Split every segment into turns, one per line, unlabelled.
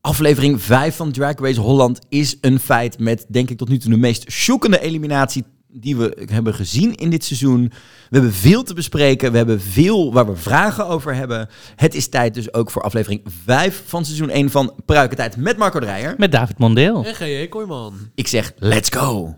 Aflevering 5 van Drag Race Holland is een feit met, denk ik, tot nu toe de meest shockende eliminatie die we hebben gezien in dit seizoen. We hebben veel te bespreken, we hebben veel waar we vragen over hebben. Het is tijd dus ook voor aflevering 5 van seizoen 1 van Pruikentijd met Marco Dreyer.
Met David Mondeel.
En G.J. Kooijman.
Ik zeg, let's go!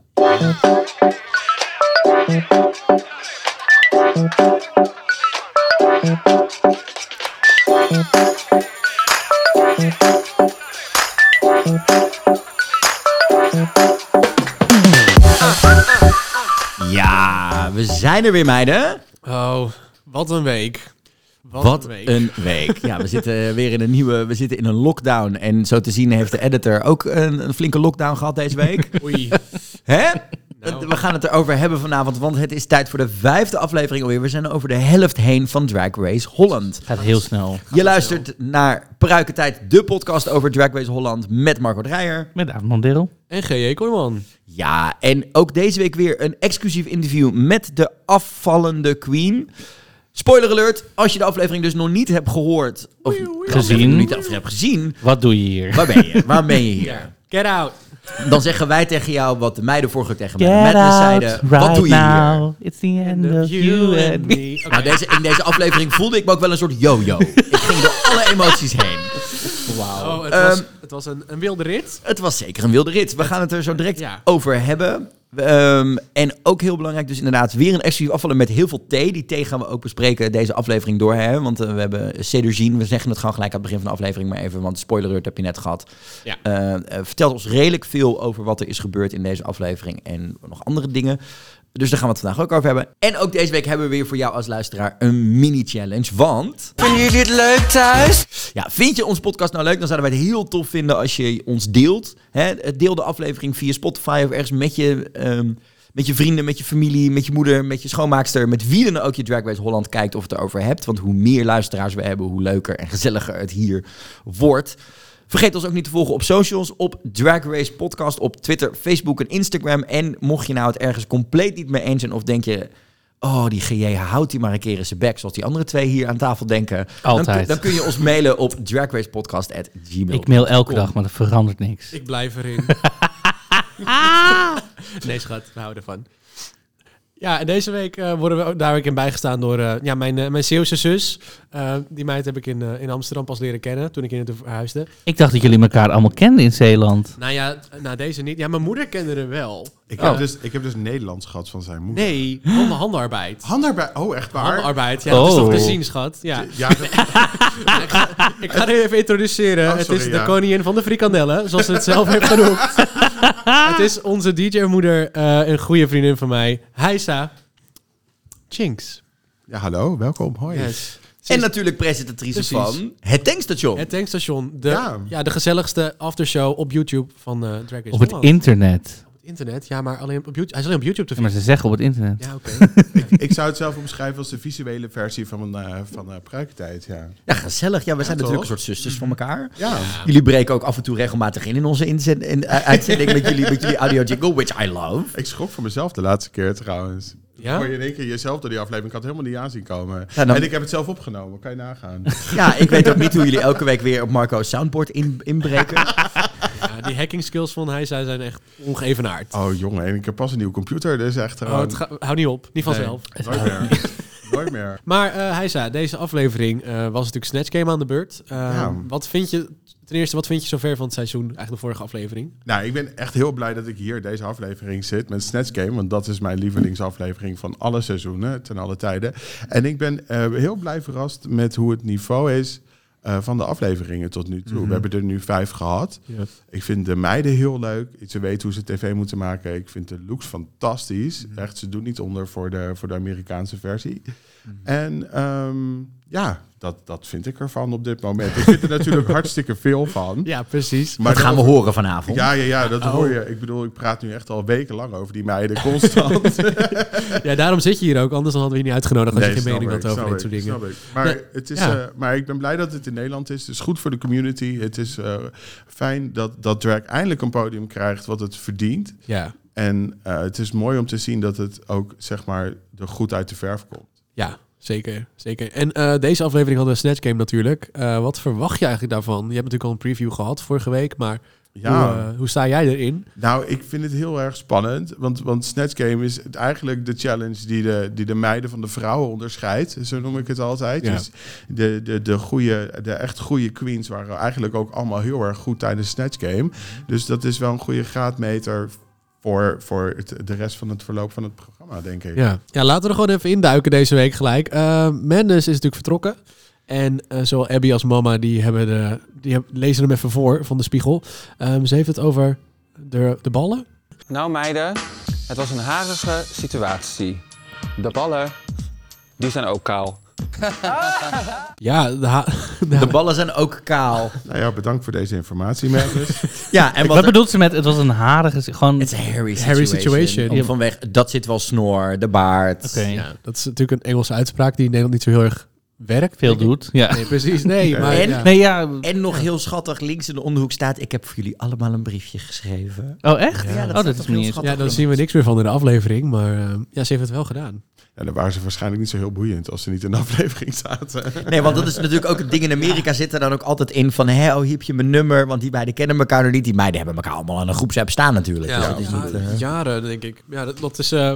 Ja, we zijn er weer meiden.
Oh, wat een week. Wat,
Wat een week. Ja, we zitten weer in een nieuwe, we zitten in een lockdown. En zo te zien heeft de editor ook een, een flinke lockdown gehad deze week.
Oei.
Hè?
Nou.
We gaan het erover hebben vanavond, want het is tijd voor de vijfde aflevering alweer. We zijn over de helft heen van Drag Race Holland.
Gaat heel snel.
Je luistert naar Pruikentijd, de podcast over Drag Race Holland met Marco Dreyer.
Met David Mondeel.
En G.J. Kooijman.
Ja, en ook deze week weer een exclusief interview met de afvallende queen. Spoiler alert, als je de aflevering dus nog niet hebt gehoord... of de aflevering
Gezien.
nog niet of hebt gezien,
Wat doe je hier?
waar ben je? Waar ben je hier?
Get out.
Dan zeggen wij tegen jou wat de meiden vorige keer tegen
Get
mij. Met me
out
zeiden, wat
right
doe je hier?
now. It's the end of you and me.
Nou, deze, in deze aflevering voelde ik me ook wel een soort yo-yo. ik ging door alle emoties heen.
Oh, het
Ehm,
was, het was een, een wilde rit.
Het was zeker een wilde rit. We gaan het er zo direct
Ja.
over hebben. Ehm, en ook heel belangrijk, dus inderdaad, weer een exclusief afvallen met heel veel thee. Die thee gaan we ook bespreken deze aflevering door. Hè? Want eh, we hebben Cedurgine, we zeggen het gewoon gelijk aan het begin van de aflevering maar even, want spoiler alert heb je net gehad.
Ja.
Eh, eh, vertelt ons redelijk veel over wat er is gebeurd in deze aflevering en nog andere dingen. Dus daar gaan we het vandaag ook over hebben. En ook deze week hebben we weer voor jou als luisteraar een mini-challenge, want...
Vinden jullie het leuk thuis?
Ja, vind je onze podcast nou leuk? Dan zouden wij het heel tof vinden als je ons deelt. Hè? Deel de aflevering via Spotify of ergens met je, ehm, met je vrienden, met je familie, met je moeder, met je schoonmaakster. Met wie dan ook je Drag Race Holland kijkt of het erover hebt. Want hoe meer luisteraars we hebben, hoe leuker en gezelliger het hier wordt. Vergeet ons ook niet te volgen op socials, op Drag Race Podcast, op Twitter, Facebook en Instagram. En mocht je nou het ergens compleet niet mee eens zijn of denk je... Oh, die GJ houdt die maar een keer in zijn bek, zoals die andere twee hier aan tafel denken. Dan, kun-
Altijd.
dan kun je ons mailen op dragracepodcast.gmail.
Ik mail elke dag, maar dat verandert niks.
Ik blijf erin. Ah! nee, schat, we houden ervan. Ja, en deze week eh, worden we ook daar ook in bijgestaan door eh, ja, mijn, eh, mijn Zeeuwse zus. Eh, die meid heb ik in, eh, in Amsterdam pas leren kennen toen ik in het verhuisde.
Ik dacht dat jullie elkaar allemaal kenden in Zeeland.
Nou ja, nou deze niet. Ja, mijn moeder kende hem wel.
Ik,
Oh.
heb dus, ik heb dus Nederlands gehad van zijn moeder.
Nee, handen- handarbeid.
Handarbeid. Oh, echt waar?
Handarbeid, ja, dat is
Oh.
toch te zien, schat. Ja.
Ja, dat-
Ik ga dit even introduceren.
Oh,
het
sorry,
is de
ja.
koningin van de frikandellen, zoals ze het zelf heeft genoemd. het is onze DJ-moeder, eh, een goede vriendin van mij, Heisa Chinks.
ja hallo, welkom. Hoi.
Yes.
En natuurlijk presentatrice
Precies.
van Het Tankstation.
Het tankstation, de, ja.
Ja.
de gezelligste aftershow op YouTube van eh Drag Race
Op het
Holland.
internet.
Op het internet, ja, maar alleen op YouTube. Hij is alleen op YouTube te
Ja, maar
vinden.
ze zeggen op het internet.
Ja, oké.
Ik zou het zelf omschrijven als de visuele versie van, eh van eh Pruikentijd. Ja.
Ja, gezellig. Ja, we zijn
toch?
natuurlijk een soort zusters van elkaar.
Ja.
Jullie breken ook af en toe regelmatig in in onze inzend- in, eh, uitzending met jullie, met jullie audio jingle, which I love.
Ik schrok voor mezelf de laatste keer trouwens.
Ja?
Ja? Hoor je in één keer jezelf door die aflevering. Ik had het helemaal niet aanzien komen.
Ja, dan-
En ik heb het zelf opgenomen. Kan je nagaan.
Ja, ik weet ook niet hoe jullie elke week weer op Marco's soundboard in, inbreken.
Ja, die hacking skills van Heisa zijn echt ongeëvenaard.
Oh jongen, en ik heb pas een nieuwe computer. Dus echt
Oh,
gewoon...
het ga- hou niet op, niet vanzelf.
nooit meer. nooit meer.
Maar eh Heisa, deze aflevering eh, was natuurlijk Snatch Game aan de beurt. Eh,
Ja.
Wat vind je, ten eerste, wat vind je zover van het seizoen, eigenlijk de vorige aflevering?
Nou, ik ben echt heel blij dat ik hier deze aflevering zit met Snatch Game. Want dat is mijn lievelingsaflevering van alle seizoenen, ten alle tijden. En ik ben eh, heel blij verrast met hoe het niveau is eh, van de afleveringen tot nu toe. We hebben er nu vijf gehad. Ik vind de meiden heel leuk. Ze weten hoe ze tv moeten maken. Ik vind de looks fantastisch. Echt, ze doen niet onder voor de, voor de Amerikaanse versie. En ehm, ja, dat, dat vind ik ervan op dit moment. Ik vind er natuurlijk hartstikke veel van.
Ja, precies.
Dat gaan we horen vanavond.
Ja, ja, ja,
Ah,
dat
oh.
hoor je. Ik bedoel, ik praat nu echt al wekenlang over die meiden constant.
Ja, daarom zit je hier ook, anders dan hadden we je niet uitgenodigd als je geen
snap
mening
ik,
had over
snap
dit soort
ik,
dingen.
snap ik. Maar,
Nee,
het is,
ja.
eh, maar ik ben blij dat het in Nederland is. Het is goed voor de community. Het is eh, fijn dat, dat drag eindelijk een podium krijgt wat het verdient.
Ja,
En eh, het is mooi om te zien dat het ook, zeg maar, er goed uit de verf komt.
ja Zeker, zeker. En eh, deze aflevering hadden we Snatch Game natuurlijk. Eh, wat verwacht je eigenlijk daarvan? Je hebt natuurlijk al een preview gehad vorige week, maar
Ja.
hoe, eh, hoe sta jij erin?
Nou, ik vind het heel erg spannend. Want, want Snatch Game is het eigenlijk de challenge die de, die de meiden van de vrouwen onderscheidt. Zo noem ik het altijd.
Ja.
Dus de, de, de, goede, de echt goede queens waren eigenlijk ook allemaal heel erg goed tijdens Snatch Game. Dus dat is wel een goede graadmeter voor, voor het, de rest van het verloop van het programma, denk ik.
Ja. ja, laten we er gewoon even induiken deze week gelijk. Eh Mendes is natuurlijk vertrokken. En eh, zowel Abby als mama die hebben de, die heb- lezen hem even voor van de spiegel. Ehm, ze heeft het over de, de ballen.
Nou meiden, het was een harige situatie. De ballen, die zijn ook kaal.
Ja, de ha-
De ballen zijn ook kaal.
Nou ja, bedankt voor deze informatie, Merlis.
Ja, en
Wat
wat...
bedoelt ze met het was een harige... si- Gewoon...
Het
Oké,
is een hairy situation.
Hairy situation.
Om Vanwege, dat zit wel snor, de baard.
ja, dat is natuurlijk een Engelse uitspraak die in Nederland niet zo heel erg werkt.
veel
denk ik.
doet. Ja.
Nee, precies. Nee, maar...
En-
ja.
Nee, ja... Oh,
En nog heel schattig, links in de onderhoek staat... ik heb voor jullie allemaal een briefje geschreven.
Oh, echt?
Ja,
oh, dat is
toch
me
heel
niet eens-
schattig
Ja, dan
jongens.
zien we niks meer van in de aflevering. Maar ehm, ja, ze heeft het wel gedaan.
En dan waren ze waarschijnlijk niet zo heel boeiend als ze niet in de aflevering zaten.
Nee, want dat is natuurlijk ook het ding in Amerika zit er dan ook altijd in van... hé, oh, hier heb je mijn nummer, want die meiden kennen elkaar nog niet. Die meiden hebben elkaar allemaal aan een groepsapp staan natuurlijk. Dus dat is niet, eh,
jaren denk ik. Ja, dat, dat is... eh,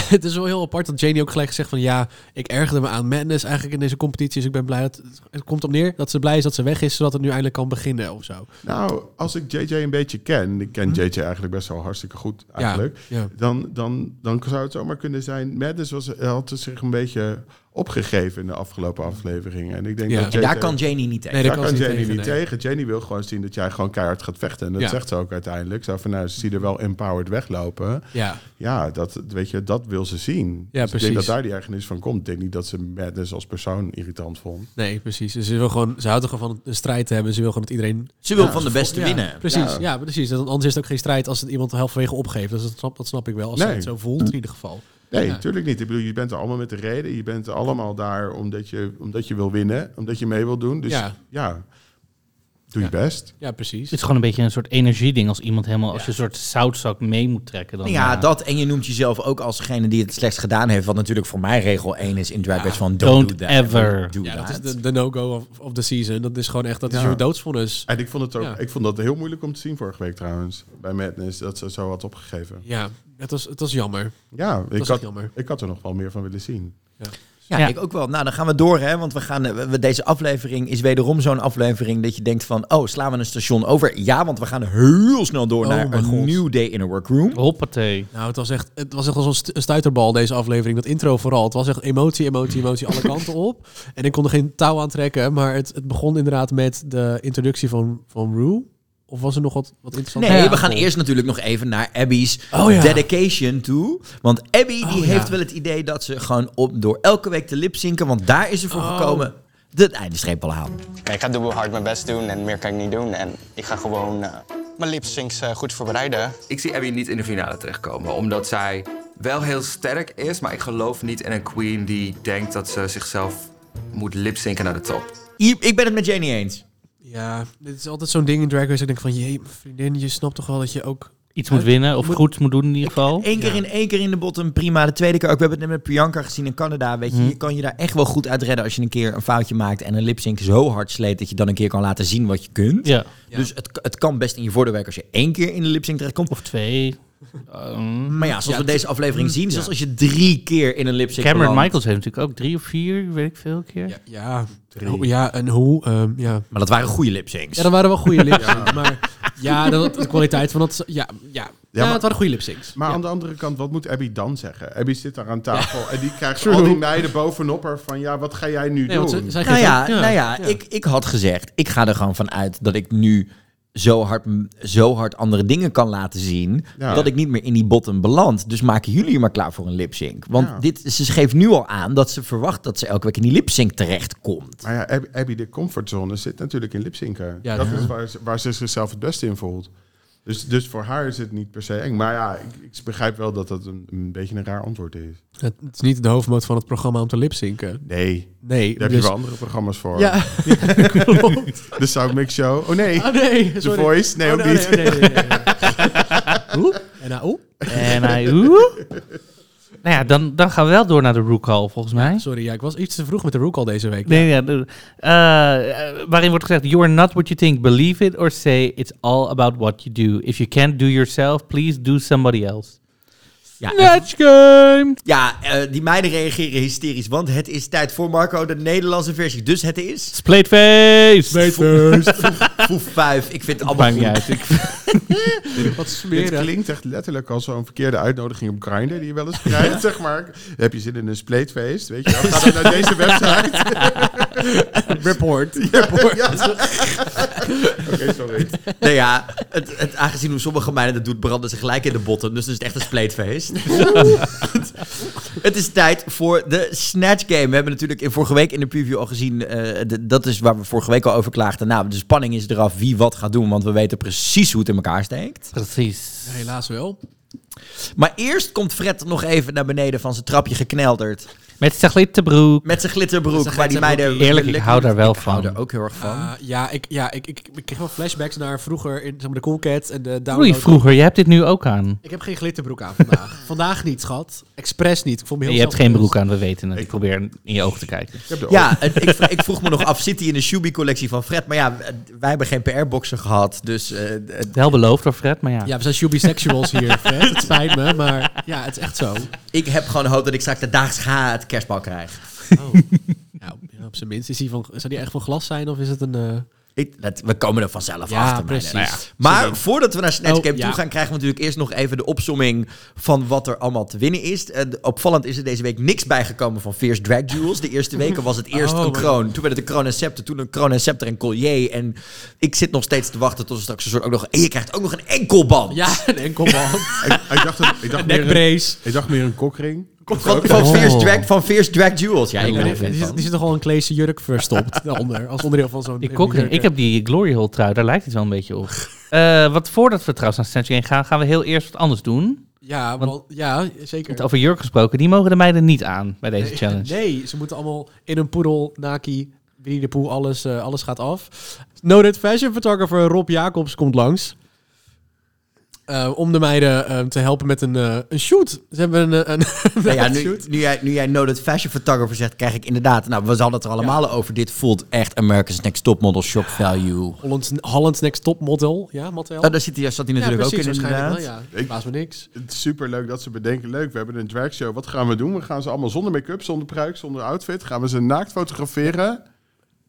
het is wel heel apart dat Janie ook gelijk gezegd van... ja, ik ergerde me aan madness eigenlijk in deze competitie. Dus ik ben blij dat... Het komt op neer dat ze blij is dat ze weg is... zodat het nu eindelijk kan beginnen of zo.
Nou, als ik JJ een beetje ken, ik ken JJ eigenlijk best wel hartstikke goed eigenlijk.
Mhm. Ja, ja.
Dan, dan, dan zou het zomaar kunnen zijn. Madness was, had zich een beetje opgegeven in de afgelopen afleveringen. En ik denk
Ja.
dat
En
JJ
daar kan Janie niet tegen.
Nee,
daar kan
ze
Jenny
tegen, nee.
niet tegen. Jenny wil gewoon zien dat jij gewoon keihard gaat vechten. En dat
Ja.
zegt ze ook uiteindelijk. Zo van, nou, ze ziet er wel empowered weglopen.
Ja,
Ja, dat, weet je, dat wil ze zien.
Ja,
Dus Ik
precies.
denk dat daar die ergernis van komt. Ik denk niet dat ze Madness als persoon irritant vond.
nee, precies. Dus ze, wil gewoon, ze houdt er gewoon van een strijd te hebben. Ze wil gewoon dat iedereen...
Ze wil van de beste winnen.
Precies, ja, precies. Dat- Anders is het ook geen strijd als het iemand halverwege opgeeft. Dus dat snap, dat snap ik wel, als ze
Nee.
het zo voelt in ieder geval.
Nee,
Ja.
natuurlijk niet. Ik bedoel, je bent er allemaal met de reden. Je bent er allemaal daar omdat je, omdat je wil winnen, omdat je mee wil doen. Dus
Ja.
ja, doe je best.
Ja, precies.
Het is gewoon een beetje een soort energieding als iemand helemaal... als je een soort zoutzak mee moet trekken. Dan,
Ja,
eh,
dat. En je noemt jezelf ook als degene die het slechts gedaan heeft. Wat natuurlijk voor mij regel 1 is in Drag Race van
Don't
don't, do that.
ever.
Do
Ja, dat
that.
is de, de no-go of, of the season. Dat is gewoon echt, dat is
Ja.
je doodsvonnis.
En ik vond, het ook,
Ja.
ik vond dat heel moeilijk om te zien vorige week trouwens. Bij Madness, dat ze zo had opgegeven.
Ja, het was, het was jammer.
Ja, ik
was echt
had,
jammer.
ik had er nog wel meer van willen zien.
Ja,
Ja.
ik ook wel. Nou, dan gaan we door, hè. Want we gaan, eh, we- we, deze aflevering is wederom zo'n aflevering dat je denkt van... Oh, slaan we een station over? Ja, want we gaan heel snel door
Oh
naar
mijn
een
God.
new day in a workroom.
Hoppatee.
Nou, het was echt, het was echt als een st- een stuiterbal deze aflevering. Dat intro vooral. Het was echt emotie, emotie, emotie alle kanten op. En ik kon er geen touw aan trekken. Maar het, het begon inderdaad met de introductie van, van Rue. Of was er nog wat, wat interessant?
Nee,
Ja.
we gaan eerst natuurlijk nog even naar Abby's
Oh ja.
dedication toe. Want Abby
Oh
die
ja.
heeft wel het idee dat ze gewoon op door elke week te lipzinken. Want daar is ze voor gekomen. De eindestreep al halen.
Ja, Ik ga dubbel hard mijn best doen en meer kan ik niet doen. En ik ga gewoon eh, mijn lipsyncs eh, goed voorbereiden.
Ik zie Abby niet in de finale terechtkomen, omdat zij wel heel sterk is, maar ik geloof niet in een queen die denkt dat ze zichzelf moet lipzinken naar de top.
I- Ik ben het met Janie eens.
Ja, dit is altijd zo'n ding in Drag Race. dat Ik denk van, jee, vriendin, je snapt toch wel dat je ook...
Iets moet winnen of goed moet doen in ieder geval.
Eén keer in één keer in de bottom, prima. De tweede keer ook. We hebben het net met Priyanka gezien in Canada. Weet je, je kan je daar echt wel goed uit redden als je een keer een foutje maakt en een lipsync zo hard sleet dat je dan een keer kan laten zien wat je kunt.
Ja.
Dus het, het kan best in je voordeel werken als je één keer in de lipsync terechtkomt.
Of twee. Ehm,
Maar ja, zoals we deze aflevering zien, zelfs als je drie keer in een lipsync
Cameron
belandt-
Michaels heeft natuurlijk ook drie of vier, weet ik veel keer.
Ja, ja, Hoe- ja en hoe? ehm, ja.
Maar dat waren goede lipsyncs.
ja, dat waren wel goede lipsyncs. Maar ja, dat, de kwaliteit van dat... Ja, ja. ja,
maar-
het waren goede lipsyncs.
Maar
Ja.
aan de andere kant, wat moet Abby dan zeggen? Abby zit daar aan tafel en die krijgt al die meiden bovenop haar van... Ja, wat ga jij nu
Nee,
doen?
want ze- zij
Nou
geeft
ja,
ook-
nou ja, Ik, ik had gezegd, ik ga er gewoon van uit dat ik nu zo hard, zo hard andere dingen kan laten zien,
Ja.
dat ik niet meer in die bottom beland. Dus maken jullie je maar klaar voor een lipsync. Want
Ja.
dit, ze geeft nu al aan dat ze verwacht dat ze elke week in die lipsync terechtkomt.
Maar ja, Ab- Abby, de comfortzone zit natuurlijk in lipzinken.
Ja,
dat
ja.
is waar, ze- waar ze zichzelf het beste in voelt. Dus, dus voor haar is het niet per se eng. Maar ja, ik, ik begrijp wel dat dat een, een beetje een raar antwoord is.
Het het is niet de hoofdmoot van het programma om te lipzinken.
Nee,
Nee.
daar heb
dus-
je wel andere programma's voor.
Ja, klopt.
De South Mix Show. Oh nee,
Oh nee,
The
sorry.
Voice. Nee,
Oh,
ook
nee,
niet.
nee, nee, nee, nee, nee. Oeh, en nou, oeh.
En hij, oeh. Nou ja, dan, dan gaan we wel door naar de Rook Hall, volgens mij.
Sorry, ja, ik was iets te vroeg met de rook al deze week.
Nee, ja, de- eh, eh, waarin wordt gezegd: You are not what you think, believe it or say it's all about what you do. If you can't do yourself, please do somebody else.
Ja,
Match game.
Ja, eh, die meiden reageren hysterisch, want het is tijd voor Marco, de Nederlandse versie. Dus het is...
Spleetface.
Foef 5, ik vind het allemaal
Maakt
goed.
niet uit. Ik-
Wat
Dit
smeren.
klinkt echt letterlijk als zo'n verkeerde uitnodiging op Grindr die je wel eens krijgt, zeg maar. Heb je zin in een spleetfeest, weet je wel? Ga dan naar deze website.
Report.
Oké, sorry.
Nou ja, het, het, aangezien hoe sommige meiden dat doet, branden ze gelijk in de botten. Dus dan is het echt een spleetfeest. het is tijd voor de Snatch Game. We hebben natuurlijk in, vorige week in de preview al gezien... eh, de- dat is waar we vorige week al over klaagden. Nou, de spanning is eraf wie wat gaat doen, want we weten precies hoe het in elkaar steekt.
Precies.
Helaas wel.
Maar eerst komt Fred nog even naar beneden van zijn trapje geknelderd.
Met Saglite broek.
Met zijn glitterbroek,
zijn
waar die meiden...
glitterbroek.
Eerlijk, ik hou daar wel
Ik
van.
hou daar ook heel erg van.
Ah, ja, ik, ja ik, ik, ik kreeg wel flashbacks naar vroeger in zeg maar, de Cool Cat en de
Oei,
Download.
vroeger. Je hebt dit nu ook aan.
Ik heb geen glitterbroek aan vandaag. vandaag niet, schat. Expres niet. Ik vond me
Je
heel
hebt geen
zelfbewust.
broek aan, we weten het. Ik probeer in je ogen te kijken.
Ik heb de
Oh.
Ja, het- ik, vro- ik vroeg me nog af, zit hij in de Shubi-collectie van Fred? Maar ja, wij hebben geen PR-boxer gehad, dus... eh, d-
Wel beloofd door Fred, maar ja.
Ja, we zijn shubisexuals hier, Fred. Het spijt me, maar ja, het is echt zo.
ik heb gewoon hoop dat ik straks de daags ga het kerstbal krijg.
Nou, ja, op zijn minst. Is die van, zou die echt van glas zijn of is het een... eh,
Ik, dat, we komen er vanzelf
Ja,
achter.
precies.
meiden. Maar voordat we naar Snatch
Oh,
Game
ja.
toe gaan, krijgen we natuurlijk eerst nog even de opsomming van wat er allemaal te winnen is. Eh, d- opvallend is er deze week niks bijgekomen van Fierce Drag Duels. De eerste weken was het eerst
Oh,
een
maar-
kroon, toen werd het een kroon en scepter, toen een kroon en scepter en collier. En ik zit nog steeds te wachten tot er straks een soort ook nog... En je krijgt ook nog een enkelband.
Ja, een enkelband.
ik, ik dacht, dat- ik, dacht meer een,
Nekbrace.
ik dacht meer een kokring.
Van, van,
Oh.
Fierce Drag, van Fierce Drag Duels. Ja, ik ben
Die,
er
die,
fan
zit-
van.
die zit toch al een kleese jurk verstopt daaronder. Als onderdeel van zo'n...
Die kokring. Ik heb die Glory Hole trui, daar lijkt het wel een beetje op. Eh, wat voordat we trouwens naar Snatch Game gaan, gaan we heel eerst wat anders doen.
Ja, want, ja zeker.
Want over jurk gesproken, die mogen de meiden niet aan bij deze
Nee,
challenge.
Nee, ze moeten allemaal in een poedel, Naki, Winnie de Poe, alles, eh, alles gaat af. Noted fashion photographer Rob Jacobs komt langs. eh, om de meiden eh, te helpen met een, eh, een shoot. Ze hebben een, eh, een,
Nou ja, nu,
shoot.
nu jij, nu jij No That Fashion Photographer zegt, krijg ik inderdaad... Nou, we hadden het er allemaal over. Dit voelt echt America's Next Top Model Shock Value.
Holland's, Holland's Next Top Model. Ja, Mattel.
Oh, daar zit hij, zat hij natuurlijk ook in,
waarschijnlijk
inderdaad.
wel, ja.
Ik-
Baas me niks.
Het is superleuk dat ze bedenken, leuk, we hebben een dragshow. Wat gaan we doen? We gaan ze allemaal zonder make-up, zonder pruik, zonder outfit. Gaan we ze naakt fotograferen.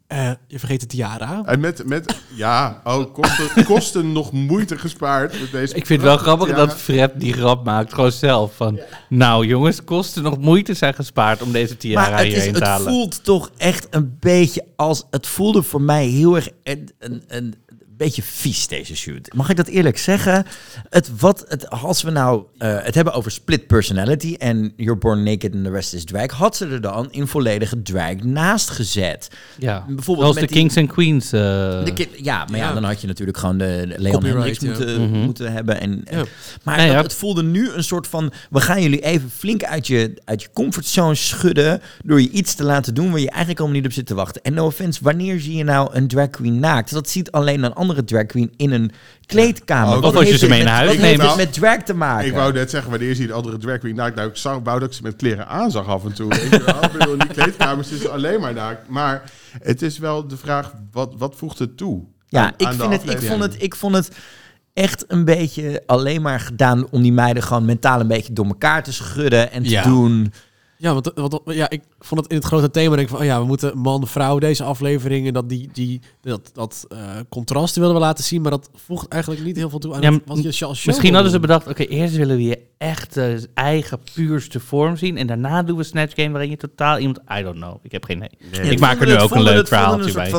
Eh, je vergeet de tiara.
En met, met ja, oh, kosten, kosten nog moeite gespaard. Met deze
Ik vind het wel grappig
Ja.
dat Fred die grap maakt, gewoon zelf. Van, Nou jongens, kosten nog moeite zijn gespaard om deze tiara
Maar het, is,
hierheen te
het
halen.
voelt toch echt een beetje als... Het voelde voor mij heel erg een, een, een beetje vies, deze shoot. Mag ik dat eerlijk zeggen? Het, wat, het, als we nou eh, het hebben over split personality... en you're born naked and the rest is drag... had ze er dan in volledige drag naast gezet.
ja.
bijvoorbeeld
Zoals
met
de
die-
Kings and Queens. eh,
De ki- ja, maar ja.
Ja.
dan had je natuurlijk gewoon de de Leon
Copyright,
Hendricks
ja.
moeten,
Mhm.
moeten hebben. En, en-
Ja.
Maar
Nee,
dat-
ja.
het voelde nu een soort van... we gaan jullie even flink uit je, uit je comfortzone schudden... door je iets te laten doen waar je eigenlijk helemaal niet op zit te wachten. En no offense, wanneer zie je nou een drag queen naakt? Dat ziet alleen een andere drag queen in een kleedkamer.
Ja. Of
Wat
als je
heeft
ze
dit
mee
met-
naar huis
wat heeft
neemt.
dit met drag te maken?
Ik wou net zeggen, wanneer zie je de andere drag queen naakt? Nou, ik zag, wou dat ik ze met kleren aanzag af en toe. Weet je wel? Ik bedoel, in die kleedkamers is ze alleen maar naakt. Maar het is wel de vraag, wat, wat voegt het toe?
Ja,
aan-
ik,
aan de
vind het, ik,
aflevering?
vond het, ik vond het echt een beetje alleen maar gedaan... om die meiden gewoon mentaal een beetje door elkaar te schudden en te
Ja.
doen...
Ja, want, want ja, ik vond het in het grote thema. Denk ik van, oh ja, we moeten man, vrouw, deze aflevering. En dat, die, die, dat, dat eh, contrast willen we laten zien. Maar dat voegt eigenlijk niet heel veel toe aan
Ja,
het-
m-
wat je als show
Misschien hadden ze
wil
bedacht, oké, eerst willen we je echte, eigen, puurste vorm zien. En daarna doen we Snatch Game waarin je totaal iemand... I don't know, ik heb geen idee. ik maak er nu ook een leuk verhaaltje bij.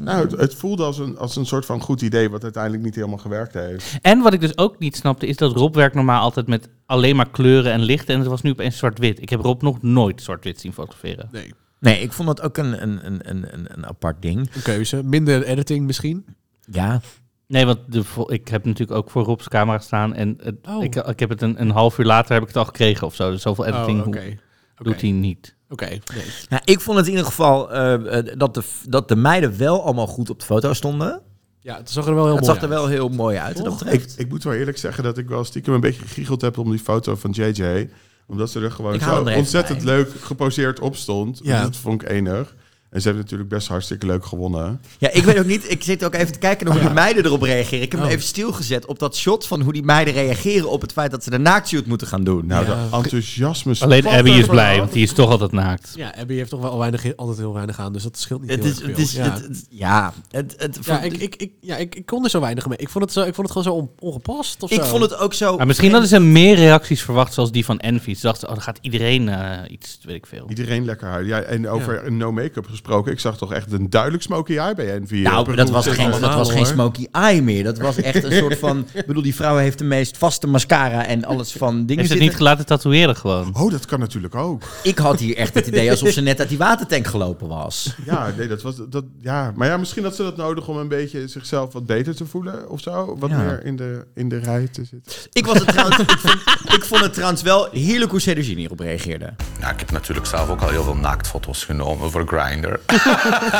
Nou, het, het voelde als een, als een soort van goed idee, wat uiteindelijk niet helemaal gewerkt heeft.
En wat ik dus ook niet snapte, is dat Rob werkt normaal altijd met alleen maar kleuren en lichten. En het was nu opeens zwart-wit. Ik heb Rob nog nooit zwart-wit zien fotograferen.
doen. Nee,
Nee, ik vond dat ook een, een, een, een, een- een apart ding.
een keuze. Minder editing misschien.
Ja.
Nee, want de, vo- ik heb natuurlijk ook voor Rob's camera gestaan. En het-
Oh.
ik, ik heb het een, een half uur later heb ik het al gekregen of zo. Dus zoveel editing
Oh,
hoe-
oké.
doet hij niet.
Oké, nee.
Nou, ik vond het in ieder geval eh, eh, dat, de, dat de meiden wel allemaal goed op de foto stonden.
Ja, het zag er wel heel
Het
mooi
zag er wel heel mooi uit. wat dat betreft.
Ik, ik moet wel eerlijk zeggen dat ik wel stiekem een beetje gegiegeld heb om die foto van JJ. Omdat ze er gewoon
Ik haal
zo
hem er even
ontzettend
bij.
leuk geposeerd op stond. Dus
Ja.
Dat vond ik enig. En ze hebben natuurlijk best hartstikke leuk gewonnen.
Ja, ik weet ook niet. Ik zit ook even te kijken
Oh
naar hoe die meiden erop reageren. Ik heb
Oh.
hem even stilgezet op dat shot van hoe die meiden reageren op het feit dat ze de naaktshoot moeten gaan doen.
Nou,
Ja.
de enthousiasme
Alleen
spat
Abby is
overal.
blij, want die is toch altijd naakt.
Ja, Abby heeft toch wel weinig, altijd heel weinig aan, dus dat scheelt niet
het
heel
is,
erg
het
veel.
is,
ja.
het, het- ja, het, het,
ja, ik, ik, ik, ja ik, ik kon er zo weinig mee. Ik vond het, zo, ik vond het gewoon zo on- ongepast of
ik
zo.
vond het ook zo.
Maar misschien hadden ze meer reacties verwacht, zoals die van Envy. Ze dachten, oh, dan gaat iedereen eh, iets, weet ik veel.
Iedereen lekker huilen. Ja, en over no make-up gesproken. Ik zag toch echt een duidelijk smoky eye bij Envy.
Nou,
Op een
dat was,
goed
geen,
zicht.
dat
allemaal,
was geen
hoor.
smoky eye meer. Dat was echt een soort van... Ik bedoel, die vrouw heeft de meest vaste mascara en alles van dingen
Heeft ze het niet
zitten.
laten tatoeëren gewoon?
Oh, dat kan natuurlijk ook.
Ik had hier echt het idee alsof ze net uit die watertank gelopen was.
Ja, nee, dat was dat. Ja, maar ja, misschien dat ze dat nodig om een beetje zichzelf wat beter te voelen of zo, wat
Ja.
meer in de in de rij te zitten.
Ik, was het trouwens, ik, vond, ik vond het trouwens wel heerlijk hoe Cedric hierop reageerde.
Nou, ik heb natuurlijk zelf ook al heel veel naaktfoto's genomen voor Grindr.
Ja,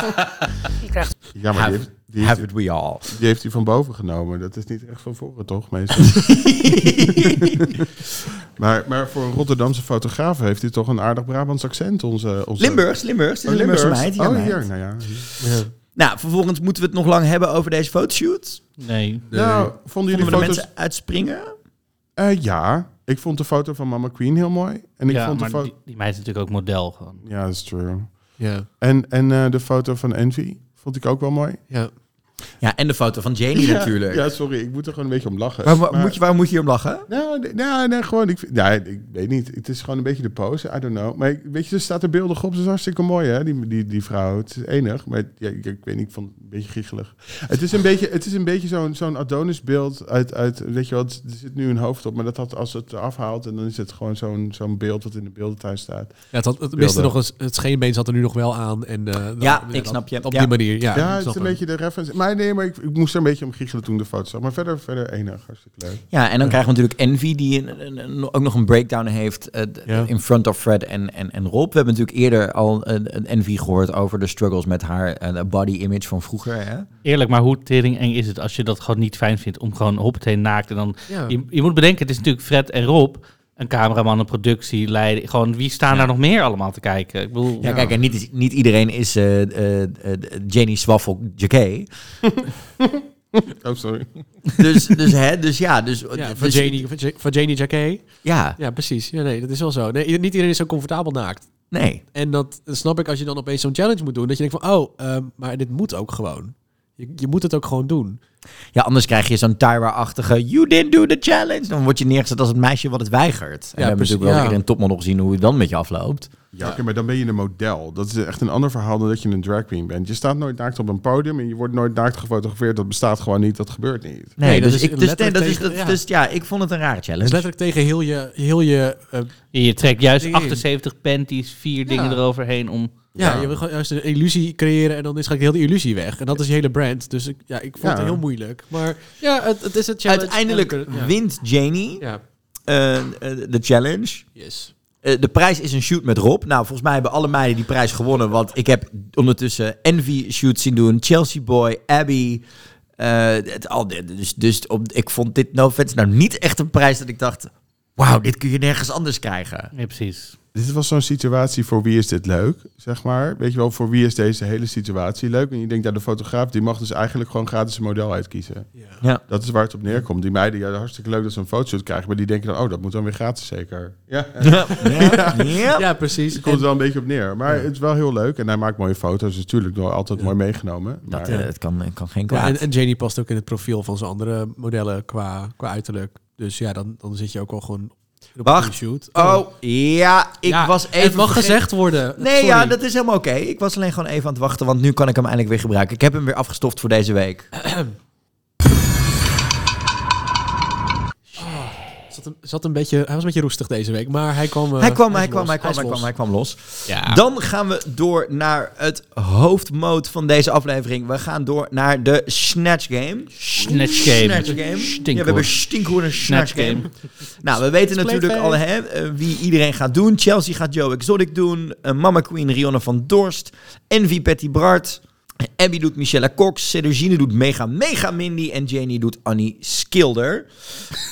maar die
Have,
heeft, die, heeft,
have it we all.
die heeft hij van boven genomen. Dat is niet echt van voren, toch, meestal? maar, maar voor een Rotterdamse fotograaf heeft hij toch een aardig Brabants accent, onze... onze
Limburgs, Limburgs.
Oh,
een Limburgse
Limburgs.
meid. Ja,
Oh,
meid.
hier, nou ja.
Nou, vervolgens moeten we het nog lang hebben over deze fotoshoot.
Nee.
Nou, vonden
Vonden we
jullie
de
foto's...
mensen uitspringen?
Eh, ja, ik vond de foto van Mama Queen heel mooi. En ik
Ja,
vond de
maar
foto...
die, die meid is natuurlijk ook model gewoon.
Ja, that's true.
Ja,
En, en eh, de foto van Envy vond ik ook wel mooi.
ja.
Ja, en de foto van Janie
Ja,
natuurlijk.
Ja, sorry, ik moet er gewoon een beetje om lachen.
Waar, waar-
Maar-
moet je, waar moet je om lachen?
Nou, nee, nou, nee, gewoon, ik, vind- nou, ik weet niet. Het is gewoon een beetje de pose, I don't know. Maar ik- weet je, er staat er beeldig op. Ze is hartstikke mooi, hè, die, die, die vrouw. Het is enig, maar ja, ik, ik weet niet, ik vond het een beetje giechelig. Het is een beetje, het is een beetje zo'n zo'n Adonis-beeld uit, uit, weet je wat, er zit nu een hoofd op, maar dat had, als het eraf haalt, en dan is het gewoon zo'n zo'n beeld wat in de beeldentuin staat.
het, had, het, miste nog eens, het scheenbeen zat er nu nog wel aan. En, eh, dat-
Ja, ik snap je.
Op
Ja.
die manier, ja.
Ja,
ik snap
het is een
hem.
beetje de reference. Maar nee, maar ik, ik moest er een beetje om giechelen toen ik de foto zag. Maar verder, verder enig, hartstikke leuk.
Ja, en dan krijgen we natuurlijk Envy, die een- een- een- ook nog een breakdown heeft eh, d-
Ja.
in front of Fred en, en, en Rob. We hebben natuurlijk eerder al eh, een, een Envy gehoord over de struggles met haar eh, body image van vroeger. Hè?
Eerlijk, maar hoe tering eng is het als je dat gewoon niet fijn vindt om gewoon hoppatee naakt en dan...
Ja.
Je, je moet bedenken, het is natuurlijk Fred en Rob, een cameraman, een productie, leiden. Gewoon, wie staan daar nog meer allemaal te kijken? Ik bedoel,
Ja, kijk, en niet, niet iedereen is eh eh, eh, Janie Swaffel JK.
Oh, sorry.
Dus, dus, hè, dus ja, dus,
Ja, van
dus-
Janie, van Ja- van Janie Jacquet.
Ja,
Ja, precies. Ja, nee, dat is wel zo. Nee, niet iedereen is zo comfortabel naakt.
nee.
En dat snap ik als je dan opeens zo'n challenge moet doen. Dat je denkt van, oh, ehm, maar dit moet ook gewoon. Je, je moet het ook gewoon doen.
Ja, anders krijg je zo'n Tyra-achtige You didn't do the challenge. Dan word je neergezet als het meisje wat het weigert. En we hebben
precies,
natuurlijk wel
ja.
eerder in Topmodel gezien hoe het dan met je afloopt.
Ja, oké, maar dan ben je een model. Dat is echt een ander verhaal dan dat je een drag queen bent. Je staat nooit naakt op een podium en je wordt nooit naakt gefotografeerd. Dat bestaat gewoon niet, dat gebeurt niet.
Nee,
Nee,
dus,
dat is
ik, dus, nee,
letterlijk
dat is,
tegen-
dat,
ja.
dus ja, ik vond het een rare
Dus
challenge.
letterlijk tegen heel je... Heel je eh,
je trekt juist
Ding.
78 panties, vier dingen eroverheen om...
ja, je wil gewoon juist een illusie creëren en dan is eigenlijk heel de illusie weg. En dat is je hele brand. Dus ik, ja, ik vond het
Ja.
heel moeilijk. Maar ja, het, het is een challenge.
Uiteindelijk
En- ja.
wint Janie
Ja,
eh, eh, de challenge.
yes.
Eh, de prijs is een shoot met Rob. Nou, volgens mij hebben alle meiden die prijs gewonnen. Want ik heb ondertussen Envy shoots zien doen. Chelsea Boy, Abby. eh, het, al, dit. dus dus op, ik vond dit No Fans nou niet echt een prijs dat ik dacht... Wauw, dit kun je nergens anders krijgen.
Ja, precies.
Dit was zo'n situatie voor wie is dit leuk, zeg maar. Weet je wel, voor wie is deze hele situatie leuk? En je denkt, ja, de fotograaf die mag dus eigenlijk gewoon gratis een model uitkiezen.
Ja.
Dat is waar het op neerkomt. Die meiden, ja, hartstikke leuk dat ze een fotoshoot krijgen. Maar die denken dan, oh, dat moet dan weer gratis zeker. Ja,
Ja. Ja. Ja.
Ja, precies.
het komt er wel een beetje op neer. Maar het is wel heel leuk. En hij maakt mooie foto's, natuurlijk. Wel altijd mooi meegenomen.
Dat,
Maar,
eh, het kan, het kan geen
Ja,
kwaad.
en, en Janie past ook in het profiel van zijn andere modellen qua, qua uiterlijk. Dus ja, dan, dan zit je ook al gewoon op
Wacht.
een shoot.
Oh, ja, ik
Ja,
was even...
het mag
vergeten-
gezegd worden.
Nee,
Sorry.
ja, dat is helemaal oké. Ik was alleen gewoon even aan het wachten, want nu kan ik hem eindelijk weer gebruiken. Ik heb hem weer afgestoft voor deze week.
Eh, zat, een, zat een beetje, hij was een beetje roestig deze week, maar hij kwam... eh,
hij kwam,
is
hij kwam,
los.
hij kwam,
is
hij
los.
kwam, hij kwam los.
Ja.
Dan gaan we door naar het hoofdmoot van deze aflevering. We gaan door naar de Snatch Game.
Snatch Game.
Snatch Game.
Stinkhoor.
Ja, we hebben stinkhoor een Snatch,
Snatch
game.
Game.
Nou, we weten natuurlijk al
Spleetface.
hè, eh, wie iedereen gaat doen. Chelsea gaat Joe Exotic doen. eh, Mama Queen Rihanna van Dorst. Envy Patty Bart. Abby doet Michelle Cox, Sedergine doet Mega Mega Mindy en Janie doet Annie Skilder.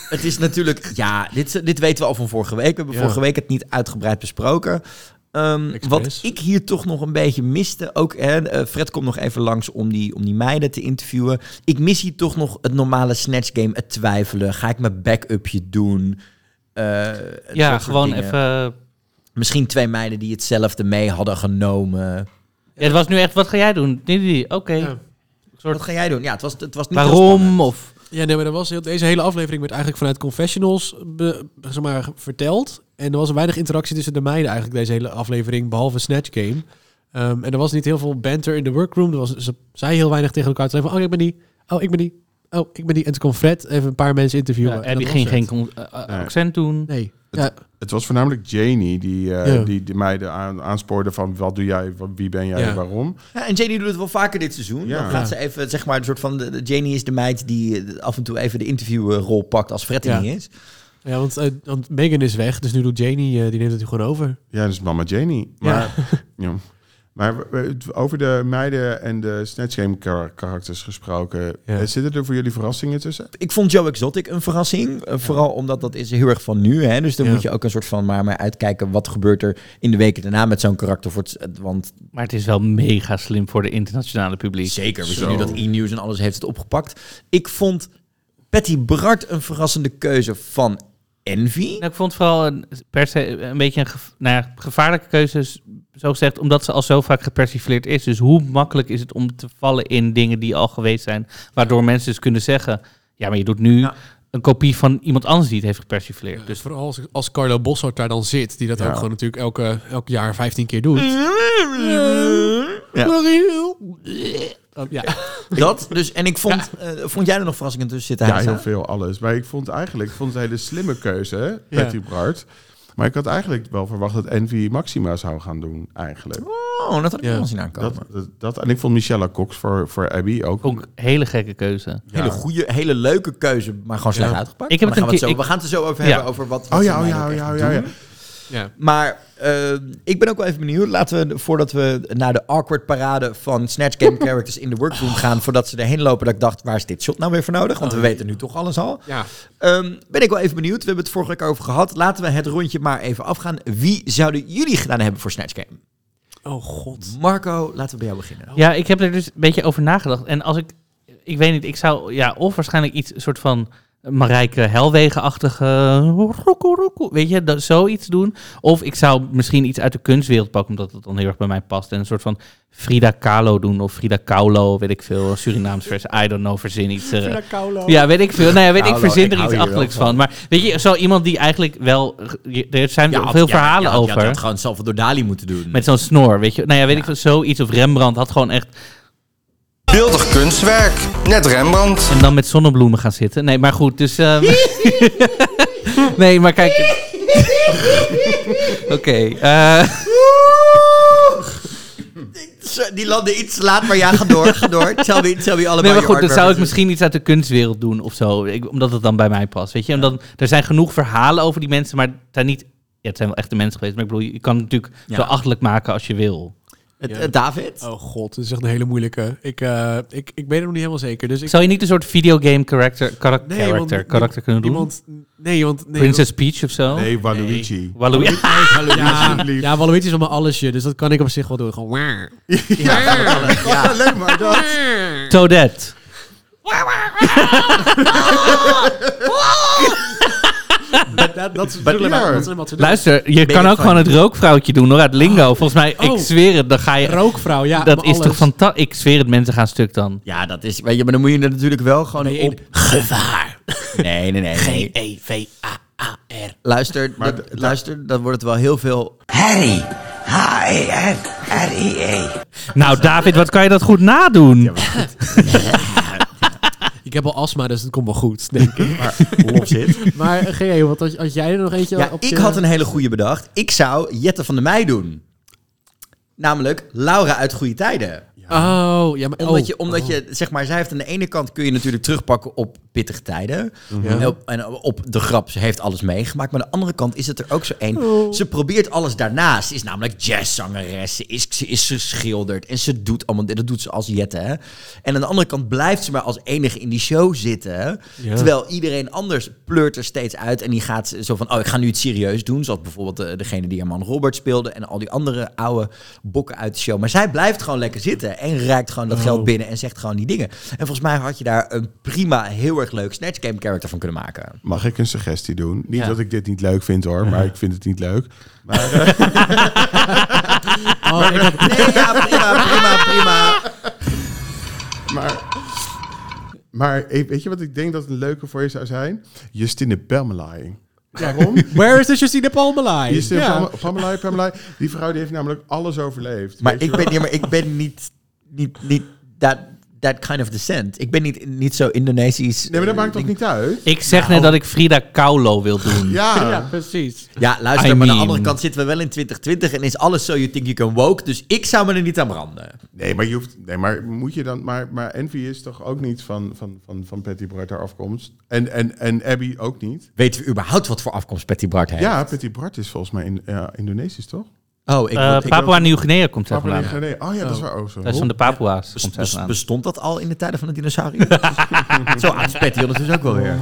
het is natuurlijk, ja, dit, dit weten we al van vorige week. We hebben
Ja.
vorige week het niet uitgebreid besproken. Ehm, wat
Expres.
ik hier toch nog een beetje miste, ook hè, eh, Fred komt nog even langs om die, om die meiden te interviewen. Ik mis hier toch nog het normale snatch game, het twijfelen. Ga ik mijn back-upje doen? Eh, dat
Ja,
soort
gewoon
dingen.
even... Ja,
Misschien twee meiden die hetzelfde mee hadden genomen.
het was nu echt, wat ga jij doen? Nee, nee, nee, Oké,
Ja.
Wat ga jij doen? Ja, het was, het was niet heel spannend.
waarom? Of
Ja, nee, maar dat was heel- deze hele aflevering werd eigenlijk vanuit confessionals be- zeg maar, verteld. En er was weinig interactie tussen de meiden eigenlijk deze hele aflevering, behalve Snatch Game. Ehm, en er was niet heel veel banter in de workroom. Er was, ze zei heel weinig tegen elkaar. Ze zei van, oh, ik ben die. Oh, ik ben die. Oh, ik ben die. En toen kwam Fred even een paar mensen interviewen.
ja,
En
Abby
dat
ging
was het.
geen con- eh, eh,
Nee.
accent doen.
Nee. Ja,
Het was voornamelijk Janie die, eh,
Ja.
die, die meiden aan, aanspoorde van wat doe jij, wa- wie ben jij
Ja.
en waarom.
Ja, en Janie doet het wel vaker dit seizoen.
Ja.
Dan gaat ze even, zeg maar, een soort van... de- de- Janie is de meid die eh, af en toe even de interviewrol pakt als Fred er
Ja.
niet is.
ja want, eh, want Megan is weg, dus nu doet Janie, eh, die neemt het gewoon over.
Ja, dat is mama Janie. Maar, ja. maar we- we- het- over de meiden en de Snatch Game kar- karakters gesproken.
Ja.
eh, Zitten er voor jullie verrassingen tussen?
Ik vond Joe Exotic een verrassing. eh, Vooral omdat dat is heel erg van nu. Hè? Dus dan
Ja.
moet je ook een soort van maar, maar uitkijken... wat gebeurt er in de weken daarna met zo'n karakter. Voor het, het- want
Maar het is wel mega slim voor de internationale publiek.
zeker, we
Zo.
zien nu dat e-news en alles heeft het opgepakt. Ik vond Patty Bart een verrassende keuze van Envy.
Nou, ik vond het vooral een, per se een beetje een gef- nou ja, gevaarlijke keuze, s- zo gezegd, omdat ze al zo vaak gepersifleerd is. Dus hoe makkelijk is het om te vallen in dingen die al geweest zijn, waardoor mensen dus kunnen zeggen, ja, maar je doet nu
Ja.
een kopie van iemand anders die het heeft gepersifleerd.
Dus vooral als, als Carlo Bossart daar dan zit, die dat
Ja.
ook gewoon natuurlijk elke, elk jaar 15 keer doet.
Ja.
Oh, ja.
Dat, dus, en ik vond... eh, vond jij er nog verrassingen tussen zitten?
Ja,
Hazen?
heel veel, alles. Maar ik vond eigenlijk ik vond het een hele slimme keuze,
Ja.
Patty Bart. Maar ik had eigenlijk wel verwacht dat Envy Maxima zou gaan doen, eigenlijk.
Oh, dat had ik
Ja.
wel zien aankomen.
Dat, dat, dat- en ik vond Michelle Cox voor, voor Abby ook.
Ook een hele gekke keuze.
Ja.
Hele goede, hele leuke keuze, maar gewoon slecht
Ja.
uitgepakt.
Ik heb
Maar
het
dan
een
gaan we,
keer-
zo, we gaan het er zo over
Ja.
hebben, over wat, wat
Oh
ze
ja, oh
nou
ja,
ook
oh
echt
ja, oh
doen.
ja, ja.
ja.
Maar eh, ik ben ook wel even benieuwd. Laten we, voordat we naar de awkward parade van Snatch Game characters in de workroom gaan, voordat ze erheen lopen, dat ik dacht, waar is dit shot nou weer voor nodig? Want we weten nu toch alles al.
Ja.
Ehm, ben ik wel even benieuwd. We hebben het vorige week over gehad. Laten we het rondje maar even afgaan. Wie zouden jullie gedaan hebben voor Snatch Game?
Oh god.
Marco, laten we bij jou beginnen.
Ja, ik heb er dus een beetje over nagedacht. En als ik, ik weet niet, ik zou, ja, of waarschijnlijk iets soort van Marijke Helwegen-achtige, roekoe, roekoe, weet je, dat, zoiets doen. Of ik zou misschien iets uit de kunstwereld pakken, omdat dat dan heel erg bij mij past. En een soort van Frida Kahlo doen, of Frida Kahlo, weet ik veel, Surinaams vers, I don't know, verzin iets. eh, ja, weet ik veel. Nou ja, weet ik,
Kahlo, ik
verzin er
hou
iets
hier wel
achterlijks
van.
van. Maar weet je, zo iemand die eigenlijk wel, je- er zijn veel verhalen
ja,
over.
Je had gewoon Salvador Dali moeten doen.
Met zo'n snor, weet je. Nou ja, weet ik veel, zoiets. Of Rembrandt had gewoon echt
Beeldig kunstwerk. Net Rembrandt.
En dan met zonnebloemen gaan zitten. Nee, maar goed, dus... ehm, nee, maar kijk... Oké, eh,
Zo, Die landen iets te laat, maar ja, ga door, ga door. Tell me, tell me allemaal
nee, maar
your
goed, dan
hard
zou ik
references.
misschien iets uit de kunstwereld doen of zo. Ik- omdat het dan bij mij past, weet je. En dan, er zijn genoeg verhalen over die mensen, maar het zijn niet... Ja, het zijn wel echte mensen geweest, maar ik bedoel, je kan het natuurlijk
Ja.
zo achterlijk maken als je wil.
Het- het David?
Oh god, dat is echt een hele moeilijke. Ik, eh, ik, ik ben er nog niet helemaal zeker. Dus ik,
Zou je niet een soort videogame character, karak-
Nee, want
character,
nie-
karakter kunnen doen?
iemand, Nee, want... Nee,
Princess Peach of zo?
Nee, Waluigi.
Waluigi.
dat- ja,
alsjeblieft.
ja, Waluigi is allemaal allesje, dus dat kan ik op zich wel doen. Gewoon... waar.
Ja, leuk maar dat.
Toadette.
Dat, dat, dat is bedoelen wij,
ja.
dat is wat ze doen.
Luister, je
Ben
kan
je
ook
van-
gewoon het rookvrouwtje doen hoor, uit Lingo. Volgens mij,
Oh.
ik zweer het, dan ga je...
Rookvrouw, ja.
dat
maar
is toch
alles.
fantastisch? Ik zweer het, mensen gaan stuk dan.
Ja, dat is... Weet je, maar dan moet je er natuurlijk wel gewoon op... Gevaar. Nee, nee, nee. G-E-V-A-A-R. Luister,
Maar
dat-
d-
luister, dan wordt het wel heel veel...
Harry. H-E-R-R-I-E.
Nou, David, wat kan je dat goed nadoen?
Ik heb al astma, dus het komt wel goed, denk ik.
Op zit.
maar eh, GE, wat had, had jij er nog eentje
Ja,
op
ik
je-
had een hele goede bedacht. Ik zou Jette van der Meij doen. Namelijk Laura uit Goede Tijden.
Ja,
Oh, ja, maar...
Omdat,
oh.
je, omdat je, zeg maar, zij heeft aan de ene kant kun je natuurlijk terugpakken op pittige tijden.
Mhm.
En, op, en op de grap, ze heeft alles meegemaakt. Maar aan de andere kant is het er ook zo één. Ze probeert alles daarnaast. Ze is namelijk jazzzangeres. Ze is, ze is geschilderd. En ze doet allemaal dit. Dat doet ze als Jette. hè. En aan de andere kant blijft ze maar als enige in die show zitten. Terwijl iedereen anders pleurt er steeds uit. En die gaat zo van, oh, ik ga nu iets serieus doen. Zoals bijvoorbeeld eh, degene die Herman Robert speelde. En al die andere oude bokken uit de show. Maar zij blijft gewoon lekker zitten. En reikt gewoon dat geld binnen. En zegt gewoon die dingen. En volgens mij had je daar een prima, heel erg leuk Snatch Game character van kunnen maken.
Mag ik een suggestie doen? Niet
Ja.
dat ik dit niet leuk vind hoor, maar ik vind het niet leuk.
Oh, ik had-
Nee, ja, prima, prima, prima.
Maar, maar eh, weet je wat ik denk dat een leuke voor je zou zijn? Justine Belmelaai. Waarom?
Where is the Justine Palmelijn?
Justine
Ja.
Belmelaai, Belmelaai, Die vrouw die heeft namelijk alles overleefd.
Maar
weet je
ik
wel?
ben, ja, maar ik ben niet, niet, niet that, that kind of descent. Ik ben niet, niet zo Indonesisch.
Nee, maar dat
eh,
maakt toch
ding.
niet uit?
Ik zeg
Nou.
net dat ik Frida Kahlo wil doen.
Ja.
Ja, precies.
Ja, luister,
I
maar aan de
mean-
andere kant zitten we wel in 2020 en is alles zo you think you can woke. Dus ik zou me er niet aan branden.
Nee, maar je hoeft. Nee, maar moet je dan. Maar, maar Envy is toch ook niet van, van, van, van Patty Bart haar afkomst. En, en, en Abby ook niet.
Weten we überhaupt wat voor afkomst Patty Bart heeft?
Ja, Patty Bart is volgens mij in, ja, Indonesisch, toch?
Oh, ik,
Eh,
ik-
Papua Nieuw-Guinea komt zij
Papua
vandaan.
Nieuw-Guinea. Oh ja, dat is waar ook zo.
Dat is van de Papua's.
bes-
komt zij
bes-
vandaan.
bestond dat al in de tijden van de dinosauriërs? zo oud is Patty ondertussen ook wel weer.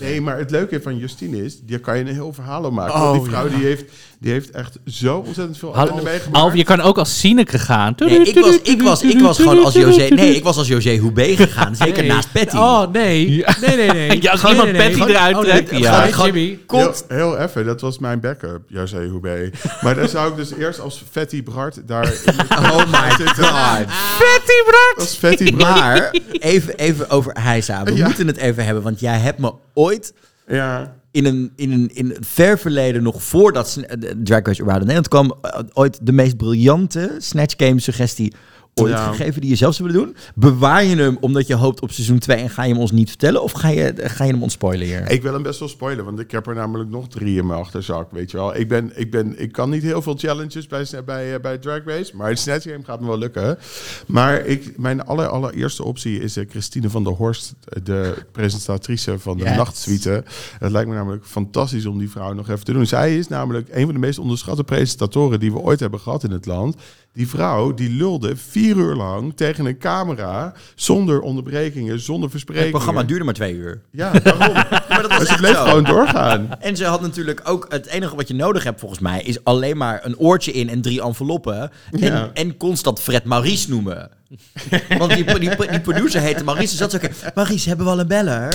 Nee, maar het leuke van Justine is, daar kan je een heel verhaal om maken. want die vrouw die, heeft, die heeft echt zo ontzettend veel
Oh, Hallo,
ellende meegemaakt.
Alf, je kan ook als Sineke gaan.
Nee, ik was, ik, was, ik was gewoon als José... Nee, ik was als José Houbé gegaan. Zeker
Nee.
naast Patty.
Oh, nee. Nee, nee, nee.
Ja, als
Nee,
iemand
nee, nee.
Patty eruit
Oh, nee.
trekt, ja.
Ga je,
Gewoon-
Jimmy.
Heel, heel even, dat was mijn backup, José Hoebe. Maar daar zou ik dus eerst als Fatty Bart daar...
Oh my god.
Betty Bart!
Als Fatty Bart.
Maar even, even over Heisa. We
Ja.
moeten het even hebben, want jij hebt me ooit
Ja.
in een, in een in het ver verleden, nog voordat Sn- eh, Drag Race überhaupt in Nederland kwam, eh, ooit de meest briljante Snatch Game suggestie ooit
Ja.
gegeven die je zelf zou willen doen. Bewaar je hem omdat je hoopt op seizoen 2 en ga je hem ons niet vertellen? Of ga je, ga je hem ons spoilen hier?
Ik wil hem best wel spoilen, want ik heb er namelijk nog drie in mijn achterzak, weet je wel. Ik, ben, ik, ben, ik kan niet heel veel challenges bij, sna- bij, eh, bij Drag Race, maar het Snatch Game gaat me wel lukken. Maar ik, mijn aller, allereerste optie is eh, Christine van der Horst, eh, de presentatrice van de
Yes.
Nachtsuite. Het lijkt me namelijk fantastisch om die vrouw nog even te doen. Zij is namelijk een van de meest onderschatte presentatoren die we ooit hebben gehad in het land. Die vrouw die lulde vier uur lang tegen een camera, zonder onderbrekingen, zonder
het
versprekingen.
programma duurde maar twee uur. Dus
Ja, daarom.
Maar dat was
Maar ze
echt
bleef
zo.
gewoon doorgaan.
En ze had natuurlijk ook het enige wat je nodig hebt volgens mij is alleen maar een oortje in en drie enveloppen en,
Ja.
en constant Fred Maurice noemen. Want die, die, die producer heette Maurice, dus dat is oké. Maurice, hebben we al een beller?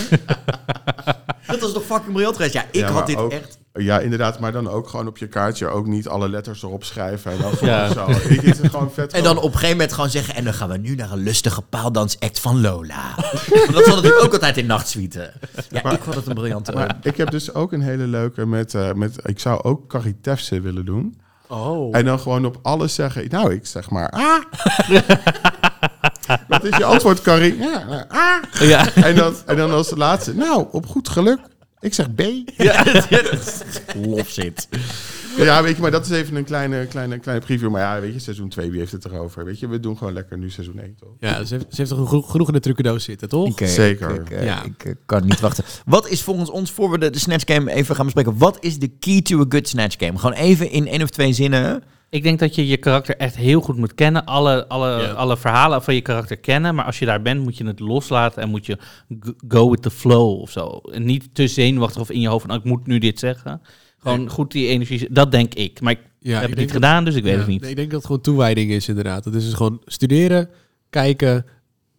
dat was toch fucking briljant geweest? Ja, ik
Ja, maar
had dit
ook-
echt...
Ja, inderdaad. Maar dan ook gewoon op je kaartje ook niet alle letters erop schrijven. En dan gewoon zo. Dit is gewoon vet.
En dan op een gegeven moment gewoon zeggen... en dan gaan we nu naar een lustige paaldansact van Lola. Want dat zat natuurlijk ook altijd in nachtsuite. Ja, ik vond het een briljante...
Maar ik heb dus ook een hele leuke met... eh, met ik zou ook Carrie Tefse willen doen.
Oh.
En dan gewoon op alles zeggen... Nou, ik zeg maar... Ah. Wat is je antwoord, Carrie? Ja, nou, ah.
Ja.
En, dan, en dan als laatste... Nou, op goed geluk. Ik zeg B.
lof zit.
Ja, weet je, maar dat is even een kleine, kleine, kleine preview. Maar ja, weet je, seizoen 2, wie heeft het erover? Weet je, we doen gewoon lekker nu seizoen 1, toch?
Ja, ze heeft, ze heeft toch genoeg, genoeg in de trucendoos zitten, toch?
Oké,
Zeker.
Ik, eh,
Ja.
ik eh, kan niet wachten. Wat is volgens ons, voor we de, de Snatch Game even gaan bespreken, wat is de key to a good Snatch Game? Gewoon even in één of twee zinnen.
Ik denk dat je je karakter echt heel goed moet kennen. Alle, alle,
Ja.
alle verhalen van je karakter kennen. Maar als je daar bent, moet je het loslaten en moet je g- go with the flow of zo. En niet te zenuwachtig of in je hoofd van, oh, ik moet nu dit zeggen. Gewoon goed die energie. Dat denk ik. Maar ik
Ja, ik
heb het
denk
niet
dat-
gedaan, dus ik weet
Ja.
het niet.
Nee, ik denk dat het gewoon toewijding is, inderdaad. Het is dus gewoon studeren, kijken,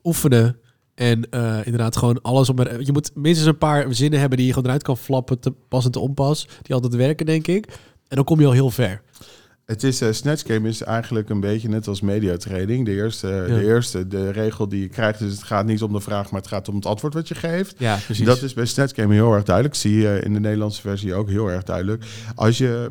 oefenen. En eh, inderdaad gewoon alles om... er- Je moet minstens een paar zinnen hebben die je gewoon eruit kan flappen, te pas en te onpas. Die altijd werken, denk ik. En dan kom je al heel ver.
Het is, eh Snatch Game is eigenlijk een beetje net als mediatraining. De eerste, eh, de eerste, de regel die je krijgt is het gaat niet om de vraag, maar het gaat om het antwoord wat je geeft.
Ja, precies.
Dat is bij Snatch Game heel erg duidelijk. Zie je in de Nederlandse versie ook heel erg duidelijk. Als je...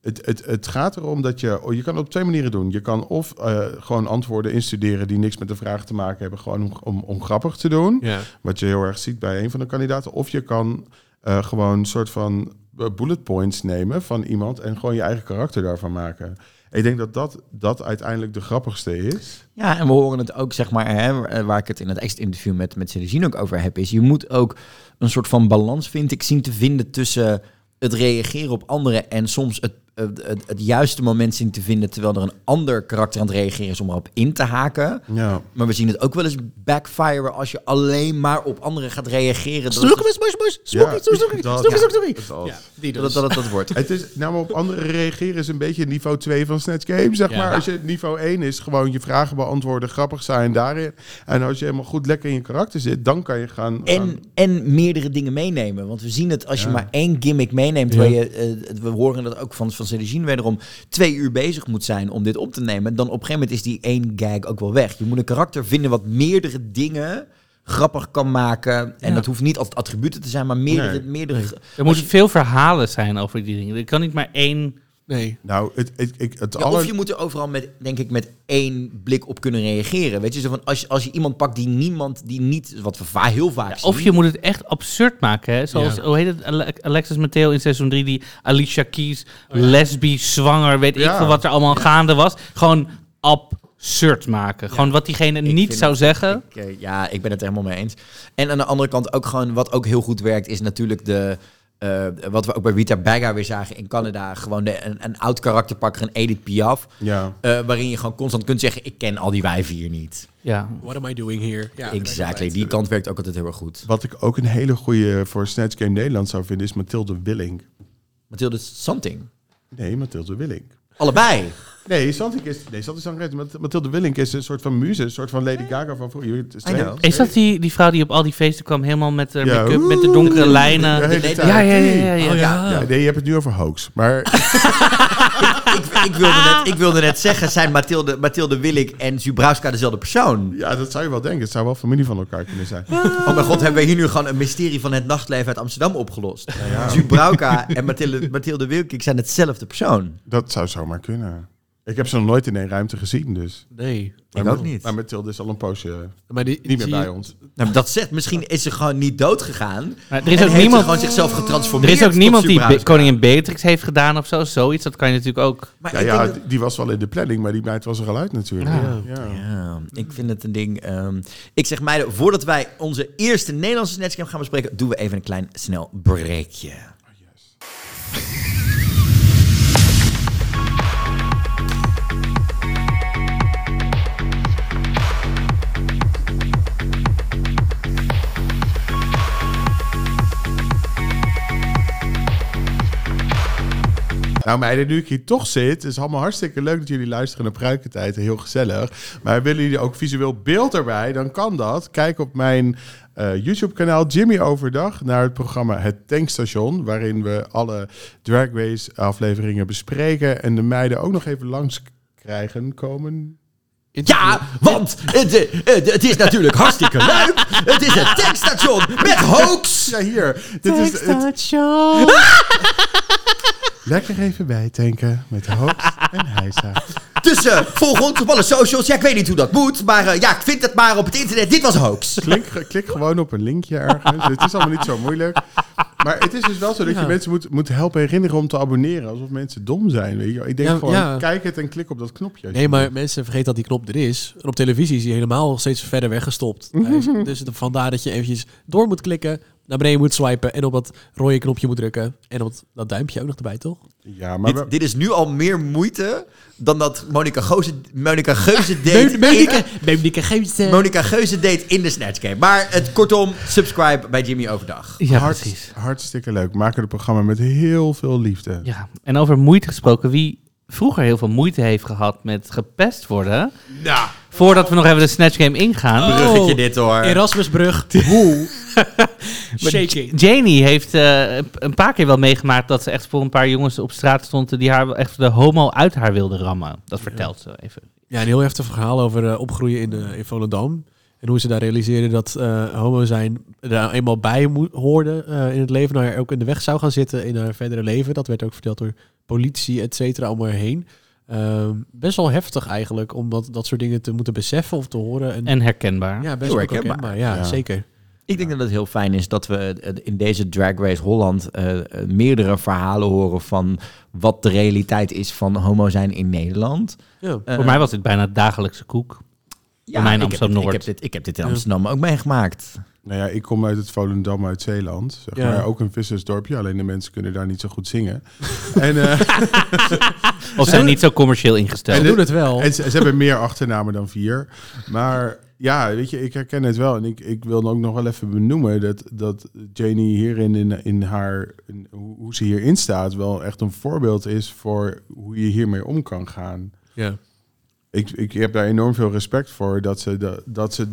Het, het, het gaat erom dat je... oh, Je kan het op twee manieren doen. Je kan of eh, gewoon antwoorden instuderen die niks met de vraag te maken hebben. Gewoon om, om, om grappig te doen.
Ja.
Wat je heel erg ziet bij een van de kandidaten. Of je kan eh, gewoon een soort van eh, bullet points nemen van iemand en gewoon je eigen karakter daarvan maken. Ik denk dat dat, dat uiteindelijk de grappigste is.
Ja, en we horen het ook, zeg maar, hè, eh, waar- waar ik het in het exit interview met, met Celine ook over heb, is je moet ook een soort van balans, vind ik, zien te vinden tussen het reageren op anderen en soms het, het, het, het juiste moment zien te vinden terwijl er een ander karakter aan het reageren is om erop in te haken.
Ja.
Maar we zien het ook wel eens backfire als je alleen maar op anderen gaat reageren. Dat
Snoeken,
het
boys, boys, boys.
Ja,
Snoeken, snoeken,
dat-
snoeken,
ja,
snoeken.
dat.
die
dat, dat, dat, dat wordt.
Het is, nou, maar op anderen reageren is een beetje niveau 2 van Snatch Game, zeg
Ja.
maar. Als je niveau 1 is, gewoon je vragen beantwoorden, grappig zijn daarin. En als je helemaal goed lekker in je karakter zit, dan kan je gaan... gaan-
En, en meerdere dingen meenemen. Want we zien het als je
Ja.
maar één gimmick meeneemt. Waar je, eh, we horen dat ook van, van Celine wederom. Twee uur bezig moet zijn om dit op te nemen. Dan op een gegeven moment is die één gag ook wel weg. Je moet een karakter vinden wat meerdere dingen grappig kan maken. En
Ja.
dat hoeft niet altijd attributen te zijn, maar meerdere...
Nee.
meerdere
Er moeten veel verhalen zijn over die dingen. Er kan niet maar één...
Nee.
Nou, het, het, ik, het
Ja,
aller...
Of je moet er overal met, denk ik, met één blik op kunnen reageren. Weet je, zo van als, je- als je iemand pakt die niemand, die niet, wat we va- heel vaak zien.
Of je moet het echt absurd maken. Hè? Zoals, hoe heet het, Ale- Alexis Mateo in seizoen 3, die Alicia Keys, lesbisch, zwanger, weet ik
Ja.
veel wat er allemaal gaande was. Gewoon absurd maken. Gewoon wat diegene niet
vind
zou
het-
zeggen.
Ik, eh, ja, ik ben het er helemaal mee eens. En aan de andere kant ook gewoon, wat ook heel goed werkt, is natuurlijk de. eh, wat we ook bij Rita Baga weer zagen in Canada. Gewoon de, een, een oud karakter pakken, een Edith Piaf.
Ja.
eh, waarin je gewoon constant kunt zeggen: Ik ken al die wijven hier niet.
Ja.
What am I doing here? Ja,
exactly. Die kant werkt ook altijd heel erg goed.
Wat ik ook een hele goede voor Snatch Game Nederland zou vinden, is Mathilde Willink.
Mathilde Something.
Nee, Mathilde Willink.
Allebei.
Nee, Santik is... Nee, Santik is zangeres. Mat- Mathilde Willink is een soort van muze, een soort van Lady Gaga van vroeger. Je-
I know.
Is dat die, die vrouw die op al die feesten kwam, helemaal met haar
Ja.
make-up, met de donkere lijnen?
De hele tijd.
Ja, ja, ja. ja, ja.
Oh, ja.
Ja, nee, je hebt het nu over hoax. Maar
ik, ik, wilde net, ik wilde net zeggen: zijn Mathilde, Mathilde Willik en Zubrowska dezelfde persoon?
ja, dat zou je wel denken. Het zou wel familie van elkaar kunnen zijn.
Ah.
Oh mijn god, hebben we hier nu gewoon een mysterie van het nachtleven uit Amsterdam opgelost? Zubrauka en Mathilde, Mathilde Wilkink zijn hetzelfde persoon.
Dat zou zomaar kunnen. Ik heb ze nog nooit in één ruimte gezien, dus.
Nee.
Ik
Maar-
ook niet.
Maar Mathilde is al een poosje eh,
Maar die,
niet meer
zie je-
bij ons.
Nou, dat zegt, misschien is ze gewoon niet dood gegaan.
Maar er is
en
ook
heeft
niemand-
ze gewoon zichzelf getransformeerd.
Er is ook
tot
niemand die Be-
Zubrauska.
koningin Beatrix heeft gedaan of zo. Zoiets, dat kan je natuurlijk ook.
Maar
Ja,
ik,
ja
denk dat-
die was wel in de planning, maar die meid was er al uit natuurlijk.
Ah.
Ja.
ja, ik vind het een ding. ehm, ik zeg meiden, voordat wij onze eerste Nederlandse snatchcam gaan bespreken, doen we even een klein snel breekje.
Nou meiden, nu ik hier toch zit, is het allemaal hartstikke leuk dat jullie luisteren naar Pruikentijd. Heel gezellig. Maar willen jullie ook visueel beeld erbij, dan kan dat. Kijk op mijn eh, YouTube-kanaal Jimmy Overdag naar het programma Het Tankstation. Waarin we alle Drag Race afleveringen bespreken. En de meiden ook nog even langs krijgen komen.
Ja, want het, eh, eh, het is natuurlijk hartstikke leuk. Het is het tankstation met hoax.
Ja, hier. Dit is het... Lekker even bijtanken met Hoofd en Heisa.
Dus eh, volg ons op alle socials. Ja, ik weet niet hoe dat moet. Maar eh, ja, ik vind het maar op het internet. Dit was hoax.
Klik, klik gewoon op een linkje ergens. het is allemaal niet zo moeilijk. Maar het is dus wel zo dat je mensen moet, moet helpen herinneren om te abonneren. Alsof mensen dom zijn. Weet je. wel. Ik denk
Ja,
gewoon,
ja.
kijk het en klik op dat knopje.
Nee, maar mensen vergeten dat die knop er is. En op televisie is die helemaal steeds verder weggestopt. Hij is- dus het- vandaar dat je eventjes door moet klikken, naar beneden moet swipen en op dat rode knopje moet drukken. En op dat duimpje ook nog erbij, toch?
Ja, maar...
Dit,
we-
dit is nu al meer moeite dan dat Monica Geuze, Monica Geuze deed. in-
Monika Geuze.
Monica Geuze deed in de Snatch Game. Maar het, kortom, subscribe bij Jimmy Overdag.
Ja,
hart-
precies.
hartstikke leuk. Maken het programma met heel veel liefde.
Ja. En over moeite gesproken, wie vroeger heel veel moeite heeft gehad met gepest worden.
Nou,
Voordat we nog even de Snatch Game ingaan.
bruggetje dit hoor.
Erasmusbrug. Hoe? Shaking.
Janie heeft eh, een paar keer wel meegemaakt dat ze echt voor een paar jongens op straat stond die haar wel echt de homo uit haar wilden rammen. Dat vertelt ze even.
Ja, een heel heftig verhaal over eh, opgroeien in, eh, in Volendam. En hoe ze daar realiseerden dat eh, homo zijn er nou eenmaal bij moe- hoorde eh, in het leven. Nou ja, ook in de weg zou gaan zitten in haar verdere leven. Dat werd ook verteld door politie, et cetera, om haar heen. Ehm, best wel heftig eigenlijk om dat, dat soort dingen te moeten beseffen of te horen. En,
En herkenbaar.
ja, best
heel
wel
herkenbaar.
herkenbaar. Ja,
Ja.
zeker.
Ik denk dat het heel fijn is dat we eh, in deze Drag Race Holland eh, eh, meerdere verhalen horen van wat de realiteit is van homo zijn in Nederland.
Ja.
Eh,
Voor mij was dit bijna dagelijkse koek.
ja,
mij in
ik heb dit- Ik
Amsterdam-Noord.
heb, dit, ik heb dit in Amsterdam ook meegemaakt.
Nou ja, ik kom uit het Volendam uit Zeeland. Zeg
Ja.
maar, ook een vissersdorpje, alleen de mensen kunnen daar niet zo goed zingen. en, eh,
Of zijn niet zo commercieel ingesteld.
Ze
En
doen het wel.
en ze, ze hebben meer achternamen dan vier. Maar ja, weet je, ik herken het wel. En ik, ik wil ook nog wel even benoemen dat, dat Janie hierin, in, in haar, in hoe hoe ze hierin staat, wel echt een voorbeeld is voor hoe je hiermee om kan gaan.
Ja.
ik, ik heb daar enorm veel respect voor dat ze, de, dat ze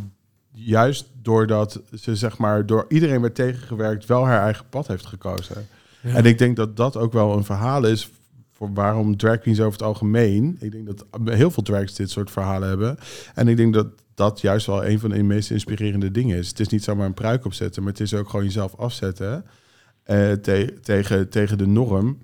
juist doordat ze zeg maar door iedereen werd tegengewerkt wel haar eigen pad heeft gekozen. En ik denk dat dat ook wel een verhaal is voor waarom drag queens over het algemeen. Ik denk dat heel veel drags dit soort verhalen hebben. En ik denk dat dat juist wel een van de meest inspirerende dingen is. Het is niet zomaar een pruik opzetten, maar het is ook gewoon jezelf afzetten eh, te- tegen, tegen de norm.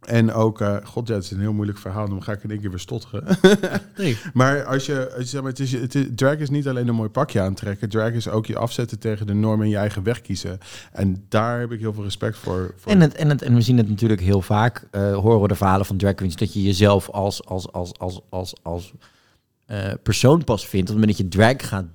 En ook, eh, god ja, het is een heel moeilijk verhaal, dan ga ik in één keer weer stotteren.
Nee.
Maar als je, als je zeg maar, het is, het is- drag is niet alleen een mooi pakje aantrekken. Drag is ook je afzetten tegen de norm en je eigen weg kiezen. En daar heb ik heel veel respect voor. voor.
En, het, en, het, en we zien het natuurlijk heel vaak, eh, horen we de verhalen van drag queens, dat je jezelf als, als, als, als, als, als eh, persoon pas vindt op het moment dat je drag gaat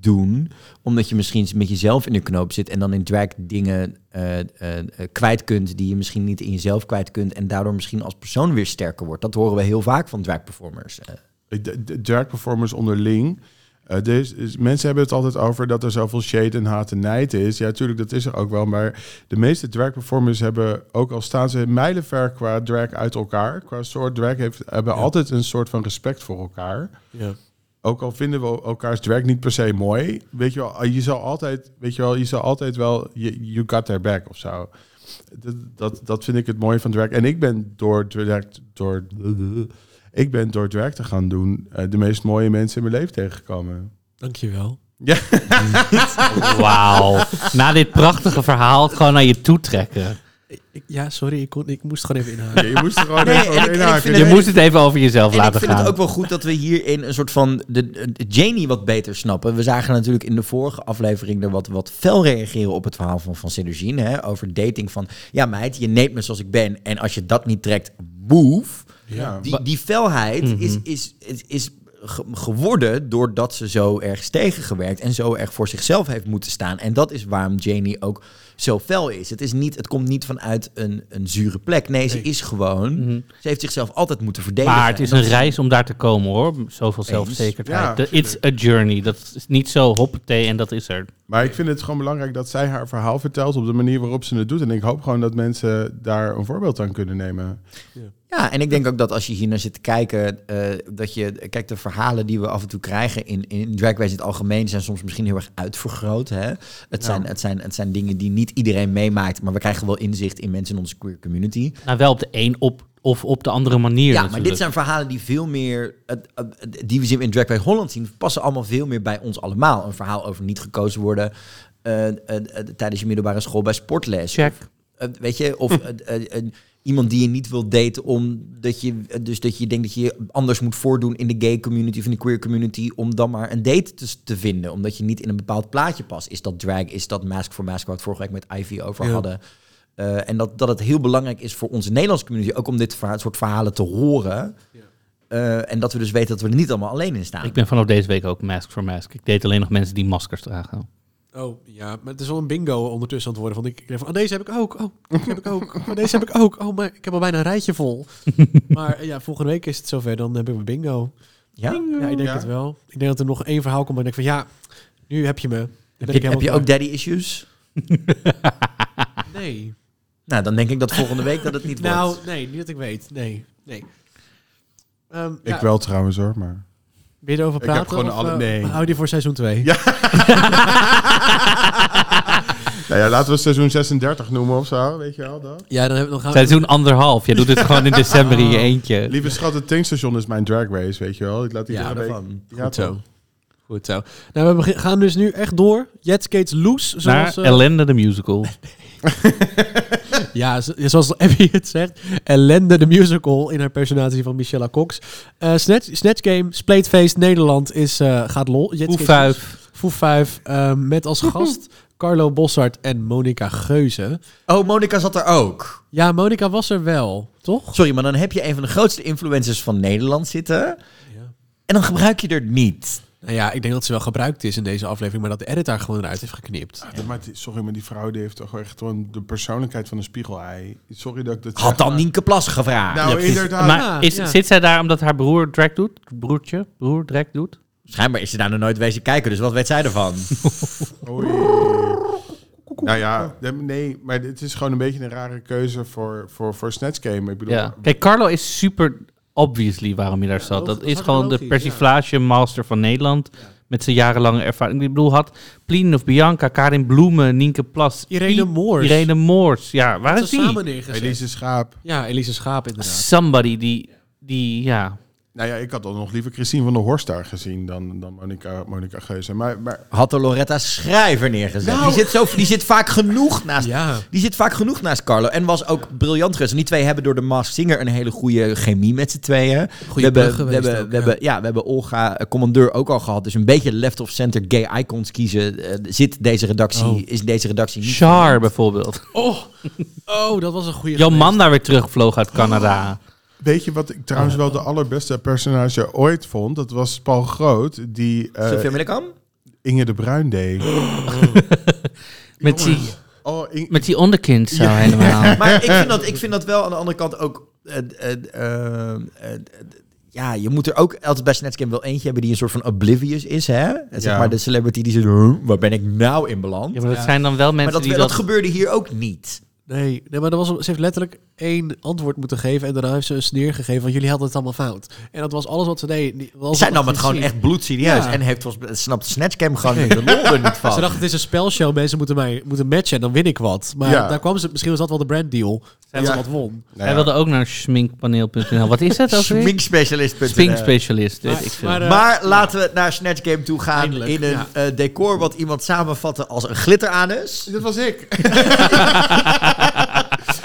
doen, omdat je misschien met jezelf in de knoop zit en dan in drag dingen eh, eh, eh, kwijt kunt die je misschien niet in jezelf kwijt kunt en daardoor misschien als persoon weer sterker wordt. Dat horen we heel vaak van drag performers. Eh,
de, de drag performers onderling. eh, dus, dus mensen hebben het altijd over dat er zoveel shade en haat en nijd is. Ja, tuurlijk, dat is er ook wel. Maar de meeste drag performers hebben, ook al staan ze mijlenver qua drag uit elkaar, qua soort drag, heeft, hebben altijd een soort van respect voor elkaar.
Ja.
ook al vinden we elkaars drag niet per se mooi, weet je wel, ah, je zal altijd, weet je wel, je zal altijd wel, you, you got their back of zo. Dat, dat, dat vind ik het mooie van drag. En ik ben door drag, door, ik ben door drag te gaan doen eh, de meest mooie mensen in mijn leven tegengekomen.
Dankjewel.
Wauw. Na dit prachtige verhaal gewoon naar je toe trekken.
Ik- Ja, sorry, ik, kon, ik moest gewoon even inhalen.
Ja, je moest er gewoon
Nee,
even
en ik-
op
en ik
inhaken.
vind
Je
het-
moest het even over jezelf
En ik
laten
vind
gaan.
het ook wel goed dat we hierin een soort van de, de Janie wat beter snappen. We zagen natuurlijk in de vorige aflevering er wat, wat fel reageren op het verhaal van, van Cedrogine. Hè, over dating van, ja meid, je neemt me zoals ik ben. En als je dat niet trekt, move.
Ja.
Die, die felheid
Mhm.
is, is, is, is ge- geworden doordat ze zo erg is tegengewerkt en zo erg voor zichzelf heeft moeten staan. En dat is waarom Janie ook zo fel is. Het, is niet, het komt niet vanuit een, een zure plek. Nee, ze is gewoon... Ze heeft zichzelf altijd moeten verdedigen.
Mhm. Maar het is
En
een
dat
reis om daar te komen hoor. Zoveel
Ja,
zelfverzekerdheid. De-
absoluut.
It's a journey. Dat is niet zo hoppatee en dat is er.
Maar ik vind het gewoon belangrijk dat zij haar verhaal vertelt op de manier waarop ze het doet. En ik hoop gewoon dat mensen daar een voorbeeld aan kunnen nemen.
Ja, en ik denk ook dat als je hier naar zit te kijken, eh, dat je, kijk, de verhalen die we af en toe krijgen in, in Drag Race in het algemeen zijn soms misschien heel erg uitvergroot. Hè? Het,
Nou.
zijn, het, zijn, het zijn dingen die niet iedereen meemaakt, maar we krijgen wel inzicht in mensen in onze queer community.
Nou, wel op de een op, of op de andere manier.
Ja, maar
natuurlijk.
dit zijn verhalen die veel meer, het- het- die we zien in Drag Race Holland zien, passen allemaal veel meer bij ons allemaal. Een verhaal over niet gekozen worden eh, eh, eh, tijdens je middelbare school bij sportles.
Check.
Eh, weet je, of eh, eh, eh, iemand die je niet wil daten omdat je, eh, dus dat je denkt dat je je anders moet voordoen in de gay community of in de queer community om dan maar een date te, s- te vinden, omdat je niet in een bepaald plaatje past. Is dat drag? Is dat mask voor mask waar we het vorige week met Ivy over
Ja.
hadden? Eh, en dat, dat het heel belangrijk is voor onze Nederlandse community ook om dit verha- soort verhalen te horen. Eh, en dat we dus weten dat we er niet allemaal alleen in staan.
Ik ben vanaf deze week ook mask for mask. Ik deed alleen nog mensen die maskers dragen.
Oh, ja, maar het is wel een bingo ondertussen aan het worden. Van ik, ik denk van, oh, deze heb ik ook. Oh, die heb ik ook. Oh, deze heb ik ook. Oh, maar ik heb al bijna een rijtje vol. maar eh, ja, volgende week is het zover. Dan heb ik mijn bingo.
ja?
Ja, ik denk
Ja.
het wel. Ik denk dat er nog één verhaal komt. Maar ik denk van, ja, nu heb je me. Dan ben
Heb
ik
je, heb
helemaal
je ook
klaar.
daddy issues?
Nee.
Nou, dan denk ik dat volgende week dat het niet
Nou,
wordt.
nee, niet dat ik weet. Nee, nee. Ehm, ja,
Ik wel trouwens hoor, maar...
Wil je erover
Ik
praten?
heb gewoon
of,
alle-
eh,
nee.
Hou die voor seizoen 2.
Ja. Nou ja, laten we seizoen 36 noemen of zo, weet je wel dat?
Ja, dan, heb, dan gaan we...
Seizoen anderhalf. Je doet het gewoon in december in je eentje.
Lieve schat, het tankstation is mijn drag race, weet je wel. Ik laat
Ja,
iedere week...
daarvan.
Ja,
Goed
toch?
zo. Goed zo. Nou, we begin- gaan dus nu echt door. Jet skates loose,
Naar
zoals... eh,
Ellende de Musical.
ja, zo- zoals Abby het zegt. Ellende de musical in haar personage van Michelle Cox. Eh Snatch, Snatch Game, Spleetfeest, Nederland is, eh, gaat lol. Jet
Hoe
skates loose.
vuif.
Foef 5. ehm, met als gast Carlo Bossart en Monica Geuze.
Oh, Monica zat er ook.
Ja, Monica was er wel, toch?
Sorry, maar dan heb je een van de grootste influencers van Nederland zitten. En dan gebruik je er niet.
Nou ja, ik denk dat ze wel gebruikt is in deze aflevering, maar dat de edit daar gewoon eruit heeft geknipt.
Ja, maar die- sorry, maar die vrouw die heeft toch echt gewoon de persoonlijkheid van een spiegelei. Sorry dat ik dat zeg,
Had dan
maar-
Nienke Plas gevraagd.
Nou,
Ja,
inderdaad.
ja,
maar is,
ja.
zit zij daar omdat haar broer drag doet? Broertje, broer drag doet?
Schijnbaar is ze daar nog nooit wezen kijken, dus wat weet zij ervan?
Oei. Nou ja, nee, maar het is gewoon een beetje een rare keuze voor, voor, voor Snatch Game. Ik bedoel,
Ja. Kijk, Carlo is super obviously waarom hij daar zat. Dat
logisch,
is gewoon de
logisch,
persiflage master van Nederland. Met zijn jarenlange ervaring. Ik bedoel, had Plien of Bianca, Karin Bloemen, Nienke Plas.
Irene
i-
Moors.
Irene Moors, ja. Waar
Ze
is die?
samen neergezet.
Elise Schaap.
Ja, Elise Schaap inderdaad.
Somebody die, die, ja.
Nou ja, ik had dan nog liever Christine van der Horst daar gezien dan, dan Monica, Monica Geuze. Maar, maar
Had er Loretta Schrijver neergezet.
Nou.
Die, zit zo, die zit vaak genoeg naast...
Ja.
Die zit vaak genoeg naast Carlo. En was ook briljant geweest. En die twee hebben door de Masked Singer een hele goede chemie met z'n tweeën. we
brug
hebben, we
geweest
hebben,
ook,
we
ja.
hebben, ja, we hebben Olga, eh, commandeur, ook al gehad. Dus een beetje left of center gay icons kiezen. eh, zit deze redactie,
Oh.
is deze redactie niet.
Char bijvoorbeeld.
Oh, oh, dat was een goede geweest.
Jomanda weer terugvloog uit Canada.
weet je wat ik trouwens wel de allerbeste personage ooit vond? Dat was Paul Groot, die eh,
Sophia Millekam?
Inge de Bruin deed.
Met die,
Oh, Inge-
met die onderkind zo helemaal.
Maar ik vind, dat, ik vind dat wel aan de andere kant ook. eh, eh, eh, eh, eh, ja, je moet er ook altijd bij Snetscan wel eentje hebben die een soort van oblivious is, hè? Zeg
Ja.
maar de celebrity die zegt, "Huh, waar ben ik nou in beland?
Ja, maar dat zijn dan wel mensen
maar dat,
die
dat,
dat...
gebeurde hier ook niet.
Nee, nee maar dat was, ze heeft letterlijk één antwoord moeten geven. En daarna heeft ze een sneer gegeven. Want jullie hadden het allemaal fout. En dat was alles wat ze deed. Die- was
Zij
wat
nam het
ze
gewoon
zien.
echt bloedserieus.
Ja.
En heeft, volgens mij- snapt Snatchcam gewoon de lol er niet van.
Ze dacht, het is een spelshow. Mensen moeten mij moeten matchen. En dan win ik wat. Maar
Ja.
daar kwam ze. Misschien was dat wel de branddeal. Dat ze wat won.
Nou
Hij
ja.
wilde ook naar schminkpaneel.nl. Wat is dat ook weer?
Schminkspecialist.nl.
Schminkspecialist, weet ik veel.
eh,
Maar laten we naar Snatch Game toe gaan
Eindelijk,
in een
ja.
eh, decor wat iemand samenvatte als een glitteranus.
Dat was ik.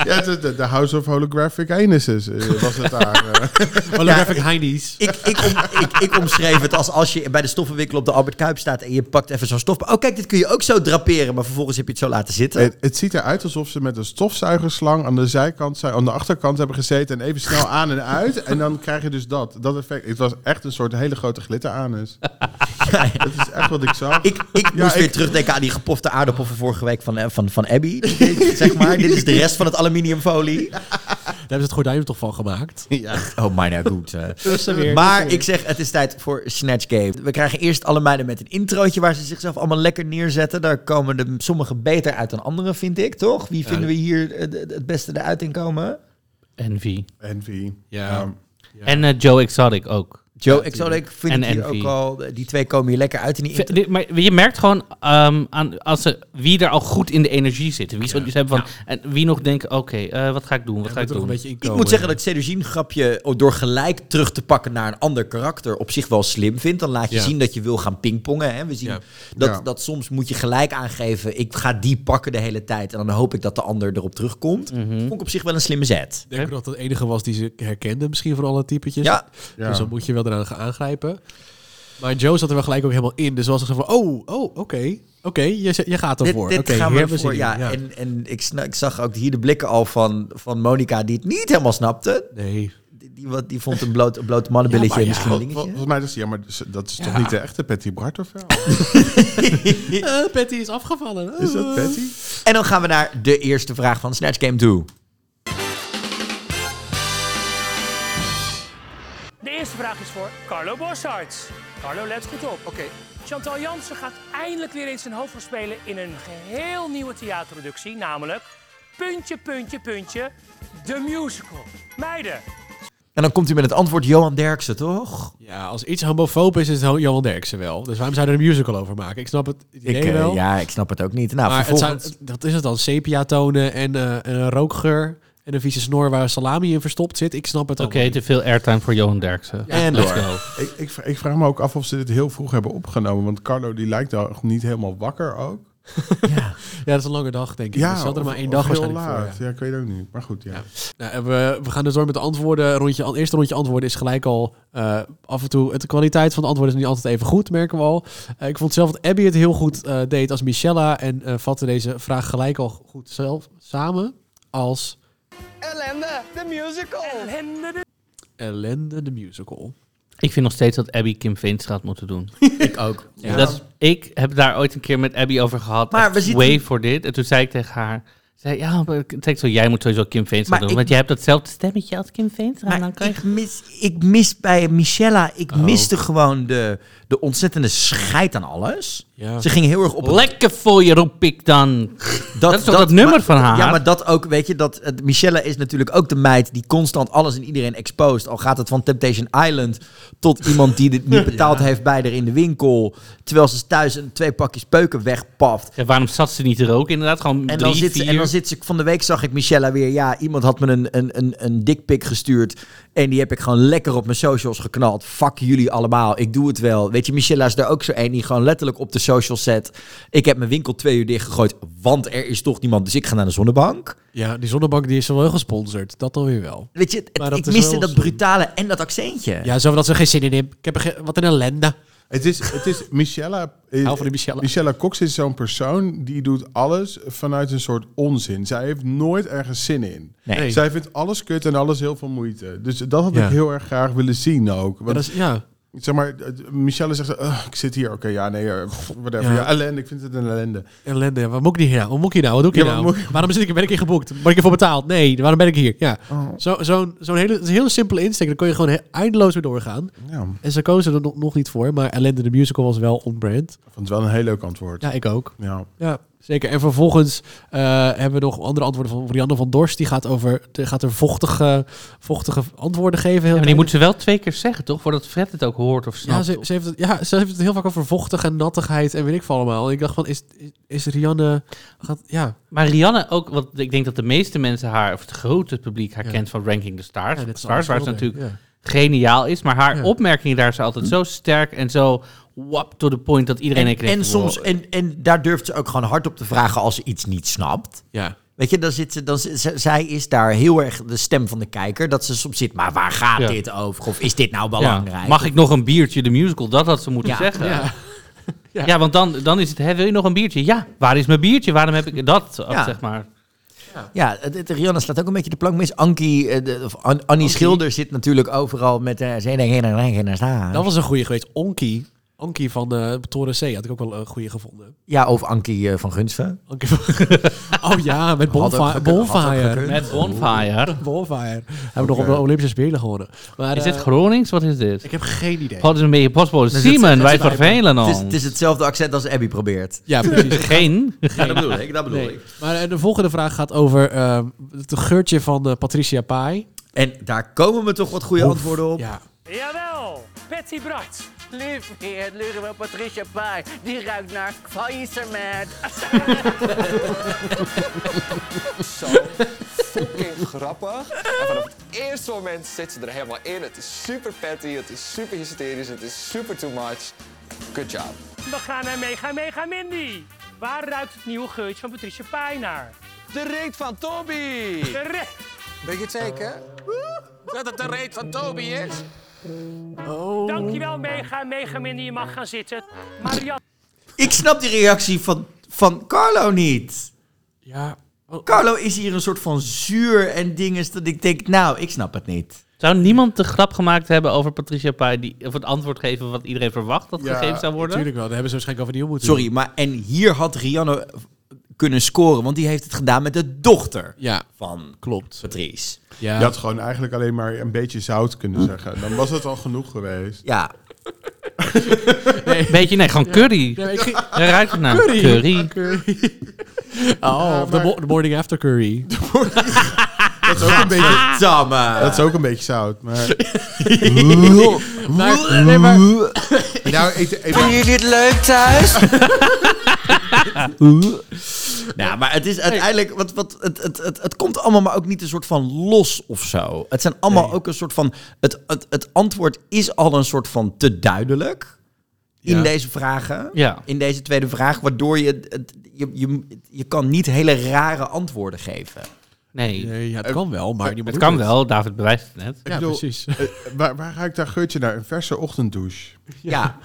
ja, de, de, de House of Holographic Anuses eh, was het daar. eh.
holographic Heinies.
Ik, ik, om- ik, ik omschreef het als als je bij de stoffenwikkel op de Albert Kuip staat en je pakt even zo'n stof. Oh, kijk, dit kun je ook zo draperen, maar vervolgens heb je het zo laten zitten.
het, het ziet eruit alsof ze met een stofzuigerslang aan de zijkant, zijn- aan de achterkant hebben gezeten en even snel aan en uit. En dan krijg je dus dat, dat effect. Het was echt een soort hele grote glitteranus.
Ja,
Dat is echt wat ik zag.
Ik, ik
Ja,
moest
ik-
weer terugdenken aan die gepofte aardappel van vorige week van, eh, van, van Abby. zeg maar. Dit is de rest van het aluminiumfolie.
Daar hebben ze het gordijn toch van gemaakt.
Oh, maar nou goed. eh.
Dus er weer, dus er
Maar
weer.
ik zeg, het is tijd voor Snatch Game. We krijgen eerst alle meiden met een introotje waar ze zichzelf allemaal lekker neerzetten. Daar komen de, sommigen beter uit dan anderen, vind ik, toch? Wie vinden we hier eh, de- de- het beste eruit in komen?
Envy.
Envy.
Ja.
En eh, Joe Exotic ook.
Joe Exotic vind
En
ik hier
Envy.
ook al. Die twee komen hier lekker uit in die
V-
intro.
dit- Maar je merkt gewoon ehm, aan als ze, wie er al goed in de energie zit. Wie zoiets hebben van, en wie nog denkt, oké, eh, wat ga ik doen, wat
Ja,
ga
moet
ik
er nog
doen.
een beetje inkomen.
Ik moet zeggen dat ik Seduzien grapje oh, door gelijk terug te pakken naar een ander karakter op zich wel slim vind. Dan laat je
Ja.
zien dat je wil gaan pingpongen. Hè? We zien
Ja.
Dat,
Ja.
dat soms moet je gelijk aangeven, ik ga die pakken de hele tijd. En dan hoop ik dat de ander erop terugkomt.
Mhm.
Vond ik op zich wel een slimme zet.
Ik denk ook dat het enige was die ze herkende, misschien van alle typetjes.
Ja.
Ja.
Dus dan moet je wel eraan gaan aangrijpen. Maar Joe zat er wel gelijk ook helemaal in. Dus was er zo van, oh, oh, oké. Oké, je, je gaat
Dit,
ervoor.
dit
Oké,
gaan
hier
we
hebben we
voor.
zin
Ja,
in.
En, en ik, sna- ik zag ook hier de blikken al van, van Monica die het niet helemaal snapte.
Nee.
Die, die, wat- die vond een bloot, een bloot mannenbilletje
Ja, maar ja,
misschien een
Vol-
dingetje.
Volgens mij is ja, maar dus- dat is toch niet de echte Patty Bartovel?
Eh, Patty is afgevallen.
Is dat Patty?
En dan gaan we naar de eerste vraag van Snatch Game 2.
De eerste vraag is voor Carlo Bossarts. Carlo, let goed op. Oké. Chantal Jansen gaat eindelijk weer eens een hoofdrol spelen in een geheel nieuwe theaterproductie, namelijk Puntje, Puntje, Puntje, de musical. Meiden,
En dan komt u met het antwoord Johan Derksen, toch?
Ja, als iets homofoob is, is het Johan Derksen wel. Dus waarom zou je er een musical over maken? Ik snap het idee
eh,
wel.
ja, ik snap het ook niet. Nou,
maar het
vervolgens...
zijn, dat is het dan. Sepia-tonen en, eh, en een rookgeur. En een vieze snor waar salami in verstopt zit. Ik snap het
Oké,
allemaal
te veel airtime voor Johan Derksen.
en
Let's
door.
go.
Ik, ik, vra- ik vraag me ook af of ze dit heel vroeg hebben opgenomen. Want Carlo die lijkt al niet helemaal wakker ook.
Ja.
Ja, dat is een lange dag, denk ik. Ja, dus ze hadden er
of-
maar één
of
dag
heel
waarschijnlijk voor.
laat.
ja.
Ja. ik weet ook niet. Maar goed, ja.
Ja. Nou, en we, we gaan dus door met de antwoorden. Rondje, het eerste rondje antwoorden is gelijk al eh, af en toe... Het, de kwaliteit van de antwoorden is niet altijd even goed, merken we al. Eh, ik vond zelf dat Abby het heel goed eh, deed als Michella... en eh, vatte deze vraag gelijk al goed zelf samen als
Ellende, de musical.
Ellende.
Ellende de Musical.
Ik vind nog steeds dat Abby Kim Veenstra had moeten doen.
Ik ook. Ja.
Dat is- ik heb daar ooit een keer met Abby over gehad.
Maar
echt
we zitten-
Way for dit. En toen zei ik tegen haar... Zei, ja, maar ik- zei ik zo, jij moet sowieso Kim Veenstra
Maar
doen.
ik-
Want jij hebt datzelfde stemmetje als Kim Veenstra. en Nou, dan
Maar
kan je...
Nou, ik mis, ik mis bij Michella,
Oh.
ik miste gewoon de, de ontzettende scheid aan alles.
Ja.
Ze ging heel erg op het-
Lekker voor je, roep ik dan. Dat is toch dat nummer
maar-
van haar?
Ja, maar dat ook, weet je, dat het- Michelle is natuurlijk ook de meid die constant alles en iedereen exposed. Al gaat het van Temptation Island tot iemand die dit niet betaald heeft bij haar in de winkel. Terwijl ze thuis een, twee pakjes peuken wegpaft.
Ja, waarom zat ze niet te roken? Inderdaad, gewoon
En
drie,
dan, zit ze, en
vier.
dan zit ze, van de week zag ik Michelle weer, ja, iemand had me een, een, een, een dikpik gestuurd. En die heb ik gewoon lekker op mijn socials geknald. Fuck jullie allemaal, ik doe het wel. Weet je, Michelle is daar ook zo een die gewoon letterlijk op de socials zet. Ik heb mijn winkel twee uur dichtgegooid, want er is toch niemand. Dus ik ga naar de zonnebank.
Ja, die zonnebank die is wel heel gesponsord. Dat dan weer wel.
Weet je, het-
Maar dat
ik
is
miste
wel
dat
zonde.
brutale en dat accentje.
Ja, zo dat ze geen zin in hebben. Ik heb er geen- wat een ellende.
Het is, het is Michelle.
Hou van die Michelle.
Michelle Cox is zo'n persoon die doet alles vanuit een soort onzin. Zij heeft nooit ergens zin in.
Nee.
Zij vindt alles kut en alles heel veel moeite. Dus dat had
Ja.
ik heel erg graag willen zien ook.
Maar
Want,
dat is, ja.
zeg maar, eh, Michelle zegt, "Ugh, ik zit hier. Oké, ja, nee, eh, pff, whatever.
Ja.
Ja. ellende. Ik vind het een ellende.
Ellende, ja. wat moet ik niet, ja, wat moet ik hier nou? Wat doe ik
Ja,
hier
wat
nou?
moet ik-
Waarom zit ik, ben ik hier geboekt? Word ik ervoor betaald? Nee, waarom ben ik hier? Ja.
Oh.
Zo, zo'n, zo'n hele, het is een hele simpele insteek, daar kon je gewoon he- eindeloos weer doorgaan.
Ja, ik
En ze kozen er nog, nog niet voor, maar Ellende de Musical was wel on-brand.
vond het wel een heel leuk antwoord.
Ja, ik ook.
Ja.
Ja, zeker. En vervolgens eh, hebben we nog andere antwoorden van Rianne van Dorst. Die gaat, over, die gaat er vochtige, vochtige antwoorden geven. Heel
Ja, maar die moet ze wel twee keer zeggen, toch? Voordat Fred het ook hoort of snapt.
Ja, ze, ze heeft het, ja, ze heeft het heel vaak over vochtig en nattigheid en weet ik veel allemaal. En ik dacht van, is, is, is Rianne... Gaat, ja,
Maar Rianne ook, want ik denk dat de meeste mensen haar, of het grote publiek haar
Ja.
kent van Ranking the Stars.
ja, dit is
Stars waar ze
Alexander.
natuurlijk
Ja.
geniaal is. Maar haar
Ja.
opmerkingen daar zijn altijd zo sterk en zo wap to the point dat iedereen
En,
een keer denkt,
en, soms, en, en daar durft ze ook gewoon hard op te vragen als ze iets niet snapt.
Ja.
Weet je, dan zit ze, dan, z- z- zij is daar heel erg de stem van de kijker. Dat ze soms zit, maar waar gaat
Ja.
dit over? Of is dit nou
"Wow,
belangrijk?
ja, mag ik nog een biertje, de musical? Dat had ze moeten
Ja.
zeggen. Ja.
Ja. Ja.
want dan, dan is het, hè, wil je nog een biertje? Ja, waar is mijn biertje? Waarom heb ik dat?
Ja.
Zeg maar.
Ja, het- het- Rihanna slaat ook een beetje de plank mis. Ankie, eh, de- of An- Annie Schilder zit natuurlijk overal met... eh, Zij denkt, hey, hey, hey, hey, hey.
Dat was een goede geweest. Onkie. Onkie van eh Toren C had ik ook wel een goede gevonden.
Ja, of Ankie eh, van Gunsven.
Onkie van... oh ja, met
Had ook
Bonfire.
gekund, had ook
Bonfire.
gekund.
Met Bonfire.
Bonfire. Hebben we nog op de Olympische Spelen gewonnen. Maar,
Is
eh,
dit Gronings? Wat is dit?
Ik heb geen idee.
Hadden ze een beetje paspoort.
Dus het-
Simon,
het-
wij
het-
vervelen
Het is,
ons.
het is hetzelfde accent als Abby probeert.
Ja, precies.
Geen.
Ja, dat bedoel ik, dat bedoel
Nee. Maar eh, de volgende vraag gaat over ehm, het geurtje van eh, Patricia Pai.
En daar komen me toch wat goede antwoorden op.
Ja.
Jawel, Patty Bart.
Lief heer, luren van Patricia Pai. Die ruikt naar faillissement.
Zo fucking grappig. En vanaf het eerste moment zit ze er helemaal in. Het is super petty, het is super hysterisch, het is super too much. Good job.
We gaan naar Mega Mega Mindy. Waar ruikt het nieuwe geurtje van Patricia Pai naar?
De reet van Toby.
De re-
Weet je het zeker? Dat het de reet van Toby is?
Dankjewel, Mega Mega Mindy. Je mag gaan zitten. Marianne,
Ik snap die reactie van, van Carlo niet.
Ja. Oh,
Carlo is hier een soort van zuur en dingen dat ik denk, nou, ik snap het niet.
Zou niemand de grap gemaakt hebben over Patricia Pai, die, of het antwoord geven wat iedereen verwacht dat
Ja,
gegeven zou worden?
natuurlijk wel. Dat hebben ze waarschijnlijk overnieuw moeten doen.
Sorry, maar en hier had Rihanna kunnen scoren, want die heeft het gedaan met de dochter
Ja,
van
klopt.
Patrice.
Ja.
Je had gewoon eigenlijk alleen maar een beetje zout
Hm.
kunnen zeggen. Dan was het al genoeg geweest.
Ja,
Beetje, nee, gewoon curry.
Nee, maar ik ging-
Daar ruikt het naar.
Curry.
Curry.
Oh, de mo- de morning after curry.
Dat is ook een beetje,
Tamme.
dat is ook een beetje zout. Maar...
Maar, nee, maar
Nou, ik, ik-
jullie het leuk thuis?
Nou, maar het is uiteindelijk, wat, wat, het, het, het, het komt allemaal maar ook niet een soort van los of zo. Het zijn allemaal ook een soort van, het, het, het antwoord is al een soort van te duidelijk. in
Ja.
deze vragen.
Ja.
In deze tweede vraag. Waardoor je, het- het- je, je, je kan niet hele rare antwoorden geven.
Nee.
Nee, ja, het kan wel, maar
Het kan wel, David bewijst het net.
Ik bedoel, eh, waar, waar ruikt daar geurtje naar? Een verse ochtenddouche.
Ja.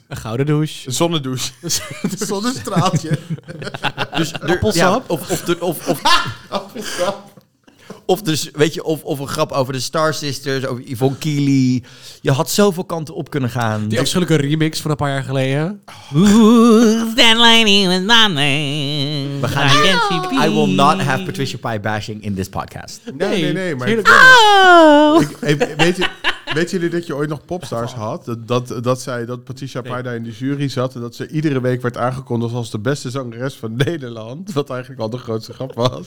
Een gouden douche.
Een zonnedouche. Een zonnestraaltje.
Dus
Ah,
er-
Appelsap?
ja, of, of, de- of, of, of dus, weet je, of, of een grap over de Star Sisters, over Yvonne Keely. Je had zoveel kanten op kunnen gaan. Dus
Die afschuwelijke remix van een paar jaar geleden.
Who's that lady with my name?
We gaan
I
hier-
can't see
I will not
peace.
have Patricia Pie bashing in this podcast.
Nee, nee, nee. Maar
Heerlijk.
Oh!
ik- eh, weet, je, weten jullie dat je ooit nog popstars had? Dat, dat, dat, zij, dat Patricia Pai daar in de jury zat en dat ze iedere week werd aangekondigd als de beste zangeres van Nederland. Wat eigenlijk al de grootste grap was.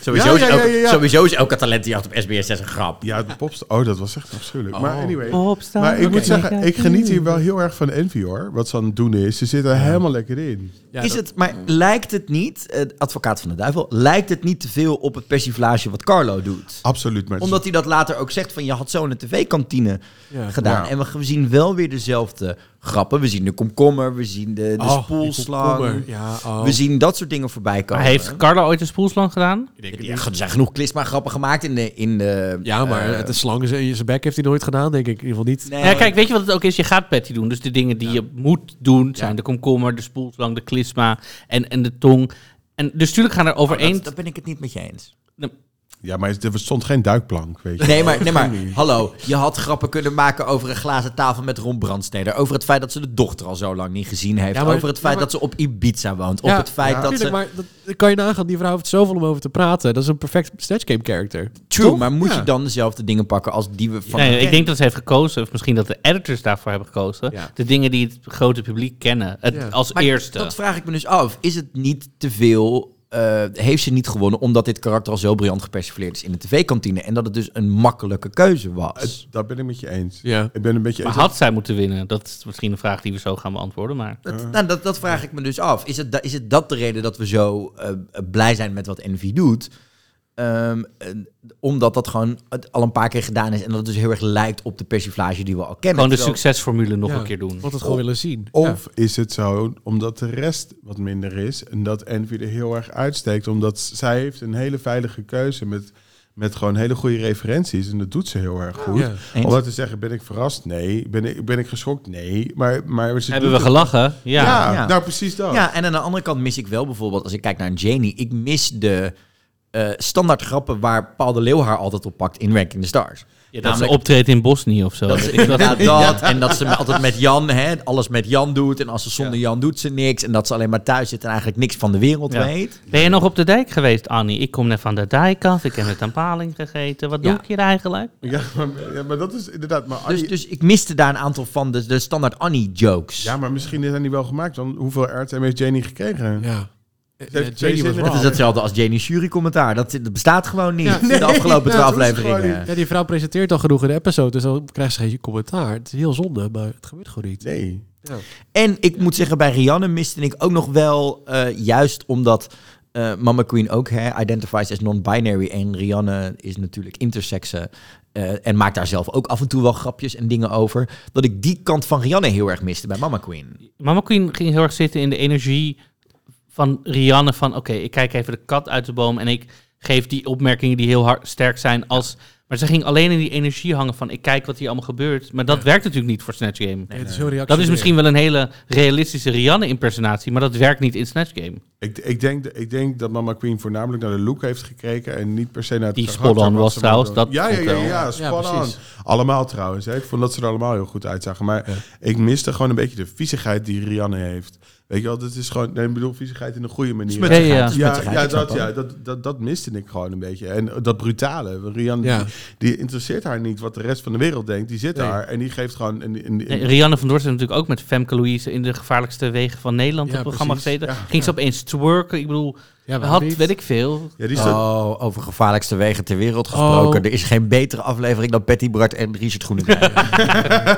Sowieso,
Ja, ja,
is
ja, ja,
elke-
ja.
sowieso is elke talentjacht op SBS 6 een grap.
Ja, de popstar. Oh, dat was echt afschuwelijk. Maar anyway.
Opstaan,
Maar ik
oké.
moet zeggen, ik geniet
Mm.
hier wel heel erg van Envy hoor. Wat ze aan het doen is. Ze zit er helemaal lekker in.
Ja,
is
dat-
het, maar lijkt het niet, eh, advocaat van de duivel, lijkt het niet te veel op het persiflage wat Carlo doet?
Absoluut. Maar
Omdat hij dat later ook zegt van je had zo in een tv-kantine
Ja.
gedaan.
Ja.
En we, we zien wel weer dezelfde grappen. We zien de komkommer, we zien de, de
Oh, die
spoelslang.
komkommer. Ja, oh.
We zien dat soort dingen voorbij komen.
Maar heeft Carlo ooit een spoelslang gedaan?
ja, er zijn genoeg klisma-grappen gemaakt in de... In de
Ja, maar
eh,
het de slang is- in zijn bek heeft hij nooit gedaan, denk ik. In ieder geval niet.
nee.
Ja, kijk, weet je wat het ook is? Je gaat petty doen. Dus de dingen die je moet doen zijn de komkommer, de spoelslang, de klisma en, en de tong. En dus tuurlijk gaan er overeen...
Oh, dat, daar ben ik het niet met je eens.
Ja, maar er stond geen duikplank, weet je.
Nee, maar, nee, maar hallo. Je had grappen kunnen maken over een glazen tafel met Ron Brandsteder. Over het feit dat ze de dochter al zo lang niet gezien heeft.
Ja, maar-
over het feit
ja, maar-
dat ze op Ibiza woont.
Ja,
op het feit dat
Tuurlijk,
ze...
maar dat, dat kan je nagaan. Die vrouw heeft zoveel om over te praten. Dat is een perfect Snatch Game character.
True,
Toch?
maar moet
Ja.
je dan dezelfde dingen pakken als die we van...
Nee, ik denk dat ze heeft gekozen, of misschien dat de editors daarvoor hebben gekozen,
Ja.
de dingen die het grote publiek kennen het,
Ja.
als
Maar
eerste.
Dat vraag ik me dus af. Is het niet te veel? eh, heeft ze niet gewonnen omdat dit karakter al zo briljant gepersifleerd is in de tv-kantine en dat het dus een makkelijke keuze was?
Dat ben ik met je eens.
Ja.
Ik ben een beetje
maar
eens-
had zij moeten winnen? Dat is misschien een vraag die we zo gaan beantwoorden, maar...
Dat, nou, dat, dat vraag ik me dus af. Is het, da- is het dat de reden dat we zo eh, blij zijn met wat Envy doet? Ehm, eh, omdat dat gewoon het al een paar keer gedaan is en dat het dus heel erg lijkt op de persiflage die we al kennen.
Gewoon de
Terwijl-
succesformule nog
Ja,
een keer doen.
Want het gewoon willen zien.
Of is het zo omdat de rest wat minder is en dat Envy er heel erg uitsteekt, omdat s- zij heeft een hele veilige keuze met, met gewoon hele goede referenties en dat doet ze heel erg goed.
Ja.
Eens.
Om dat te zeggen, ben ik verrast? Nee. Ben ik, ben ik geschokt? Nee. Maar, maar ze
Hebben we
doet het-
gelachen? Ja.
Ja,
Ja.
nou precies dat.
Ja, en aan de andere kant mis ik wel bijvoorbeeld, als ik kijk naar een Janie, ik mis de eh, standaard grappen waar Paul de Leeuw haar altijd op pakt in Ranking the Stars.
Ja, dat ze
Namelijk-
optreedt in Bosnië of zo.
Dat
Weet
ze
ik wat.
inderdaad dat. En dat ze altijd met Jan, hè, alles met Jan doet. En als ze zonder Jan doet ze niks. En dat ze alleen maar thuis zit en eigenlijk niks van de wereld
Ja.
weet. Dus,
Ben je nog op de dijk geweest, Annie? Ik kom net van de dijk af. Ik heb net een paling gegeten. Wat doe
Ja.
ik hier eigenlijk?
Ja, maar, ja, maar dat is inderdaad... Maar
Dus,
Annie-
dus ik miste daar een aantal van de, de standaard Annie-jokes.
Ja, maar misschien zijn die wel gemaakt. Dan hoeveel airtime heeft Janie gekregen?
Ja. Eh,
heeft
eh,
twee
Jenny was
zinnen.
dat is
wrong.
hetzelfde als Janie's jury-commentaar. Dat, dat bestaat gewoon niet in
Nee,
de afgelopen
dat
twaalf
is gewoon
afleveringen.
niet.
Ja, die vrouw presenteert al genoeg in de episode, dus dan krijgt ze geen commentaar. Het is heel zonde, maar het gebeurt gewoon niet.
Nee.
En ik moet zeggen, bij Rianne miste ik ook nog wel... eh, juist omdat eh, Mama Queen ook hè, identifies as non-binary. En Rianne is natuurlijk intersexe. eh, en maakt daar zelf ook af en toe wel grapjes en dingen over. Dat ik die kant van Rianne heel erg miste bij Mama Queen.
Mama Queen ging heel erg zitten in de energie van Rianne. Van oké, ik kijk even de kat uit de boom. En ik geef die opmerkingen die heel hard, sterk zijn als... Maar ze ging alleen in die energie hangen van ik kijk wat hier allemaal gebeurt. Maar dat werkt natuurlijk niet voor Snatch Game.
Nee, het is heel
Dat
reactionair.
is misschien wel een hele realistische Rianne-impersonatie, maar dat werkt niet in Snatch Game.
Ik, ik, denk, ik denk dat Mama Queen voornamelijk naar de look heeft gekeken en niet per se naar het
Die
karakter
spot-on
wat
was
ze
trouwens,
wilde.
dat
ja, ja,
vond ik
ja,
wel.
ja,
Ja,
spot-on.
precies.
allemaal trouwens. Hè. Ik vond dat ze er allemaal heel goed uitzagen. Maar ik miste gewoon een beetje de viezigheid die Rianne heeft. Weet je wel, dat is gewoon... Nee, ik bedoel viezigheid in een goede manier.
Smuttigheid. Ja, ja.
Ja,
Smuttigheid,
ja,
ik snap
dat, ja dat, dat, dat miste ik gewoon een beetje. En dat brutale. Rianne,
Ja.
die, die interesseert haar niet wat de rest van de wereld denkt. Die zit
Nee.
daar en die geeft gewoon... Een, een,
Nee, Rianne van Dorst heeft natuurlijk ook met Femke Louise in de gevaarlijkste wegen van Nederland
Ja,
het programma
precies.
gezeten. Ging ze opeens twerken? Ik bedoel,
Ja, waarom
had,
niet?
weet ik veel.
ja, die staat-
Oh, over gevaarlijkste wegen ter wereld gesproken.
Oh.
Er is geen betere aflevering dan Patty Bart en Richard Groenendijk.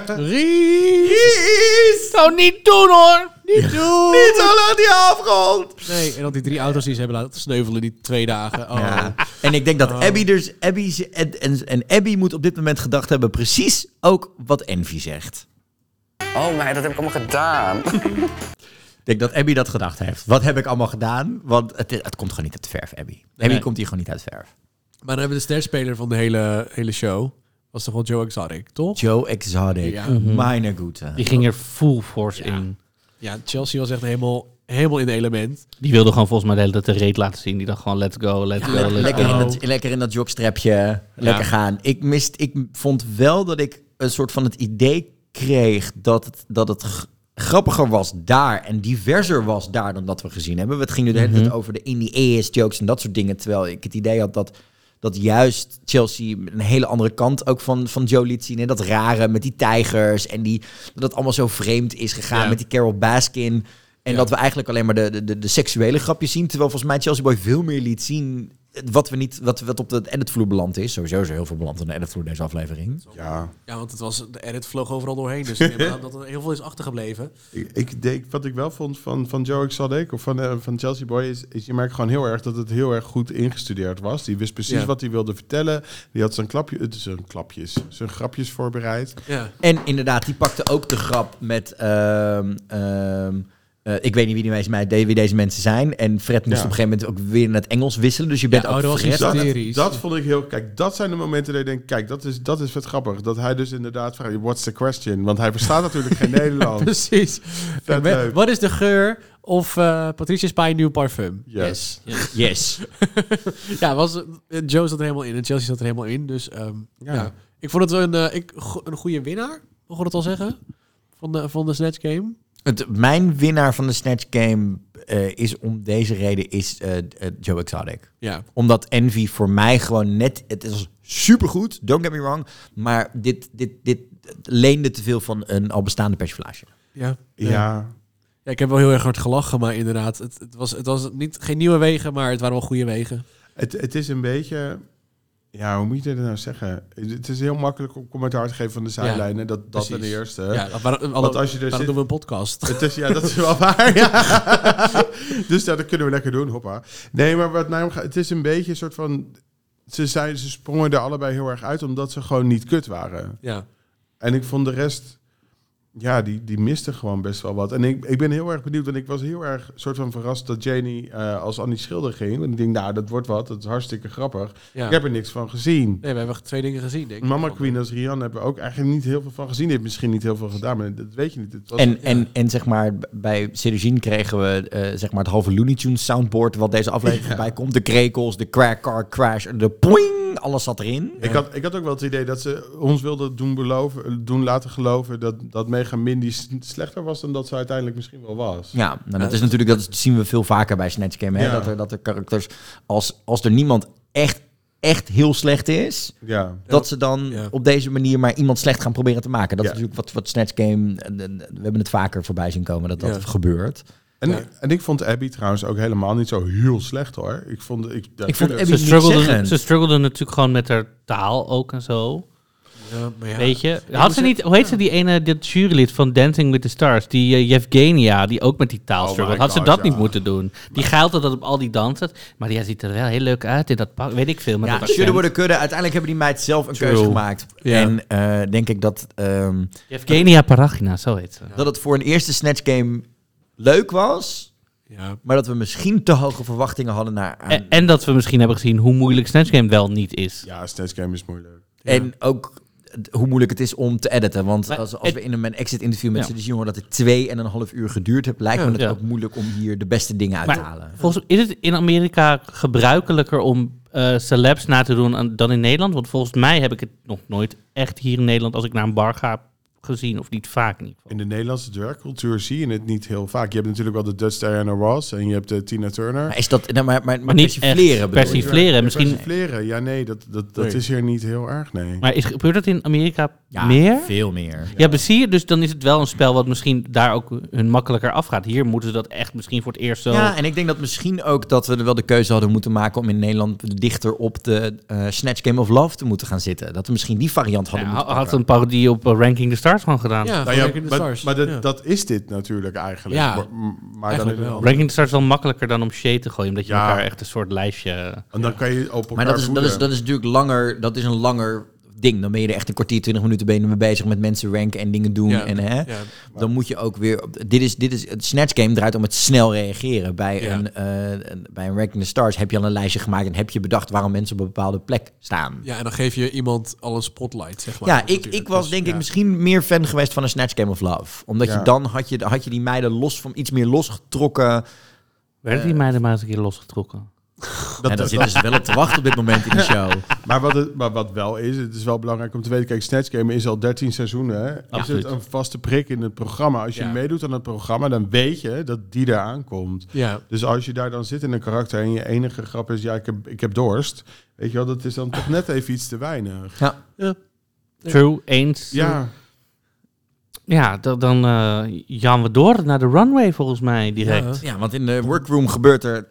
Ries!
Zou niet doen hoor!
Niet doen! Niet
zo laat die afgrond!
Nee, en dan die drie auto's die ze hebben laten sneuvelen die twee dagen. Oh.
Ja. En ik denk dat Abby dus... Abby, ze- en, en, en Abby moet op dit moment gedacht hebben precies ook wat Envy zegt.
Oh mij, dat heb ik allemaal gedaan.
Ik denk dat Abby dat gedacht heeft. Wat heb ik allemaal gedaan? Want het, het komt gewoon niet uit de verf, Abby. Abby
Nee.
komt hier gewoon niet uit de verf.
Maar dan hebben we de sterspeler van de hele, hele show. Was toch wel Joe Exotic, toch?
Joe Exotic.
Ja.
Mhm.
Meine Güte.
Die ging er full force in.
Ja, Chelsea was echt helemaal, helemaal in element.
Die wilde gewoon volgens mij de hele tijd de reet laten zien. Die dacht gewoon, let's go, let's go,
Le-
let's
lekker,
go.
in dat, lekker in dat jogstrapje. Lekker gaan. Ik, mist, ik vond wel dat ik een soort van het idee kreeg dat het, dat het g- grappiger was daar en diverser was daar dan dat we gezien hebben. Het ging nu de hele tijd
Mhm.
over de indie-ass jokes en dat soort dingen. Terwijl ik het idee had dat, dat juist Chelsea een hele andere kant ook van, van Joe liet zien. En dat rare met die tijgers en die, dat het allemaal zo vreemd is gegaan
Ja.
met die Carol Baskin. En
Ja.
dat we eigenlijk alleen maar de, de- de, de seksuele grapjes zien. Terwijl volgens mij Chelsea Boy veel meer liet zien. Wat we niet, wat, wat op de editvloer beland is. Sowieso is er heel veel beland aan de editvloer deze aflevering.
Ja,
Ja, want het was, de edit vloog overal doorheen. Dus ik neem aan dat er heel veel is achtergebleven.
ik, ik denk, wat ik wel vond van, van Joe Exotic of van, eh, van Chelsea Boy is, is je merkt gewoon heel erg dat het heel erg goed ingestudeerd was. Die wist precies
Ja.
wat hij wilde vertellen. Die had zijn klapje, eh, zijn klapjes, zijn grapjes voorbereid.
Ja.
En inderdaad, die pakte ook de grap met. ehm, ehm, eh, ik weet niet wie, die mensen, mij- wie deze mensen zijn. En Fred moest
Ja.
op een gegeven moment ook weer naar het Engels wisselen. Dus je bent
Ja,
ook
oh, dat was
Fred.
iets-
Dat,
Hysterisch.
dat vond ik heel... Kijk, dat zijn de momenten dat ik denk... Kijk, dat is, dat is wat grappig. Dat hij dus inderdaad vraagt... What's the question? Want hij verstaat natuurlijk geen Nederlands.
Precies.
Vet
Met-
leuk.
Wat is de geur of eh Patricia Spijn nieuw parfum?
Yes.
Yes.
Ja, was, eh, Joe zat er helemaal in en Chelsea zat er helemaal in. Dus ehm, ja.
Ja.
ik vond het wel een, eh, ik, go- een goede winnaar, mogen we dat al zeggen? Van de, van de Snatch Game.
Het, mijn winnaar van de Snatch Game eh, is om deze reden is eh, eh, Joe Exotic.
Ja.
Omdat Envy voor mij gewoon net... Het is supergoed, don't get me wrong. Maar dit, dit, dit leende te veel van een al bestaande persiflage.
Ja.
Ja.
Ja, ik heb wel heel erg hard gelachen, maar inderdaad, het, het was, het was niet, geen nieuwe wegen, maar het waren wel goede wegen.
Het, het is een beetje... Ja, hoe moet je dat nou zeggen? Het is heel makkelijk om commentaar te geven van de zijlijnen. dat dat
precies.
ten eerste.
Ja, dat waren,
Want als je er
daarom
zit-
doen we een podcast.
Het is, ja, dat is wel waar. Ja. dus ja, dat kunnen we lekker doen, hoppa. Nee, maar wat mij omgaat, het is een beetje een soort van... Ze, zijn, ze sprongen er allebei heel erg uit omdat ze gewoon niet kut waren.
Ja.
En ik vond de rest... Ja, die, die miste gewoon best wel wat. En ik, ik ben heel erg benieuwd, want ik was heel erg soort van verrast dat Janie eh, als Annie Schilder ging. En ik denk, nou, dat wordt wat, dat is hartstikke grappig.
ja.
Ik heb er niks van gezien.
Nee, we hebben twee dingen gezien, denk ik.
Mama Queen als Rihanna hebben we ook eigenlijk niet heel veel van gezien. Die heeft misschien niet heel veel gedaan, maar dat weet je niet. Het was
En, en, en zeg maar, b- bij Cedugine kregen we eh, zeg maar het halve Looney Tunes soundboard... wat deze aflevering voorbij komt. De krekels, de crack car crash, de poing, alles zat erin.
Ik, had, ik had ook wel het idee dat ze ons wilden doen, beloven, doen laten geloven dat, dat Mega Mindy s- slechter was dan dat ze uiteindelijk misschien wel was.
Ja, nou, dat is natuurlijk, dat zien we veel vaker bij Snatch Game. Hè?
Ja.
Dat, er, dat er karakters, als, als er niemand echt, echt heel slecht is...
Ja.
dat ze dan
Ja.
op deze manier maar iemand slecht gaan proberen te maken. Dat
Ja.
is natuurlijk wat, wat Snatch Game... eh, de- de- We hebben het vaker voorbij zien komen dat dat
Ja.
gebeurt.
En,
Ja.
en ik vond Abby trouwens ook helemaal niet zo heel slecht hoor. Ik vond, ik,
Ik vond Abby
Ze
niet
struggelde,
zeggen.
ze struggelde natuurlijk gewoon met haar taal ook en zo.
Ja, maar ja.
Weet je? Had
moet
ze niet, hoe heet ze die ene, dat jurylid van Dancing with the Stars? Die eh, Yevgenia, die ook met die taal
Oh
struggled.
my
Had ze
God,
dat
ja.
niet moeten doen? Die geilt dat op al die dansen. Maar die ziet er wel heel leuk uit in dat pak. Weet ik veel. Met
Ja,
dat
schudden
accent.
worden kudde. Uiteindelijk hebben die meid zelf een
True.
keuze gemaakt.
Ja.
En eh, denk ik dat, ehm,
Yevgenia Paragina, zo heet ze.
dat het voor een eerste Snatch Game leuk was...
Ja.
maar dat we misschien te hoge verwachtingen hadden naar... aan-
En, en dat we misschien hebben gezien hoe moeilijk Snatch Game wel niet is.
Ja, Snatch Game is moeilijk.
En ook het- hoe moeilijk het is om te editen. Want
Maar
als, als
het-
we in een mijn exit interview met
Ja.
ze dus jongen dat het twee en een half uur geduurd heeft, lijkt
Ja.
me het
Ja.
ook moeilijk om hier de beste dingen uit
Maar-
te halen.
Volgens is het in Amerika gebruikelijker om eh, celebs na te doen aan- dan in Nederland? Want volgens mij heb ik het nog nooit echt hier in Nederland, als ik naar een bar ga, gezien. Of niet vaak niet.
In de Nederlandse dragcultuur zie je het niet heel vaak. Je hebt natuurlijk wel de Dutch Diana Ross en je hebt de Tina Turner.
Maar is dat. Nou, maar, maar,
Maar niet
persifleren
echt
bedoel je?
persif- Persifleren,
Ja,
misschien-
Persifleren, ja nee, dat, dat, dat
Nee.
is hier niet heel erg, nee.
Maar is, gebeurt dat in Amerika
Ja,
meer?
Veel meer.
Ja, maar zie je, dus dan is het wel een spel wat misschien daar ook hun makkelijker afgaat. Hier moeten ze dat echt misschien voor het eerst zo...
Ja, en ik denk dat misschien ook dat we er wel de keuze hadden moeten maken om in Nederland dichter op de eh, Snatch Game of Love te moeten gaan zitten. Dat we misschien die variant hadden
Ja,
moeten
had
pakken.
een parodie op eh, Ranking the Stars gewoon gedaan.
Ja,
Nou ja,
Breaking the
maar-
Stars.
maar dat,
Ja.
dat is dit natuurlijk eigenlijk.
Ja,
maar, maar
eigenlijk
dan
wel.
Ranking the Stars is wel makkelijker dan om shade te gooien, omdat je
Ja.
elkaar echt een soort lijstje...
En dan kan je op elkaar
Maar dat is, dat,
voelen.
is, dat is natuurlijk langer. Dat is een langer ding. Dan ben je er echt een kwartier, twintig minuten ben je mee bezig met mensen ranken en dingen doen.
Ja,
en, hè,
ja.
Dan moet je ook weer... op- Dit is, dit is, het Snatch Game draait om het snel reageren. Bij,
Ja.
een, eh, een- bij een Ranking the Stars heb je al een lijstje gemaakt... en heb je bedacht waarom mensen op een bepaalde plek staan.
Ja, en dan geef je iemand al een spotlight, zeg maar.
Ja,
op
ik,
natuurlijk.
ik was
Dus,
denk
ja.
ik misschien meer fan geweest van een Snatch Game of Love. Omdat
Ja.
je dan had je, had je die meiden los van iets meer losgetrokken.
Werden die meiden maar eens een keer losgetrokken?
en
Dat-
daar
dat-
zitten ze wel op te wachten op dit moment in de show.
Maar wat, het, maar wat wel is, het is wel belangrijk om te weten. Kijk, Snatch Game is al 13 seizoenen. hè. Is
Absoluut.
het een vaste prik in het programma? Als je
Ja.
meedoet aan het programma, dan weet je dat die daar aankomt.
Ja,
Dus als je daar dan zit in een karakter en je enige grap is, ja, ik heb, ik heb dorst. Weet je wel, dat is dan toch net even iets te weinig.
True, eens.
Ja,
Ja, dan, dan eh, gaan we door naar de runway volgens mij direct.
Ja, want in de workroom gebeurt er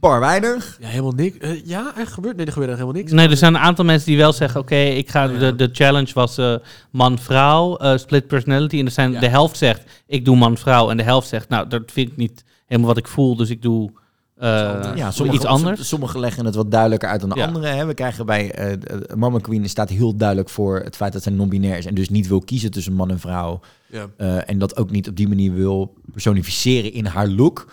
bar weinig.
ja helemaal niks. Eh, ja, er gebeurt, nee, er gebeurt echt helemaal niks.
Nee, er zijn een aantal mensen die wel zeggen, oké, ik ga
Ja.
de, de challenge was eh, man-vrouw, eh, split personality. En er zijn,
Ja.
de helft zegt, ik doe man-vrouw. En de helft zegt, nou, dat vind ik niet helemaal wat ik voel, dus ik doe eh,
Ja,
iets anders.
Sommigen leggen het wat duidelijker uit dan de
Ja.
anderen. Hè. We krijgen bij eh, eh, Mama Queen staat heel duidelijk voor het feit dat zij non-binair is. En dus niet wil kiezen tussen man en vrouw.
Ja.
Eh, en dat ook niet op die manier wil personificeren in haar look.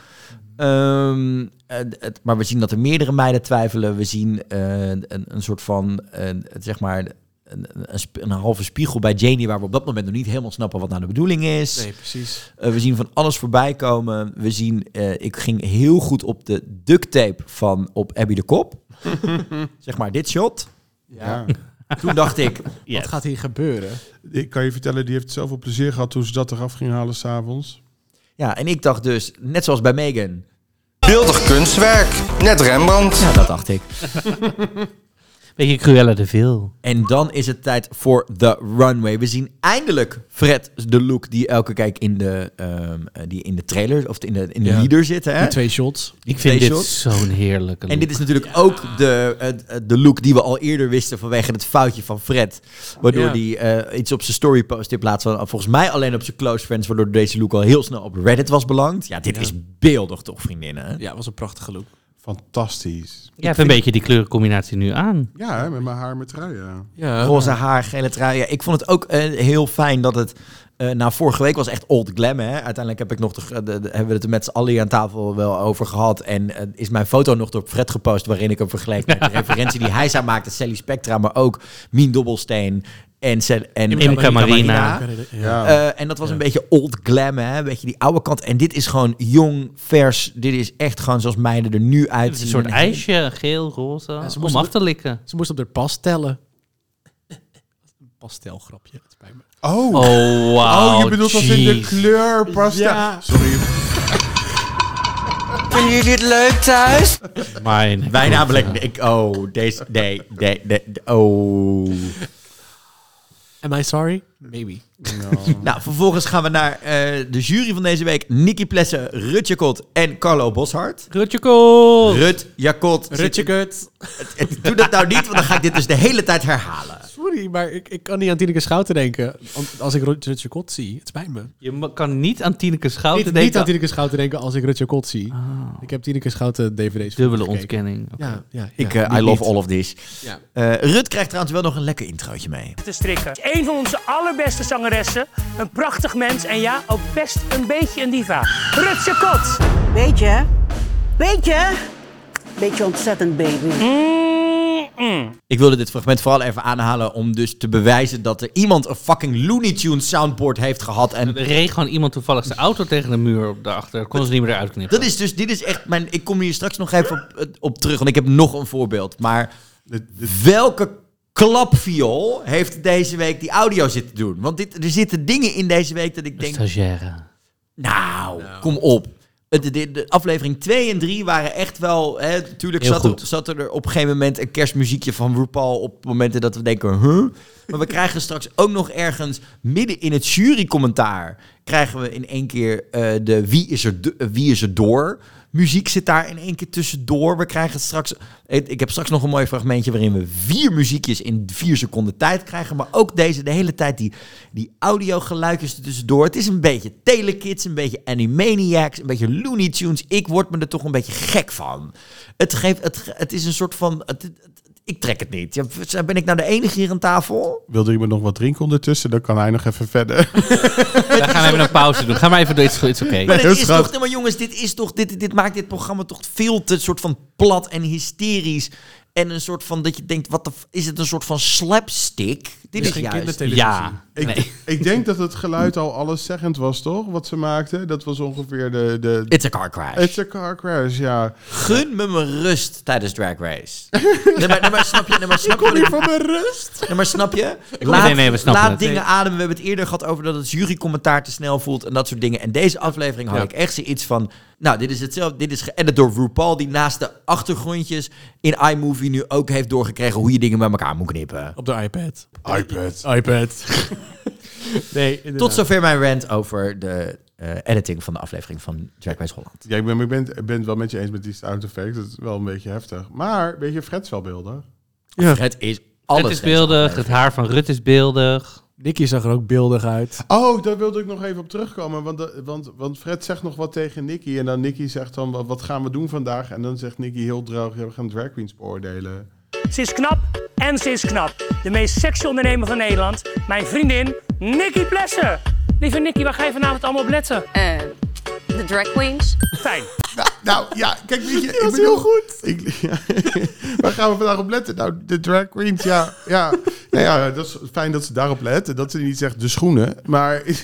Ehm, eh, het- maar we zien dat er meerdere meiden twijfelen. We zien eh, een, een soort van, eh, het- zeg maar, een, een, sp- een halve spiegel bij Janie... waar we op dat moment nog niet helemaal snappen wat nou de bedoeling is.
Nee, precies.
Eh, we zien van alles voorbij komen. We zien, eh, ik ging heel goed op de duct tape van op Abby de Kop. zeg maar, dit shot.
ja.
Toen dacht ik,
Yes.
Wat gaat hier gebeuren?
Ik kan je vertellen, die heeft zoveel plezier gehad toen ze dat eraf ging halen s'avonds.
ja, en ik dacht dus, net zoals bij Megan...
Beeldig kunstwerk. Net Rembrandt.
Ja, dat dacht ik.
Beetje Cruella de Vil.
En dan is het tijd voor de runway. We zien eindelijk Fred de look die elke kijk in de, ehm, eh, die in de trailer of in de, in de
Ja.
leader zit. Hè?
Die twee shots.
Ik vind dit
shot.
zo'n heerlijke
En
look.
dit is natuurlijk ook de, eh, de look die we al eerder wisten vanwege het foutje van Fred. Waardoor
Ja.
hij eh, iets op zijn story post in plaats van volgens mij alleen op zijn close friends. Waardoor deze look al heel snel op Reddit was beland. Ja, dit
Ja.
is beeldig toch vriendinnen?
Ja, was een prachtige look.
Fantastisch.
Jij hebt een beetje die kleurencombinatie nu aan.
Ja, hè, met mijn haar, mijn trui. Ja.
Ja.
Roze haar, gele trui. Ja, ik vond het ook eh, heel fijn dat het... eh nou, vorige week was echt old glam, hè. Uiteindelijk heb ik nog de, de- de- hebben we het er met z'n allen hier aan tafel wel over gehad. En eh, is mijn foto nog door Fred gepost waarin ik hem vergeleek met de referentie die hij zou maakte. Sally Spectra, maar ook Mien Dobbelsteen en, Sel- en
Imca Marina.
Ja.
Eh, en dat was een beetje old glam, hè. Een beetje die oude kant. En dit is gewoon jong, vers. Dit is echt gewoon zoals meiden er nu
Het is
uitzien.
een soort
En-
ijsje, geel, roze,
ze
om
moesten-
af te likken.
Ze moest op haar pas tellen. Een pastelgrapje. Het spijt me.
Oh,
Oh, wauw.
Oh, je bedoelt als in de
jeez.
kleur past.
Ja.
Sorry.
Vinden jullie het leuk thuis?
Mijn
Wij
god,
namelijk...
ja.
Ik, oh, deze... Nee, nee, nee, oh...
Am I sorry? Maybe.
Nou, vervolgens gaan we naar eh, de jury van deze week. Nicky Plessen, Rut Jacot en Carlo Boshart.
Rutje Kool.
Rut Jacot. Zit-
Rutjekut.
Doe dat nou niet, want dan ga ik dit dus de hele tijd herhalen.
Sorry, maar ik, ik kan niet aan Tineke Schouten denken. Want Als ik Rutje Kot zie, het spijt me.
Je ma- kan niet aan Tineke
Niet,
Schouten
niet
denken.
aan Tineke Schouten denken als ik Rutje Kot zie. Ik heb Tineke Schouten DVD's van
Dubbele
gekeken.
ontkenning. Oké.
Ja, ja,
Ik,
ja,
eh, I
niet,
love
niet.
all of this.
Ja.
Eh, Rut krijgt trouwens wel nog een lekker introotje mee.
te strikken. Een van onze allerbeste zangeressen. Een prachtig mens en ja, ook best een beetje een diva. Rutje Kot.
Weet je? Weet je? Beetje ontzettend, baby.
Ik wilde dit fragment vooral even aanhalen om dus te bewijzen dat er iemand een fucking Looney Tunes soundboard heeft gehad. En
Er reed gewoon iemand toevallig zijn auto tegen de muur op daarachter. Kon ze niet meer eruit knippen.
dat is dus, dit is echt mijn, ik kom hier straks nog even op, eh, op terug, want ik heb nog een voorbeeld. Maar
Dit- dit-
Welke klapviool heeft deze week die audio zitten doen? Want dit, er zitten dingen in deze week dat ik denk...
Stagiaire.
Nou, kom op. Het- De, de, aflevering 2 en 3 waren echt wel... Hè, tuurlijk
Heel
zat er,
goed.
zat er op een gegeven moment een kerstmuziekje van RuPaul... op momenten dat we denken, huh? Maar we krijgen straks ook nog ergens midden in het jurycommentaar... krijgen we in één keer eh, de wie is, er, do- eh, wie is er door... Muziek zit daar in één keer tussendoor. We krijgen straks... Ik ik heb straks nog een mooi fragmentje waarin we vier muziekjes in vier seconden tijd krijgen. Maar ook deze, de hele tijd die, die audiogeluidjes er tussendoor. Het is een beetje Telekids, een beetje Animaniacs, een beetje Looney Tunes. Ik word me er toch een beetje gek van. Het, geeft, het, ge- het is een soort van... Het, het- het ik trek het niet. Ja, ben ik nou de enige hier aan tafel?
Wilde iemand nog wat drinken ondertussen? Dan kan hij nog even verder.
Dan gaan we even een pauze doen. Ga maar even door iets goeds. Oké.
Maar, dit
heel
is
schat.
toch, nee, maar jongens, dit, is toch, dit, dit maakt dit programma toch veel te soort van plat en hysterisch. En een soort van dat je denkt, wat de f- is het een soort van slapstick? Dit
is
is
geen
juist.
kindertelevisie.
Ja.
Ik,
Nee.
ik denk dat het geluid al alleszeggend was, toch? Wat ze maakten. Dat was ongeveer de... de
It's a car crash.
It's a car crash, ja.
Gun me mijn rust tijdens Drag Race. nee, maar, nee, maar snap je? Nee, maar snap je? wat ik-
Van mijn rust.
Nee, maar snap je?
Nee, nee, nee, we snappen
laat
het.
dingen
Nee.
ademen. We hebben het eerder gehad over dat het jurycommentaar te snel voelt en dat soort dingen. En deze aflevering had
Ja.
ik echt zoiets van... Nou, dit is hetzelfde. Dit is geëdit door RuPaul, die naast de achtergrondjes in iMovie nu ook heeft doorgekregen hoe je dingen bij elkaar moet knippen.
Op de iPad.
iPad.
iPad. nee,
Tot
inderdaad.
zover mijn rant over de eh, editing van de aflevering van Drag Race Holland.
Ja, ik ben, ik ben, ik ben het wel met je eens met die sound effects. Dat is wel een beetje heftig. Maar, weet je, Fred is wel beelden.
Het is alles.
Het is
deze
beeldig. Het
aflevering.
haar van Rut is beeldig.
Nicky zag er ook beeldig uit.
Oh, daar wilde ik nog even op terugkomen. Want, de- want, want Fred zegt nog wat tegen Nicky. En dan Nicky zegt dan, wat, wat gaan we doen vandaag? En dan zegt Nicky heel droog, ja, we gaan drag queens beoordelen.
Ze is knap en ze is knap. De meest sexy ondernemer van Nederland. Mijn vriendin, Nikki Plessen. Lieve Nikki, waar ga je vanavond allemaal op letten?
Eh,
De drag queens.
Fijn.
Nou, nou ja, kijk, weet je... Dat is heel goed. Ik, ja, waar gaan we vandaag op letten? Nou, de drag queens, ja. ja. Nou ja, dat is fijn dat ze daarop letten. Dat ze niet zegt de schoenen. Maar,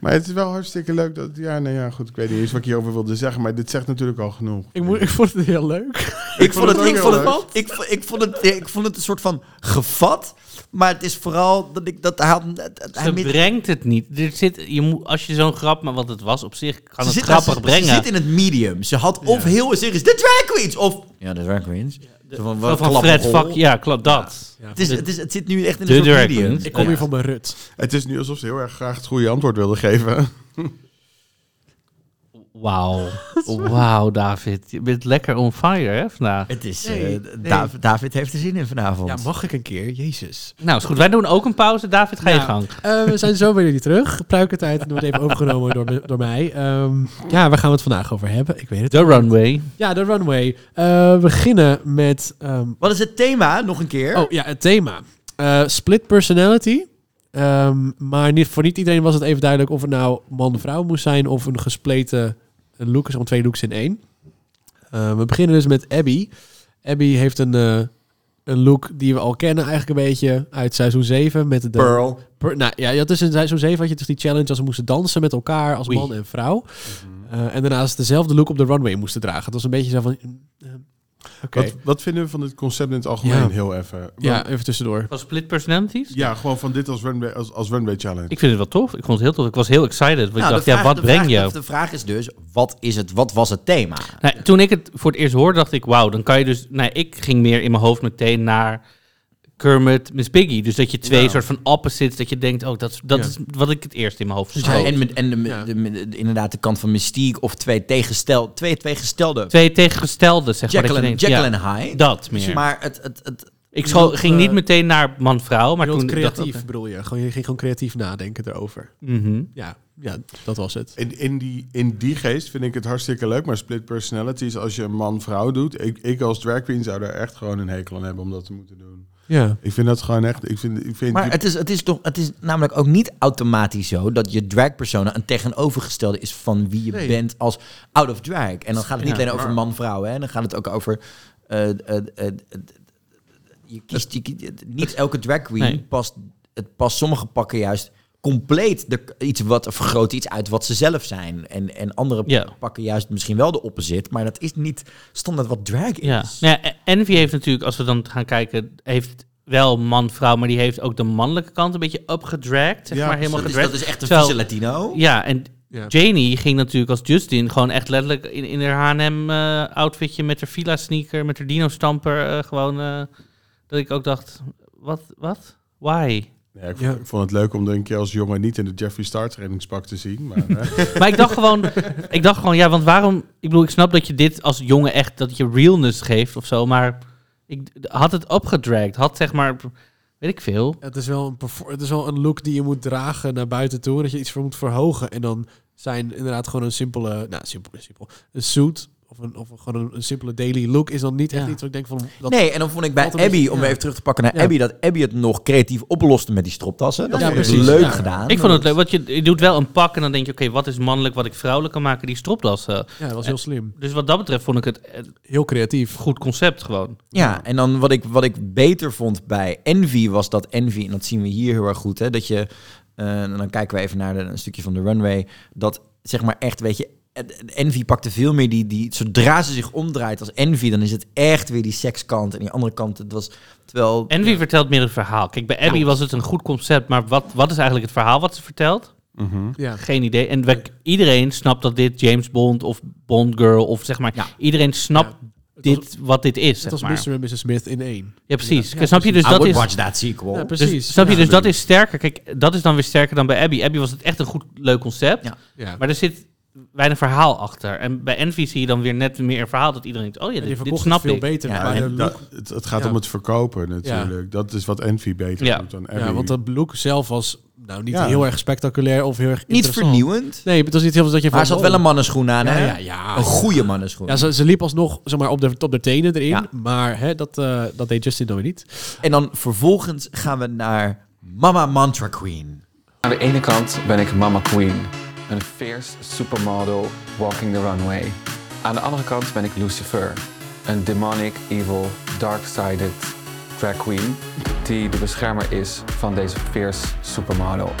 maar het is wel hartstikke leuk dat... Ja, nou ja, goed, ik weet niet eens wat ik hierover wilde zeggen. Maar dit zegt natuurlijk al genoeg.
Ik, moet, ik vond het heel leuk.
Ik vond het,
ook
ik
heel
vond het,
leuk.
ik, vond- ik, vond het, ik vond het een soort van gevat. Maar het is vooral dat ik dat hij had. hij
Ze
mist-
brengt het niet. Er zit, je moet, als je zo'n grap, maar wat het was op zich, kan
Ze
het
zit-
grappig
ze-
brengen.
Ze zit in het medium. Ze had of heel serieus de drag queens of ja de drag queens. Zo van,
Zo
wat
van
klap
Fred,
op hol.
fuck, ja, klopt dat.
Het, is, het, is, het zit nu echt in
De
een soort
drag
medium.
queens.
Ik kom hier van mijn rut.
Het is nu alsof ze heel erg graag het goede antwoord wilde geven.
Wauw. Wauw, David. Je bent lekker on fire, hè, vandaag.
Het is eh,
Nee,
Dav- David heeft er zin in vanavond.
Ja, mag ik een keer? Jezus.
Nou, is goed. Wij doen ook een pauze. David, ga je
Ja.
gang.
Eh, we zijn zo weer jullie terug. Pruikentijd wordt even overgenomen door, me- door mij. Ehm, ja, waar gaan we het vandaag over hebben? Ik weet het.
The runway.
Ja, de runway. Eh, we beginnen met... ehm,
Wat is het thema nog een keer?
oh ja, het thema. Eh, split personality. Ehm, maar niet, voor niet iedereen was het even duidelijk of het nou man-vrouw moest zijn of een gespleten een look is, om twee looks in één. Eh, we beginnen dus met Abby. Abby heeft een, eh, een look die we al kennen eigenlijk een beetje uit seizoen 7 met de...
Pearl.
Per- nou ja, dat is in seizoen 7 had je dus die challenge als ze moesten dansen met elkaar als
Oei.
man en vrouw. Eh, en daarnaast dezelfde look op de runway moesten dragen. Het was een beetje zo van... eh, Oké.
Wat, wat vinden we van het concept in het algemeen
Ja.
heel even? Want-
Ja, even tussendoor.
Van split personalities?
ja, gewoon van dit als runway, als, als runway challenge.
Ik vind het wel tof. Ik vond het heel tof. Ik was heel excited. Want ik
Nou,
dacht,
de
ja,
vraag-
wat
de
breng
vraag-
je?
De vraag is dus, wat, is het, wat was het thema?
Nou, toen ik het voor het eerst hoorde, dacht ik, wauw, dan kan je dus... Nou, ik ging meer in mijn hoofd meteen naar Kermit, Miss Piggy. Dus dat je twee soort van opposites, dat je denkt, oh, dat, is- dat
Ja.
is wat ik het eerst in mijn hoofd
Ja,
schoot.
Dus en met, en de,
Ja.
de- de- de- inderdaad de kant van mystiek of twee, tegenstel, twee, twee gestelde.
Twee tegengestelde, zeg maar. dat je
Jacqueline,
denkt,
Jacqueline
ja,
High.
Dat meer.
Dus Maar het, het, het,
ik scho-
Je
ging
wilt,
niet
eh,
meteen naar man-vrouw, maar
Maar
toen dacht
creatief bedoel je? Gewoon, je ging gewoon creatief nadenken erover.
ik... Mhm.
Ja, ja dat was het.
In, in, die, in die geest vind ik het hartstikke leuk, maar split personalities als je man-vrouw doet. Ik, ik als drag queen zou daar echt gewoon een hekel aan hebben om dat te moeten doen.
Ja.
Ik vind dat gewoon echt. Ik vind, ik vind
maar het is, het, is toch, het is namelijk ook niet automatisch zo dat je dragpersona een tegenovergestelde is van wie je
Nee.
bent als out of drag. En dan gaat het niet
Ja,
alleen over man-vrouw, hè? dan gaat het ook over. eh, eh, eh, eh, je kiest, je kiest- niet elke drag queen
Nee.
past, het past. Sommige pakken juist compleet de, iets wat of vergroten iets uit wat ze zelf zijn. En, en andere
Ja.
pakken juist misschien wel de opposite, maar dat is niet standaard wat drag is. Dus
Ja. Nou ja, en- Envy heeft natuurlijk, als we dan gaan kijken, heeft wel man-vrouw, maar die heeft ook de mannelijke kant een beetje upgedragged. Zeg
Ja,
maar helemaal
dat, is,
gedragged.
dat is echt een
Terwijl-
vieze Latino.
Ja, en
Ja.
Janie ging natuurlijk als Justin gewoon echt letterlijk in, in haar H&M eh, outfitje met haar Fila sneaker, met haar Dino stamper, eh, gewoon eh, dat ik ook dacht, wat, wat, why?
Ja, ik,
Ja.
ik vond het leuk om er een keer als jongen niet in de Jeffree Star trainingspak te zien. Maar, eh,
Maar ik dacht gewoon, ik dacht gewoon, ja, want waarom? Ik bedoel, ik snap dat je dit als jongen echt dat je realness geeft of zo, maar ik d- had het opgedragd, had zeg maar, weet ik veel.
Het is, wel een perfor- het is wel een look die je moet dragen naar buiten toe. Dat je iets voor moet verhogen. En dan zijn inderdaad gewoon een simpele... Nou, simpel, simpel. Een suit of een, of gewoon een, een simpele daily look is dan niet echt iets wat ik denk van... dat-
nee, en dan vond ik bij
wat een
Abby,
beetje-
om
ja.
even terug te pakken naar
Ja.
Abby, dat Abby het nog creatief oploste met die stroptassen. Dat
Ja,
vond ik
precies.
leuk
Ja.
gedaan.
Ik vond het leuk, want je, je doet wel een pak en dan denk je, oké, wat is mannelijk, wat ik vrouwelijk kan maken, die stropdas. Ja,
dat was heel slim.
Dus wat dat betreft vond ik het...
heel creatief.
Goed concept gewoon.
Ja, en dan wat ik, wat ik beter vond bij Envy was dat Envy, en dat zien we hier heel erg goed, hè, dat je, eh, en dan kijken we even naar de, een stukje van de runway, dat zeg maar echt, weet je, en- Envy pakte veel meer die, die, zodra ze zich omdraait als Envy, dan is het echt weer die sekskant en die andere kant, het was, terwijl...
En wie vertelt meer het verhaal? Kijk, bij Abby
Ja.
was het een goed concept, maar wat, wat is eigenlijk het verhaal wat ze vertelt?
Ja.
Geen idee. En we- iedereen snapt dat dit James Bond of Bond Girl of zeg maar... Iedereen snapt dit, wat dit is,
Het
zeg
was
maar.
Mr. en Mrs. Smith in één.
Ja, precies.
Ja,
Kijk, snap je? Dus
precies.
dat is...
Ja,
Dus
precies.
snap je?
Ja.
Dus dat is sterker. Kijk, dat is dan weer sterker dan bij Abby. Abby was het echt een goed, leuk concept.
Ja.
Maar er zit weinig verhaal achter. En bij Envy zie je dan weer net meer verhaal dat iedereen denkt... Oh ja, dit,
die
dit
verkocht
snap
het veel
ik.
beter. Ja,
Maar
en
de
de
dat-
look-
het, het gaat
Ja.
om het verkopen natuurlijk. Dat is wat Envy beter
Ja.
doet dan Abby.
ja, want de look zelf was nou niet
Ja.
heel erg spectaculair of heel erg
Niet
interessant.
vernieuwend.
Nee, het was niet heel veel dat je
Maar
van...
ze had
oh.
wel een mannenschoen aan,
Ja,
hè?
ja, ja.
Een goede mannenschoen.
Ja, ze, ze liep alsnog zeg maar, op, de, op de tenen erin. Maar hè, dat, eh, dat deed Justin dan weer niet.
En dan vervolgens gaan we naar Mama Mantra Queen.
Aan de ene kant ben ik Mama Queen, een fierce supermodel walking the runway. Aan de andere kant ben ik Lucifer, een demonic, evil, dark-sided drag queen die de beschermer is van deze fierce supermodel.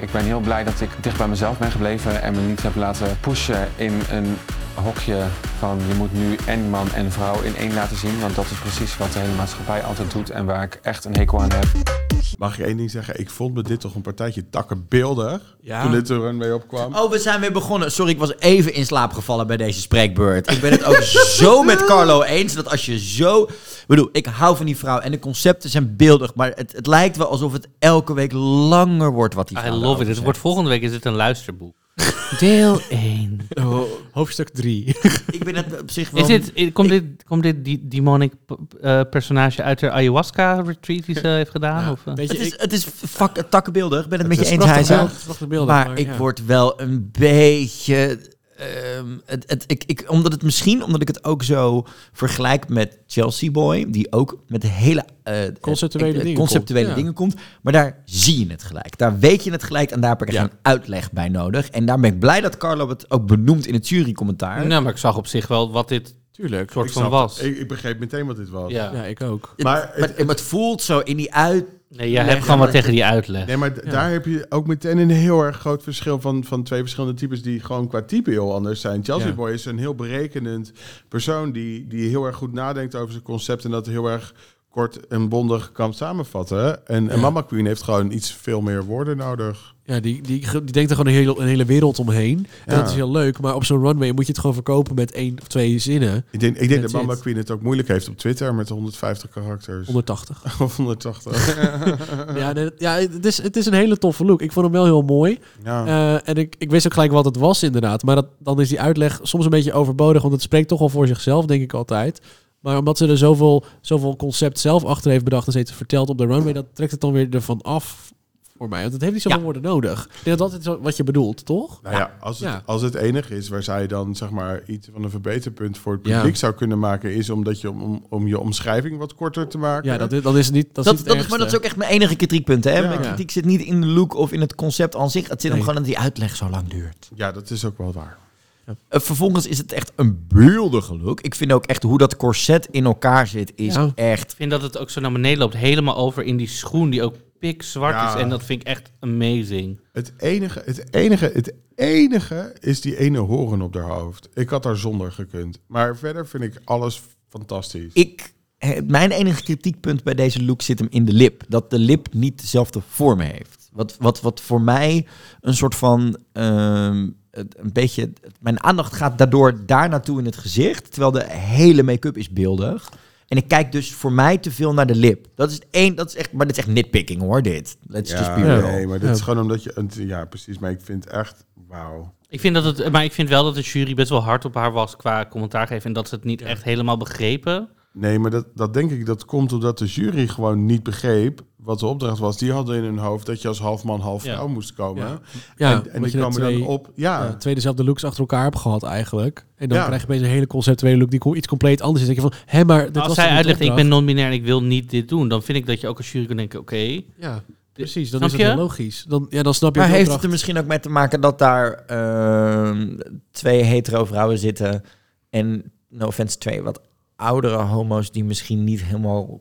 Ik ben heel blij dat ik dicht bij mezelf ben gebleven en me niet heb laten pushen in een hokje van je moet nu en man en vrouw in één laten zien, want dat is precies wat de hele maatschappij altijd doet en waar ik echt een hekel aan heb.
Mag ik één ding zeggen? Ik vond me dit toch een partijtje takkenbeeldig
Ja.
toen dit de runway opkwam.
Oh, we zijn weer begonnen. Sorry, ik was even in slaap gevallen bij deze spreekbeurt. Ik ben het ook zo met Carlo eens dat als je zo... Ik bedoel, ik hou van die vrouw en de concepten zijn beeldig. Maar het, het lijkt wel alsof het elke week langer wordt wat die
I
vrouw
love
daarover
it. Het
zegt.
wordt volgende week is het een luisterboek. Deel 1.
Oh, Hoofdstuk 3.
Ik ben het op zich wel...
Is dit, i- komt, dit, komt dit die demonic p- p- eh, personage uit de ayahuasca-retreat die ze heeft gedaan? of, eh?
het, is, het is fuck, takkenbeeldig. Ik ben het,
Het
met
is
je eens, hij
prachtig
zei.
beeld, prachtig beelden,
maar,
maar
ik
ja.
word wel een beetje... ehm, het, het, ik, ik, omdat het misschien, omdat ik het ook zo vergelijk met Chelsea Boy, die ook met hele eh,
Conceptuele
eh, eh,
dingen
conceptuele
komt, ja.
dingen komt. Maar daar zie je het gelijk. Daar weet je het gelijk en daar heb ik echt
Ja.
een uitleg bij nodig. En daar ben ik blij dat Carlo het ook benoemt in het jurycommentaar.
Nou, maar ik zag op zich wel wat dit
Tuurlijk.
soort
Ik
van
snap
was.
het. Ik, ik begreep meteen wat dit was.
Ja. Ja,
ik ook.
Maar
Maar het, het voelt zo in die uit...
Nee, jij hebt gewoon wat tegen die uitleg.
Nee, maar d- daar heb je ook meteen een heel erg groot verschil van, van twee verschillende types die gewoon qua type heel anders zijn. Chelsea
Ja.
Boy is een heel berekenend persoon die, die heel erg goed nadenkt over zijn concept en dat heel erg kort en bondig kan samenvatten. En, en Mama Queen heeft gewoon iets veel meer woorden nodig.
Ja, die, die, ge- die denkt er gewoon een hele, een hele wereld omheen. En
Ja.
dat is heel leuk. Maar op zo'n runway moet je het gewoon verkopen met één of twee zinnen.
Ik denk, ik denk dat
That's
Mama
it.
Queen het ook moeilijk heeft op Twitter met 150 karakters.
180.
Of 180.
ja, nee, ja het, is, het is een hele toffe look. Ik vond hem wel heel mooi.
Ja.
Eh, en ik, ik wist ook gelijk wat het was inderdaad. Maar dat, dan is die uitleg soms een beetje overbodig. Want het spreekt toch al voor zichzelf, denk ik altijd. Maar omdat ze er zoveel, zoveel concept zelf achter heeft bedacht... en steeds verteld op de runway... dat trekt het dan weer ervan af voor mij. Want het heeft niet zoveel
Ja.
woorden nodig. Ik denk dat dat is wat je bedoelt, toch?
Nou ja, als het,
Ja.
als het enige is waar zij dan zeg maar iets van een verbeterpunt voor het
Ja.
publiek zou kunnen maken, is omdat je om- om, om je omschrijving wat korter te maken.
Ja, dat is- dat is het niet- dat is niet het
maar
ergste.
dat is ook echt mijn enige kritiekpunt. Hè?
Ja.
Mijn
Ja.
kritiek zit niet in de look of in het concept aan zich. Het zit hem
Nee.
gewoon dat die uitleg zo lang duurt.
Ja, dat is ook wel waar.
Eh, vervolgens is het echt een beeldige look. Ik vind ook echt hoe dat corset in elkaar zit, is
Ja.
echt...
Ik vind dat het ook zo naar beneden loopt, helemaal over in die schoen die ook pikzwart
Ja.
is. En dat vind ik echt amazing.
Het enige, het enige, het enige is die ene horen op haar hoofd. Ik had daar zonder gekund. Maar verder vind ik alles fantastisch.
Ik, eh, mijn enige kritiekpunt bij deze look zit hem in de lip. Dat de lip niet dezelfde vorm heeft. Wat, wat, wat voor mij een soort van... ehm, het- een beetje, mijn aandacht gaat daardoor daar naartoe in het gezicht. Terwijl de hele make-up is beeldig. En ik kijk dus voor mij te veel naar de lip. Dat is het één, dat is echt, maar dit is echt nitpicking hoor, dit. Let's just be real.
nee, maar dit is gewoon omdat je... Ja, precies. Maar ik vind echt... Wauw.
Ik vind dat het, maar ik vind wel dat de jury best wel hard op haar was qua commentaar geven. En dat ze het niet echt helemaal begrepen.
Nee, maar dat, dat denk ik, dat komt omdat de jury gewoon niet begreep wat de opdracht was. Die hadden in hun hoofd dat je als half man, half
Ja.
vrouw moest komen.
Ja.
Ja,
Ja,
en,
omdat
en die
je er
kwamen dan
twee-
op. Ja,
ja, twee dezelfde looks achter elkaar hebt gehad eigenlijk. En dan
Ja.
krijg je opeens een hele conceptuele look die co- iets compleet anders is. Dan denk je van, hé, maar dit
Als
was
zij
toch niet de
uitlegt, ik ben
opdracht?
non-binair en ik wil niet dit doen, dan vind ik dat je ook als jury kunt denken, oké.
Ja, precies. Dan
Snap
is het heel
je?
logisch. Dan, ja, dan snap je
Maar
de
heeft
opdracht.
het er misschien ook mee te maken dat daar ehm, twee hetero vrouwen zitten en, no offense, twee wat oudere homo's die misschien niet helemaal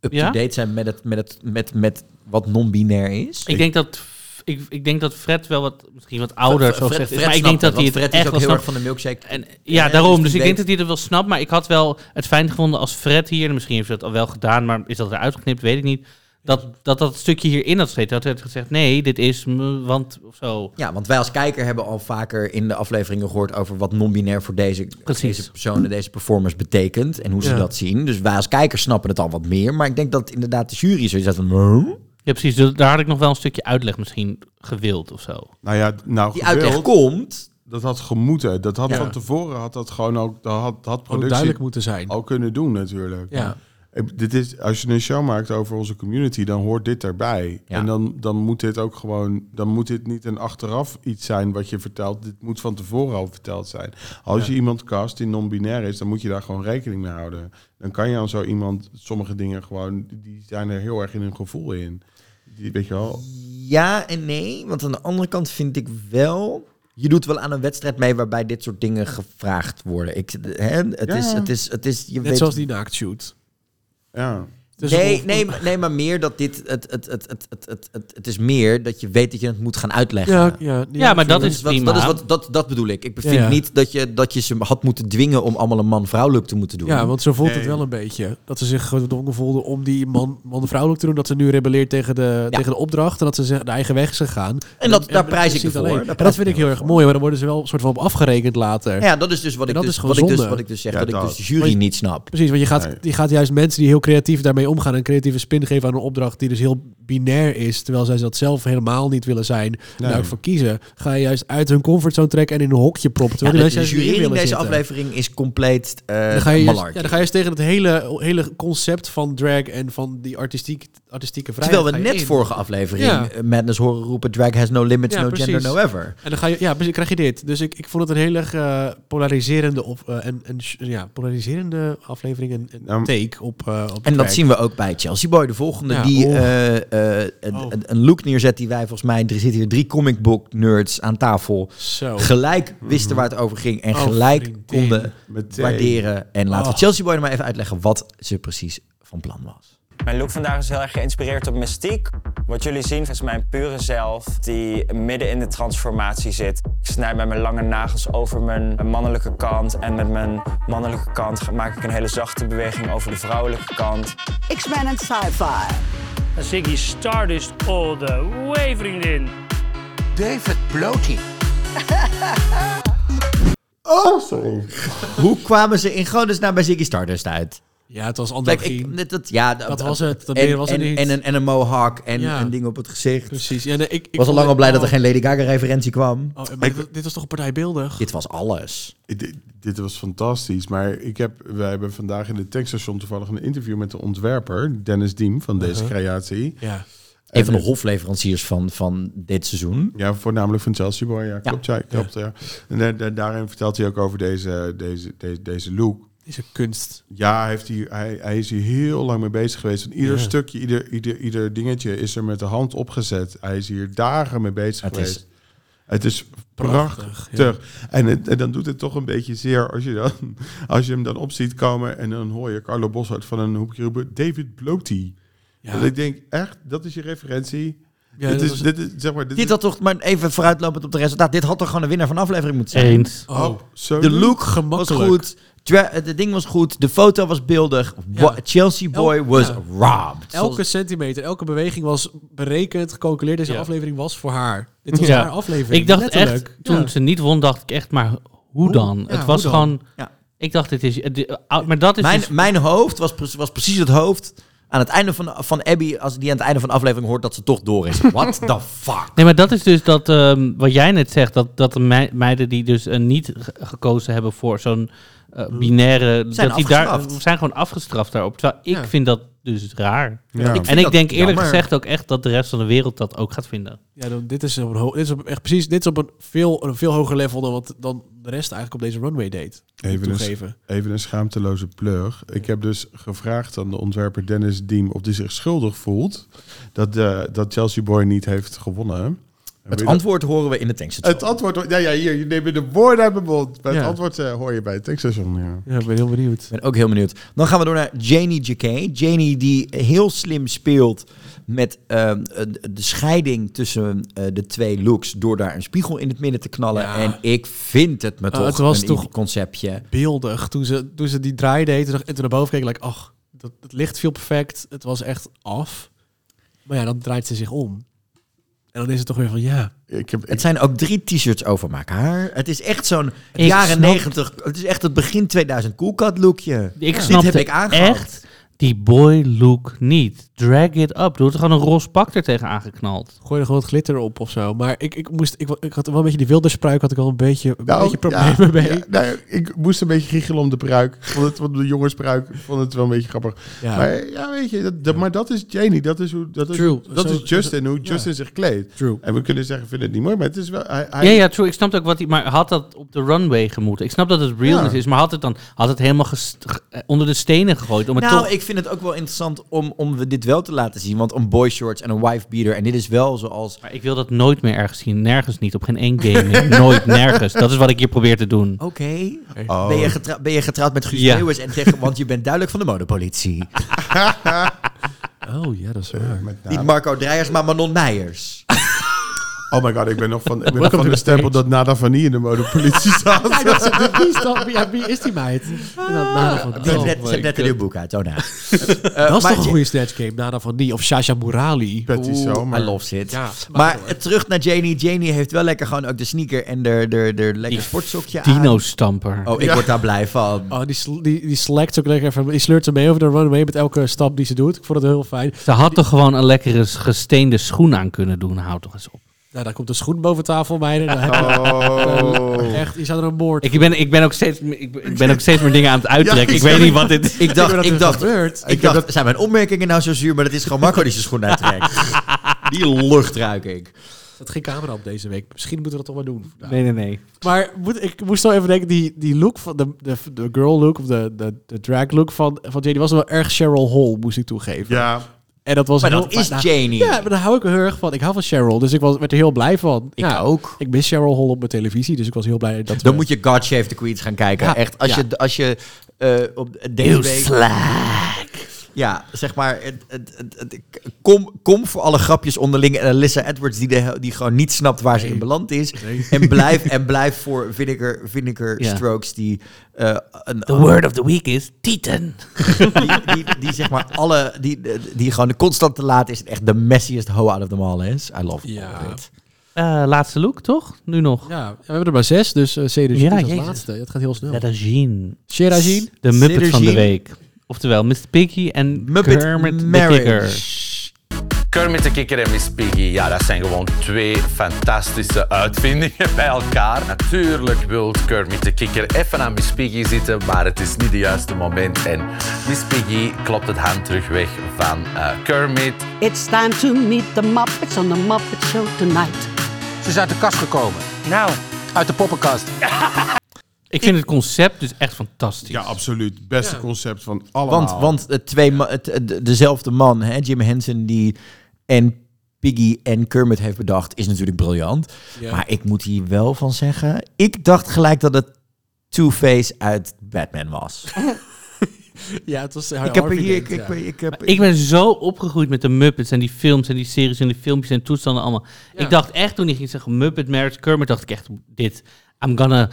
up-to-date zijn met, het, met, het, met, met wat non-binair is?
Ik denk dat ik, ik denk dat Fred wel wat misschien wat ouder
Fred-
zo
Fred-
zegt, is,
Fred
maar ik
snapt
denk
het,
dat hij
want
het
Fred is
echt
ook
wel
heel
snapt.
erg van de milkshake.
En,
Ja,
ja,
dus
daarom.
die
Dus, ik
weet-
denk dat hij het wel snapt, maar ik had wel het fijn gevonden als Fred hier, en misschien heeft hij dat al wel gedaan, maar is dat eruit geknipt, weet ik niet. Dat dat, dat stukje hierin had steeds. Dat hij had gezegd, nee, dit is, m- want of zo.
Ja, want wij als kijker hebben al vaker in de afleveringen gehoord over wat non-binair voor deze,
Precies.
deze personen, deze performers betekent en hoe ze
Ja.
dat zien. Dus wij als kijker snappen het al wat meer. Maar ik denk dat inderdaad de jury zoiets had van... "Huh?"
Ja, precies. Dus Daar had ik nog wel een stukje uitleg misschien gewild of zo.
nou ja, nou
Die
gewild,
uitleg komt.
Dat had gemoeten. Dat had
Ja.
van tevoren had dat gewoon ook. Dat had, had productie Oh,
duidelijk moeten zijn.
Al kunnen doen natuurlijk.
Ja.
Ik- Dit is, als je een show maakt over onze community, dan hoort dit erbij.
Ja.
En dan, dan moet dit ook gewoon, dan moet dit niet een achteraf iets zijn wat je vertelt. Dit moet van tevoren al verteld zijn. Als je iemand cast die non-binair is, dan moet je daar gewoon rekening mee houden. Dan kan je aan zo iemand sommige dingen gewoon, die zijn er heel erg in hun gevoel in. Die, weet je wel,
Ja en nee, want aan de andere kant vind ik wel... Je doet wel aan een wedstrijd mee waarbij dit soort dingen gevraagd worden. Ik, hè, het,
Ja.
is, het, is, het is... Je
Net
weet
zoals die naaktshoot.
ja.
Dus
nee,
of-
nee, maar- nee, maar meer dat dit. Het, het, het, het, het, het, het, het is meer dat je weet dat je het moet gaan uitleggen.
Ja, ja, die-
Ja, maar dat
Dat
is
is wat,
prima.
dat, is wat, dat, dat bedoel ik. Ik vind
Ja, ja.
niet dat je, dat je ze had moeten dwingen om allemaal een man-vrouwelijk te moeten doen.
Ja, want zo voelt het
Nee.
wel een beetje. Dat ze zich gedwongen voelden om die man, man vrouwelijk te doen. Dat ze nu rebelleert tegen de, tegen de opdracht. En dat ze zich de eigen weg is gegaan.
En dat- daar prijs ik
precies
ervoor.
alleen.
Daar
En dat
prijs ik
vind ik heel erg mooi. Maar dan worden ze wel een soort van op afgerekend later.
ja, dat is dus wat,
En
ik
dat
dus,
is gewoon
wat, ik dus,
zonde.
wat ik dus zeg.
Ja,
dat, ik
dat.
dus de jury niet snap.
Precies, want je gaat,
Nee.
je gaat juist mensen die heel creatief daarmee omgaan... een creatieve spin geven aan een opdracht die dus heel binair is... terwijl zij dat zelf helemaal niet willen zijn... en daar ook voor kiezen... ga je juist uit hun comfortzone trekken en in een hokje proppen.
Ja,
terwijl
de,
die mensen juist
jury
hierin
in
willen
deze
zitten.
aflevering is compleet eh
dan ga je juist-
malarkey.
ja, dan ga je eens tegen het hele, hele concept van drag en van die artistiek, artistieke vrijheid.
Terwijl we
ga je
net
in.
vorige aflevering
Ja.
eh, Madness horen roepen... Drag has no limits,
Ja,
no
precies.
gender, no ever.
En dan ga je, ja, precies, krijg je dit. Dus ik, ik vond het een heel erg eh, polariserende, op, eh, en, en, sh- ja, polariserende aflevering en, en
Nou,
take op, eh, op
En
drag.
dat zien we ook bij Chelsea Boy, de volgende,
Ja,
die
oh.
eh, eh, een,
Oh.
een- een look neerzet die wij volgens mij, er zitten hier drie comic book nerds aan tafel,
Zo.
gelijk wisten waar het over ging en
Oh,
gelijk
vriendin.
konden
Meteen.
waarderen. En laten we
Oh.
Chelsea Boy er maar even uitleggen wat ze precies van plan was.
Mijn look vandaag is heel erg geïnspireerd op mystiek. Wat jullie zien is mijn pure zelf die midden in de transformatie zit. Ik snijd met mijn lange nagels over mijn mannelijke kant. En met mijn mannelijke kant maak ik een hele zachte beweging over de vrouwelijke kant.
X-Men en Sci-Fi.
Dan zing je Stardust all the way, vriendin.
David Blotie.
Oh, sorry. Hoe kwamen ze in godesnaam bij Ziggy Stardust uit?
Ja, het was
Kijk,
androgyne.
ik, dat, dat- ja,
Dat was het. Dat
en,
meer was er
en-
niet.
en een, en een mohawk en
Ja. Dus
een ding op het gezicht.
Precies. Ja, nee, ik, ik
was al
vond
lang al
het-
blij dat er
oh,
geen Lady Gaga-referentie kwam.
oh, maar dit, dit was toch partijbeeldig?
Dit was alles.
Ik- Dit, dit was fantastisch, maar ik heb, wij hebben vandaag in het tankstation toevallig een interview met de ontwerper Dennis Diem van deze creatie.
Ja.
Een van de hofleveranciers van, van dit seizoen.
Ja, voornamelijk van Chelsea Boy. Ja, klopt. Ja, klopt ja. En daar- daar- daarin vertelt hij ook over deze, deze, deze, deze look.
Is een kunst.
Ja, heeft hij, hij, hij is hier heel lang mee bezig geweest. En ieder
Ja.
stukje, ieder, ieder, ieder dingetje is er met de hand opgezet. Hij is hier dagen mee bezig
Het is
geweest. het is prachtig.
prachtig,
en, het- en dan doet het toch een beetje zeer als je, dan, als je hem dan op ziet komen. En dan hoor je Carlo Boshart van een hoekje roepen. David Blotie.
Ja.
Dat ik denk, echt, dat is je referentie.
Ja,
dit,
dat
is,
was-
dit is, zeg maar, dit
Dit
is-
had toch, maar even vooruitlopend op de resultaat. Dit had toch gewoon een winnaar van de aflevering moeten zijn.
Eens.
Oh,
Absoluut.
De look was
gemakkelijk.
goed. Tra- eh, Het ding was goed. De foto was beeldig. Wa-
Ja.
Chelsea Boy
Elk-
was
ja.
robbed.
Elke
Zoals-
centimeter, elke beweging was berekend, gecalculeerd. Deze
Ja.
aflevering was voor haar. Dit was
Ja.
haar aflevering.
Ik dacht
letterlijk.
echt, toen
Ja.
ze niet won, dacht ik echt, maar hoe dan?
Ja,
het was
hoe dan?
gewoon...
Ja.
Ik dacht, dit is... eh, di- eh, maar dat is
mijn,
dus-
mijn hoofd was, pre- was precies het hoofd aan het einde van, van Abby. Als die aan het einde van de aflevering hoort dat ze toch door is. What the fuck?
Nee, maar dat is dus dat ehm, wat jij net zegt, dat, dat de mei- meiden die dus eh, niet ge- gekozen hebben voor zo'n eh, eh, binaire.
Hmm. Zijn
dat die daar,
afgestraft.
we zijn gewoon afgestraft daarop. Terwijl ik
Ja.
vind dat dus raar.
Ja. Ik vind
En ik
dat
denk eerlijk
jammer.
gezegd ook echt dat de rest van de wereld dat ook gaat vinden.
Ja, dan, dit is, op een ho- dit is op, echt precies dit is op een veel, een veel hoger level dan wat dan de rest eigenlijk op deze runway deed. moet ik
Even
toegeven.
een, even een schaamteloze pleur. Ik heb dus gevraagd aan de ontwerper Dennis Diem of hij zich schuldig voelt dat, de, dat Chelsea Boy niet heeft gewonnen. En weet
Het
je-
antwoorden horen we in de tankstation.
Het antwoord, ja, ja, hier, je neemt de woorden uit mijn mond. Maar
Ja.
het antwoord eh, hoor je bij het tankstation. Ja.
Ja, ik ben heel benieuwd. Ik
ben ook heel benieuwd. Dan gaan we door naar Janie J.K. Janie die heel slim speelt met ehm, eh, de scheiding tussen eh, de twee looks... door daar een spiegel in het midden te knallen. En ik vind het me
Ah,
toch
het was
een
toch-
indie conceptje.
Beeldig. Toen ze, toen ze die draai deed toen dacht- en toen naar boven keek, like, ach, dat, het licht viel perfect. Het was echt af. Maar ja, dan draait ze zich om. En dan is het toch weer van, ja.
Ik heb,
Het zijn ook drie t-shirts over maak haar. Het is echt zo'n
Ik
jaren
snap-
negentig... Het is echt het begin 2000 Coolcat lookje.
Ik
Dit
snapte
heb ik aangehad.
echt die boy look niet. Drag it up. Doe er gewoon een roze pak er tegen aangeknald.
Gooi er gewoon wat glitter op of zo. Maar ik, ik, moest, ik, wa- ik had wel een beetje die wilde spruik, had ik al een beetje, een
Nou,
beetje problemen
ja,
mee.
ja, nou, ik moest een beetje giechelen om de pruik. Ik Vond het, om de jongensbruik vond het wel een beetje grappig.
Ja.
Maar ja, weet je, dat, dat- maar dat is Janie. Dat is, hoe, dat is,
True.
Dat
Zo-
is Justin, hoe
ja.
Justin zich kleedt.
True.
En we kunnen zeggen, vind het niet mooi, maar het is wel... Hij, hij-
Ja, ja, true. Ik snap ook wat hij... Maar had dat op de runway gemoeten? Ik snap dat het realness
Ja.
is, maar had het dan... Had het helemaal gest- ge- eh, onder de stenen gegooid? Om het
nou,
toch...
ik vind het ook wel interessant om, om we dit wel te laten zien. Want een boy shorts en een wife beater. En dit is wel zoals.
Maar ik wil dat nooit meer ergens zien. Nergens niet. Op geen één game. nooit, nergens. Dat is wat ik hier probeer te doen.
Oké. Ben, je getra- ben je getrouwd met Guus
Ja.
Meeuwis? En tegen, want je bent duidelijk van de modepolitie.
Oh ja, dat is waar.
met name-
Niet Marco Dreijers, maar Manon Meijers.
Oh my god, ik ben nog van, ik ben nog van de stempel dat Nada Vanille in de modepolitie zat.
Ja, dat is- wie, is dat, ja, wie is die meid? En dan Nada van
Ze
Die.
heeft net- ze
my
heeft net een
God.
nieuw boek uit, oh nou.
dat is toch
maar je-
een goede snatch game, Nada van die. Of Sasha Murali.
Betty
Oeh,
Zomer.
I love shit.
Ja,
maar eh, terug naar Janie. Janie heeft wel lekker gewoon ook de sneaker en de, de, de lekker sportsokje aan.
Dino-stamper.
Oh, ik
Ja.
word daar blij van.
Oh, die, sl- die, die slackt ook lekker even. Die sleurt ze mee over de runway met elke stap die ze doet. Ik vond het heel fijn.
Ze had toch gewoon een lekkere s- gesteende schoen aan kunnen doen. Houd toch eens op.
Nou, daar komt de schoen boven tafel, meiden. Dan heb je,
Oh.
Echt, je zou er een moord.
Ik ben, ik ben, ook, steeds, m- ik, ben- ik ben ook steeds meer dingen aan het uittrekken. ik weet niet wat dit...
Ik dacht,
dat
ik,
er
dacht,
gebeurt.
ik dacht zijn mijn opmerkingen nou zo zuur? Maar dat is gewoon Marco die zijn schoen uittrekt. die lucht ruik ik.
Dat ging camera op deze week. Misschien moeten we dat toch maar doen.
Nee, nee, nee.
Maar moet, ik moest wel even denken, die, die look van de, de, de girl look of de, de, de drag look van, van Jane, die was wel erg Cheryl Hall, moest ik toegeven.
Ja,
En dat was
Maar
heel-
dat is
nou,
Janie.
Ja, maar daar hou ik heel erg van. Ik hou van Cheryl, dus ik was, werd er heel blij van.
Ik
ja,
ook.
Ik mis Cheryl Hall op mijn televisie, dus ik was heel blij dat
Dan moet je God Shave the Queens gaan kijken.
Ja,
Echt, als
ja.
je, als je eh, op deze week... Ja, zeg maar, het, het, het, het- kom, kom voor alle grapjes onderling. En Alyssa Edwards, die, de, hel- die gewoon niet snapt waar ze in beland is. En blijf, en blijf voor Vinegar, Vinegar
Ja.
Strokes, die, eh, een,
The word of the week is Titan.
die, die, die zeg maar alle, die, die gewoon constant te laat is. en Echt de messiest hoe out of them all is. I love
Ja.
it.
Eh, laatste look, toch? Nu nog.
Ja, we hebben er maar zes, dus uh, Cedric
Ja,
is als
jezus.
laatste. Dat gaat heel snel.
Seragine.
Seragine?
De Muppet van de
Seragine.
week. Oftewel, Mr. Piggy en
Muppet
Kermit the
Marriage.
Kikker.
Kermit de Kikker en Miss Piggy, ja, dat zijn gewoon twee fantastische uitvindingen bij elkaar. Natuurlijk wil Kermit de Kikker even aan Miss Piggy zitten, maar het is niet het juiste moment. En Miss Piggy klopt het hand terug weg van eh, Kermit.
It's time to meet the Muppets on the Muppet Show tonight.
Ze is uit de kast gekomen.
Nou,
Uit de poppenkast.
Ik vind het concept dus echt fantastisch.
ja, absoluut. Beste concept van
Want,
allemaal.
want eh, twee ma- het- eh, de- dezelfde man, hè, Jim Henson, die en Piggy en Kermit heeft bedacht, is natuurlijk briljant.
Ja.
Maar ik moet hier wel van zeggen, ik dacht gelijk dat het Two-Face uit Batman was.
Ja, het was
ik heb er hier, ik, ik, ik heb,
Ik ben zo opgegroeid met de Muppets en die films en die series en die filmpjes en toestanden allemaal.
Ja.
Ik dacht echt toen ik ging zeggen Muppet Marriage Kermit, dacht ik echt dit. I'm gonna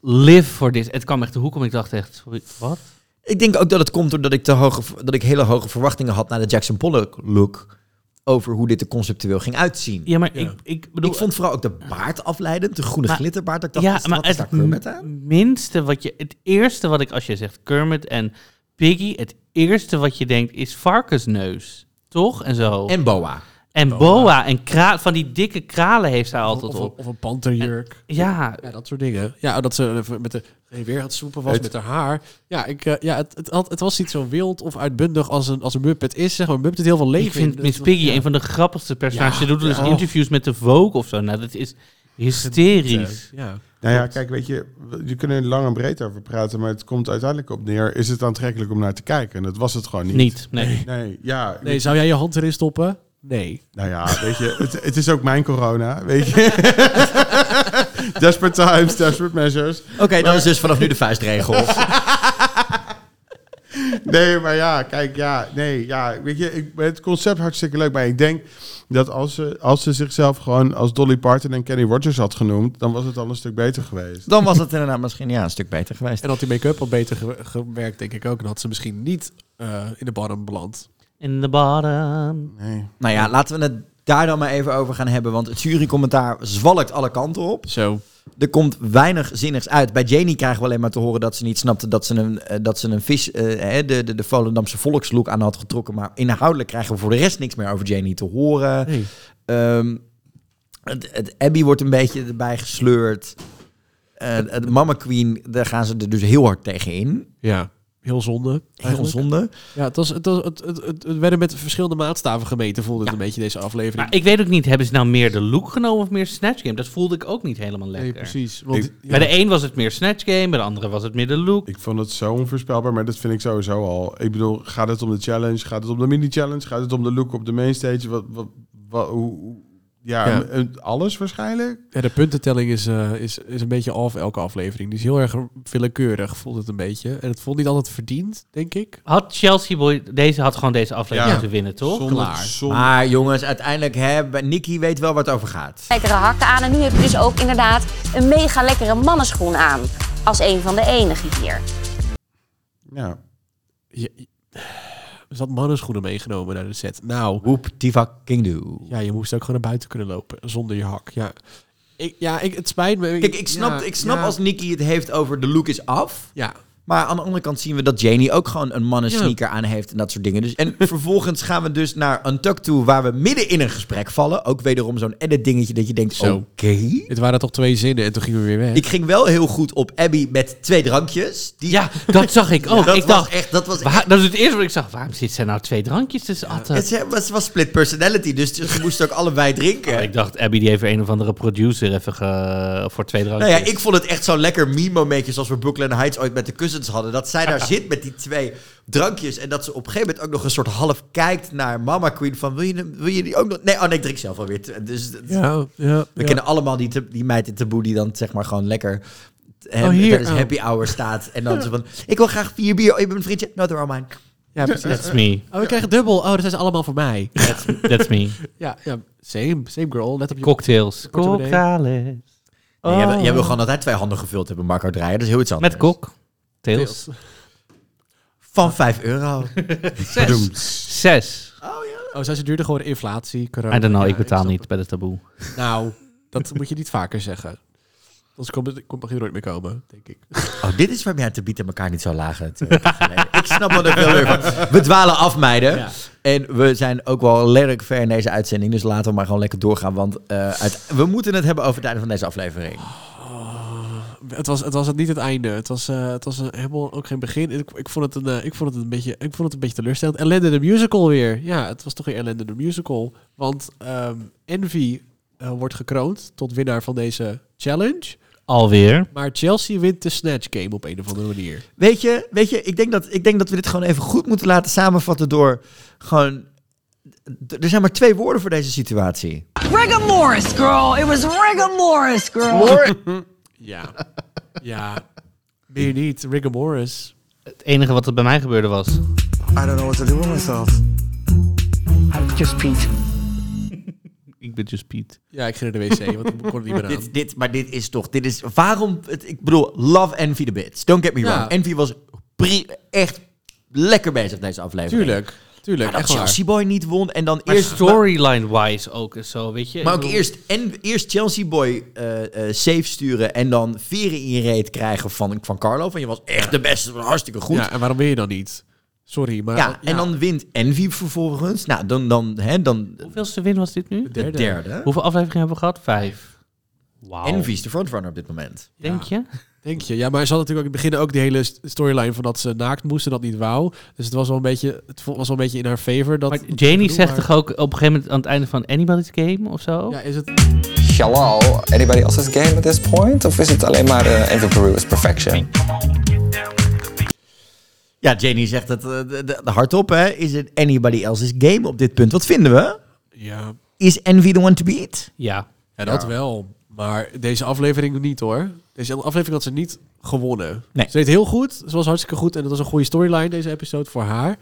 live for this. Het kwam echt de hoek om. Ik dacht echt, sorry, wat?
ik denk ook dat het komt doordat ik, te hoge, dat ik hele hoge verwachtingen had naar de Jackson Pollock look over hoe dit er conceptueel ging uitzien.
Ja, maar
Ja.
Ik, ik bedoel...
ik vond vooral ook de baard afleidend, de groene
Maar-
glitterbaard. Dat ik dacht,
ja,
wat,
maar
wat is
het Mm.
daar Kermit aan?
minste wat je... Het eerste wat ik, als je zegt Kermit en Piggy, het eerste wat je denkt is varkensneus. Toch? En zo.
En Boa.
En boa en kra van die dikke kralen heeft zij altijd
of,
op.
Of een panterjurk.
ja.
dat soort dingen. Ja, dat ze even met de geen weer aan het soepen was
Het-
met haar haar. Ja, ik, eh, ja het, het, had, het was niet zo wild of uitbundig als een, als een Muppet is. Zeg maar, Muppet heeft heel veel leven.
Ik vind
in.
Miss
Dat-
Piggy
ja.
een van de grappigste personages. Ze doet dus
ja.
interviews met de Vogue of zo. Nou, dat is hysterisch.
Ja.
Nou ja, kijk, weet je, we- je kunnen er lang en breed over praten, maar het komt uiteindelijk op neer. Is het aantrekkelijk om naar te kijken? En dat was het gewoon niet.
Niet, nee.
Nee, ja.
Nee, zou jij je hand erin stoppen? Nee.
Nou ja, weet je, het, het is ook mijn corona, weet je. desperate times, desperate measures.
Oké, dat is dus vanaf nu de vuistregel.
Nee, maar ja, kijk, ja, nee, ja. Weet je, ik, het concept hartstikke leuk, maar ik denk dat als ze, als ze zichzelf gewoon als Dolly Parton en Kenny Rogers had genoemd, dan was het al een stuk beter geweest.
Dan was het inderdaad misschien ja, een stuk beter geweest.
En had die make-up al beter ge- gewerkt, denk ik ook. En had ze misschien niet eh, in de bottom beland.
In de bottom.
Nee.
Nou ja, laten we het daar dan maar even over gaan hebben. Want het jurycommentaar zwalkt alle kanten op.
Zo.
Er komt weinig zinnigs uit. Bij Janie krijgen we alleen maar te horen dat ze niet snapte dat ze een, eh, dat ze een vis, eh, hè, de, de, de Volendamse volkslook aan had getrokken. Maar inhoudelijk krijgen we voor de rest niks meer over Janie te horen.
Nee.
Ehm, het, het Abby wordt een beetje erbij gesleurd. Eh, het Mama Queen, daar gaan ze er dus heel hard tegen in.
Ja. Heel zonde.
Heel
eigenlijk.
zonde.
Ja, het, was, het, was, het, het, het- het werden met verschillende maatstaven gemeten, voelde het een beetje deze aflevering.
Maar ik weet ook niet, hebben ze nou meer de look genomen of meer Snatch Game? Dat voelde ik ook niet helemaal lekker.
nee, precies. Want, ja.
Bij de een was het meer Snatch Game, bij de andere was het meer de look.
Ik vond het zo onvoorspelbaar, maar dat vind ik sowieso al. Ik bedoel, gaat het om de challenge? Gaat het om de mini-challenge? Gaat het om de look op de mainstage? Wat, wat, wat, hoe, hoe- ja,
Ja.
en- alles waarschijnlijk.
Ja, de puntentelling is, eh, is, is een beetje af elke aflevering. Die is heel erg willekeurig, voelt het een beetje. En het voelt niet altijd verdiend, denk ik.
Had Chelsea Boy, deze had gewoon deze aflevering
Ja.
moeten winnen, toch?
Zonder-
Klaar.
zonder-
Maar jongens, uiteindelijk, hè, bij Nicky weet wel waar het over gaat.
lekkere hakken aan. En nu heb je dus ook inderdaad een mega lekkere mannenschoen aan. Als een van de enigen hier.
Ja.
Je, er zat mannenschoenen meegenomen naar de set. Nou,
Whoop, Diva, King Do.
ja, je moest ook gewoon naar buiten kunnen lopen zonder je hak. Ja, ik, ja ik, het spijt me.
Kijk, ik snap,
ja,
ik snap
ja.
als Nicky het heeft over de look is af.
Ja,
Maar aan de andere kant zien we dat Janie ook gewoon een mannen
Ja.
sneaker aan heeft en dat soort dingen. Dus, en vervolgens gaan we dus naar Untucked toe, waar we midden in een gesprek vallen. Ook wederom zo'n edit dingetje dat je denkt, oké.
Zo. dit waren toch twee zinnen en toen gingen we weer weg.
Ik ging wel heel goed op Abby met twee drankjes. Die,
Ja, dat zag ik ook.
dat
ik
was
dacht,
echt, dat was
waar- dat is het eerste wat ik zag. Waarom zit zij nou twee drankjes tussen atten?
echt, het was, was split personality, dus ze moesten ook allebei drinken.
Ik dacht, Abby die heeft een of andere producer even ge- voor twee
Nou
drankjes.
ja, ik vond het echt zo'n lekker meme-momentje zoals we Brooklyn Heights ooit met de kussens hadden. Dat zij daar zit met die twee drankjes en dat ze op een gegeven moment ook nog een soort half kijkt naar Mama Queen van wil je, hem- wil je die ook nog... Nee, oh nee, ik drink zelf alweer. te- Dus dat-
ja, ja,
we
ja.
kennen allemaal die, te- die meid in taboe die dan zeg maar gewoon lekker... Hem,
Oh, hier,
tijdens
oh.
happy hour staat en dan zo van... Ik wil graag vier bier. Oh, je bent een vriendje. No, they're all mine.
Ja, precies.
That's me.
Oh, we krijgen dubbel. Oh, dat zijn ze allemaal voor mij.
That's, that's me.
Ja, ja same, same girl. Let op je
Cocktails.
Korte beneden.
Cocktails.
Nee, jij, wil- jij wil
Oh.
gewoon dat hij twee handen gevuld hebben, Marco Dreyer. Dat is heel iets anders.
Met kok. Tails.
Tails.
Van 5 euro.
Verdoemd.
Zes.
Oh, zijn ze duurder geworden? Inflatie, corona.
I don't know,
Ja,
ik betaal
snap
niet bij de taboe.
het. Nou, dat moet je niet vaker zeggen. Anders komt het komt er hier nooit meer komen, denk ik.
Oh, dit is waarom jij te bieden elkaar niet zo laag. het, eh, geleden. ik snap wel dat veel weer van. We dwalen af, meiden.
Ja.
En we zijn ook wel letterlijk ver in deze uitzending. Dus laten we maar gewoon lekker doorgaan. Want eh, uit- we moeten het hebben over het einde van deze aflevering.
Het was, het was het niet het einde. Het was, eh, het was een, helemaal ook geen begin. Ik, ik, vond het een, eh, ik, vond het een beetje, ik vond het een beetje teleurstellend. Ellende de Musical weer. Ja, het was toch weer Ellende de Musical. Want ehm, Envy eh, wordt gekroond tot winnaar van deze challenge.
Alweer.
Maar Chelsea wint de Snatch Game op een of andere manier.
Weet je, weet je ik, denk dat, ik denk dat we dit gewoon even goed moeten laten samenvatten door gewoon. d- Er zijn maar twee woorden voor deze situatie.
Rigor Morris, girl. It was rigor Morris, girl.
Ja. ja. Meer niet. Rigor Morris.
Het enige wat er bij mij gebeurde was...
I don't know what to do with myself.
I'm just Pete.
Ik ben just Piet.
Ja, ik ging naar de wc, want ik kon er niet meer aan.
Dit, dit, maar dit is toch. Dit is, waarom. Het, ik bedoel, love Envy the bits. Don't get me
Ja.
wrong. Envy was pri- echt lekker bezig deze aflevering.
Tuurlijk. Tuurlijk.
Maar
echt
dat
waar.
Chelsea Boy niet won en dan
Maar
eerst...
storyline-wise ook en zo, weet je.
Maar
Ik
ook
bedoel-
eerst, en, eerst Chelsea Boy eh, eh, safe sturen en dan veren in je reet krijgen van, van Carlo. Van je was echt de beste, was hartstikke goed.
Ja, en waarom wil je dan niet? Sorry, maar...
ja, en dan wint Envy vervolgens. Nou, dan... dan, hè, dan
Hoeveelste win was dit nu? De
derde. derde.
Hoeveel afleveringen hebben we gehad? Vijf. Wauw.
Envy is de frontrunner op dit moment.
Denk je?
Denk je? Ja, maar ze had natuurlijk ook in het begin ook die hele st- storyline van dat ze naakt moest en dat niet wou. Dus het was wel een beetje, het vo- was wel een beetje in haar favor. Dat,
Maar Janie zegt toch ook op een gegeven moment aan het einde van Anybody's Game of zo?
Ja, is het...
Hello, anybody else's game at this point? Of is het alleen maar uh, Envy Peru is perfection?
Ja, Janie zegt het eh, de- de- de hardop, hè. Is het anybody else's game op dit punt? Wat vinden we?
Ja,
Is Envy the one to beat?
Ja.
ja dat wel. Maar deze aflevering niet hoor. Deze aflevering had ze niet gewonnen.
Nee.
Ze deed heel goed. Ze was hartstikke goed. En het was een goede storyline deze episode voor haar.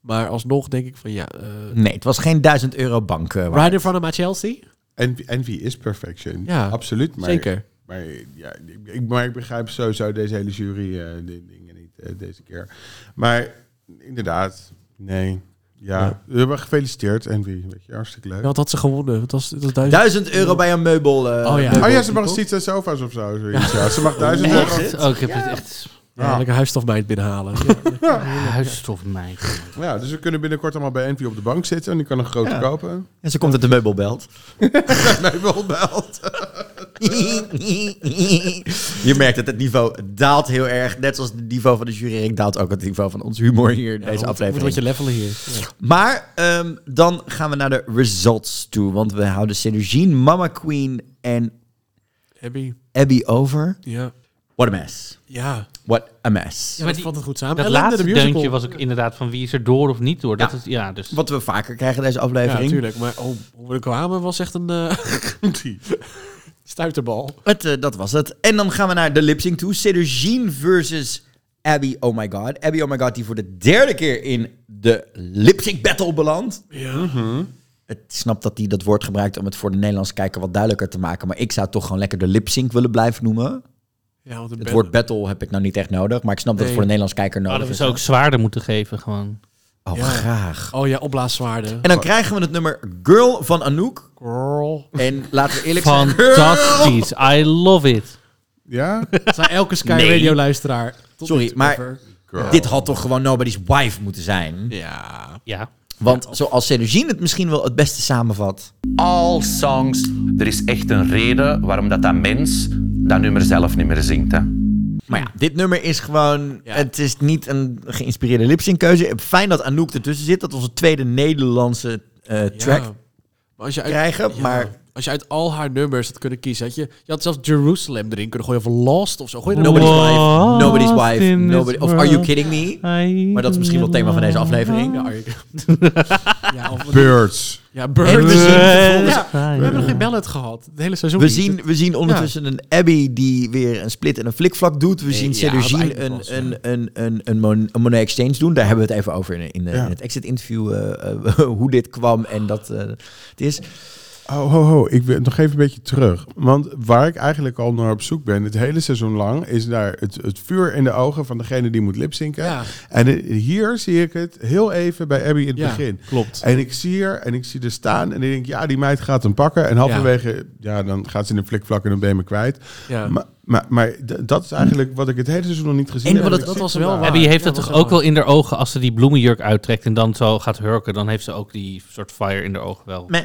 Maar alsnog denk ik van ja... eh
Nee, het was geen 1000 euro bank. eh, waard.
Right in front of my Chelsea.
En Envy is perfection.
Ja,
absoluut. Maar,
zeker.
Maar, ja, ik- ik, maar ik begrijp sowieso deze hele jury eh de dingen niet eh, deze keer. Maar inderdaad, nee. Ja, we hebben gefeliciteerd Envy. Weet je, hartstikke leuk.
Ja, wat had ze gewonnen? Het was, het was duizend...
1000 euro bij een meubel. eh,
Oh ja.
meubel-
Oh ja, ze mag steeds aan sofa's of zo. Zoiets, ja. Ze mag duizend
Echt?
euro.
Oh, ik heb het echt...
Ja, lekker huisstofmeid binnenhalen.
Ja, Huisstofmeid.
Ja, dus we kunnen binnenkort allemaal bij Envy op de bank zitten. En die kan een grote
Ja.
kopen.
En ze komt uit de meubelbelt.
Nee, wel belt.
Je merkt dat het niveau daalt heel erg. Net zoals het niveau van de jurering daalt ook het niveau van ons humor hier in deze
Moet
aflevering.
wat je levelen hier. Ja.
Maar ehm, dan gaan we naar de results toe. Want we houden Synergine, Mama Queen en
Abby.
Abby over.
Ja.
What a mess.
Ja.
What a mess.
Ja, dat valt het goed samen.
Dat
Ellen de
laatste
musical.
deuntje was ook inderdaad van wie is er door of niet door. Dat
Ja.
is, ja, dus...
Wat we vaker krijgen in deze
Ja,
aflevering.
natuurlijk. Maar oh, hoe we kwamen was echt een eh, stuiterbal.
Het, eh, dat was het. En dan gaan we naar de lipsing toe. Cedergine versus Abby Oh My God. Abby Oh My God die voor de derde keer in de lipsync battle belandt.
Ja.
Ik snap dat hij dat woord gebruikt om het voor de Nederlandse kijker wat duidelijker te maken. Maar ik zou het toch gewoon lekker de lipsync willen blijven noemen.
ja want
Het woord battle heb ik nou niet echt nodig. Maar ik snap dat het
Nee.
voor de Nederlandse kijker nodig
Hadden we
is.
ze ook zwaarder moeten geven gewoon.
Oh,
Ja.
graag.
Oh ja, opblaaszwaarden.
En dan krijgen we het nummer Girl van Anouk.
Girl.
En laten we eerlijk zijn. Girl!
Fantastisch. I love it.
Ja?
Zijn elke Sky
Nee.
Radio luisteraar. Tot
Sorry,
nu toe
maar-
ever.
Girl.
Dit had toch gewoon Nobody's Wife moeten zijn?
Ja.
Ja.
Want zoals Cedergine het misschien wel het beste samenvat.
All songs. Er is echt een reden waarom dat, dat mens dat nummer zelf niet meer zingt. Hè.
Maar ja, dit nummer is gewoon... Het is niet een geïnspireerde lipsynkkeuze. Fijn dat Anouk ertussen zit. Dat we onze tweede Nederlandse eh,
Ja.
track
Maar als je uit,
krijgen.
ja.
Maar
Als je uit al haar nummers had kunnen kiezen, had je, je had zelfs Jerusalem erin kunnen gooien of Lost of zo. Gooi er
Nobody's
maar-
Wow.
Wife, Nobody's
Lost
Wife,
in this
nobody, of Are You
world.
Kidding Me?
I
Maar dat is misschien wel het thema van deze aflevering.
Ja, Arjen. ja, of,
Birds.
ja,
En we
Bird.
zien vervolgens-
Ja, we hebben nog geen ballet gehad. Het hele seizoen
We
niet.
zien, we zien ondertussen een Abby die weer een split en een flikvlak doet. We zien
ja,
Cedrogine
uiteindelijk
een,
pas, ja.
een, een, een, een, mon- een Monet Exchange doen. Daar hebben we het even over in, in, eh,
Ja.
in het exit-interview. eh, eh, hoe dit kwam en dat eh, het is.
Oh, ho, ho. Ik wil nog even een beetje terug. Want waar ik eigenlijk al naar op zoek ben, het hele seizoen lang, is daar het, het vuur in de ogen van degene die moet lipzinken.
Ja.
En eh, hier zie ik het heel even bij Abby in het
Ja,
begin.
klopt.
En ik zie haar en ik zie haar staan en ik denk, ja, die meid gaat hem pakken. En halverwege, ja, dan gaat ze in een flikvlak en dan ben je me kwijt.
Ja.
Maar, maar, maar d- dat is eigenlijk wat ik het hele seizoen nog niet gezien
En
heb.
wat
En
het-
ik
dat was
zit
wel
vandaag.
waar.
Abby heeft
Ja,
dat
was
toch
wel
ook wel in haar ogen als ze die bloemenjurk uittrekt en dan zo gaat hurken. Dan heeft ze ook die soort fire in haar ogen wel.
Meh.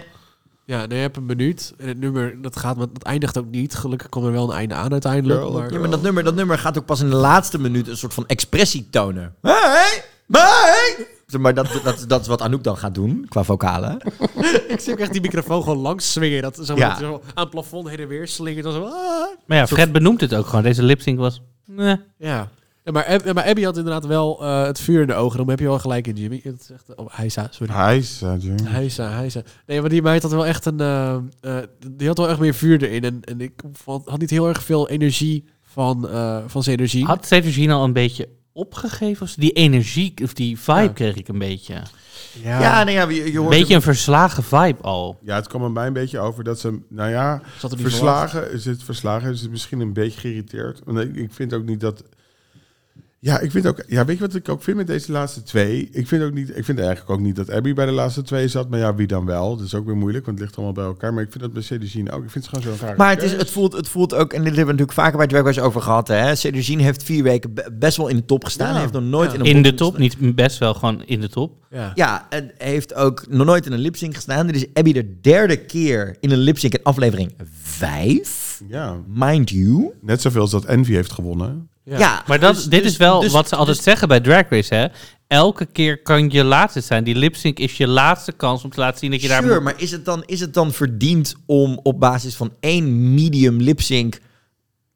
Ja, nou, je hebt een minuut. En het nummer, dat, gaat, maar dat eindigt ook niet. Gelukkig komt er wel een einde aan uiteindelijk.
Girl,
maar,
Ja, maar dat nummer, dat nummer gaat ook pas in de laatste minuut een soort van expressie tonen. Hey, hey. Zeg Maar dat, dat, dat is wat Anouk dan gaat doen qua vocalen.
ik zie ook echt die microfoon gewoon langs swingen. Dat, zeg maar,
Ja.
dat zo aan het plafond heen en weer slingert. Dan zo, ah.
Maar ja, Fred benoemt het ook gewoon. Deze lipsync was... Nee.
Ja. Ja, maar, Ab- ja, maar Abby had inderdaad wel eh, het vuur in de ogen. Dan heb je wel gelijk in Jimmy. Dat is echt, oh, Heisa, sorry.
Hij eh, staat, jong.
Heisa, Heisa. Nee, maar die meid had wel echt een... eh, eh, die had wel echt meer vuur erin. En, en ik vond- had niet heel erg veel energie van, eh van zijn energie.
Had Cedrogine al een beetje opgegeven? Of ze- Die energie, of die vibe
Ja.
kreeg ik een beetje.
Ja, nee, ja, je, je
Een
hoort
beetje een verslagen vibe al.
Ja, het kwam er mij een beetje over dat ze, nou ja,
Zat er niet
verslagen, is het verslagen, is het misschien een beetje geïrriteerd. Want ik, ik vind ook niet dat. Ja, ik vind ook. Ja, weet je wat ik ook vind met deze laatste twee? Ik vind, ook niet, ik vind eigenlijk ook niet dat Abby bij de laatste twee zat. Maar ja, wie dan wel? Dat is ook weer moeilijk, want het ligt allemaal bij elkaar. Maar ik vind dat bij Cedricine ook. Ik vind het gewoon zo'n raar.
Maar het, is, het, voelt, het voelt ook, en dit hebben we natuurlijk vaker bij Drag Race over gehad. hè. Cedricine heeft vier weken be- best wel in de top gestaan.
Ja.
Heeft nog nooit
Ja.
in, een
In de
bottom
top, niet best wel, gewoon in de top.
Ja. en heeft ook nog nooit in een lipsync gestaan. Dit is Abby de derde keer in een lipsync in aflevering 5.
Ja.
Mind you. dus-
Net zoveel als dat Envy heeft gewonnen.
Ja, maar dat, dit is wel wat ze altijd zeggen bij Drag Race, hè? Elke keer kan je laatste zijn. Die lip sync is je laatste kans om te laten zien dat je daar...
Sure, maar is het, dan, is het dan verdiend om op basis van één medium lipsync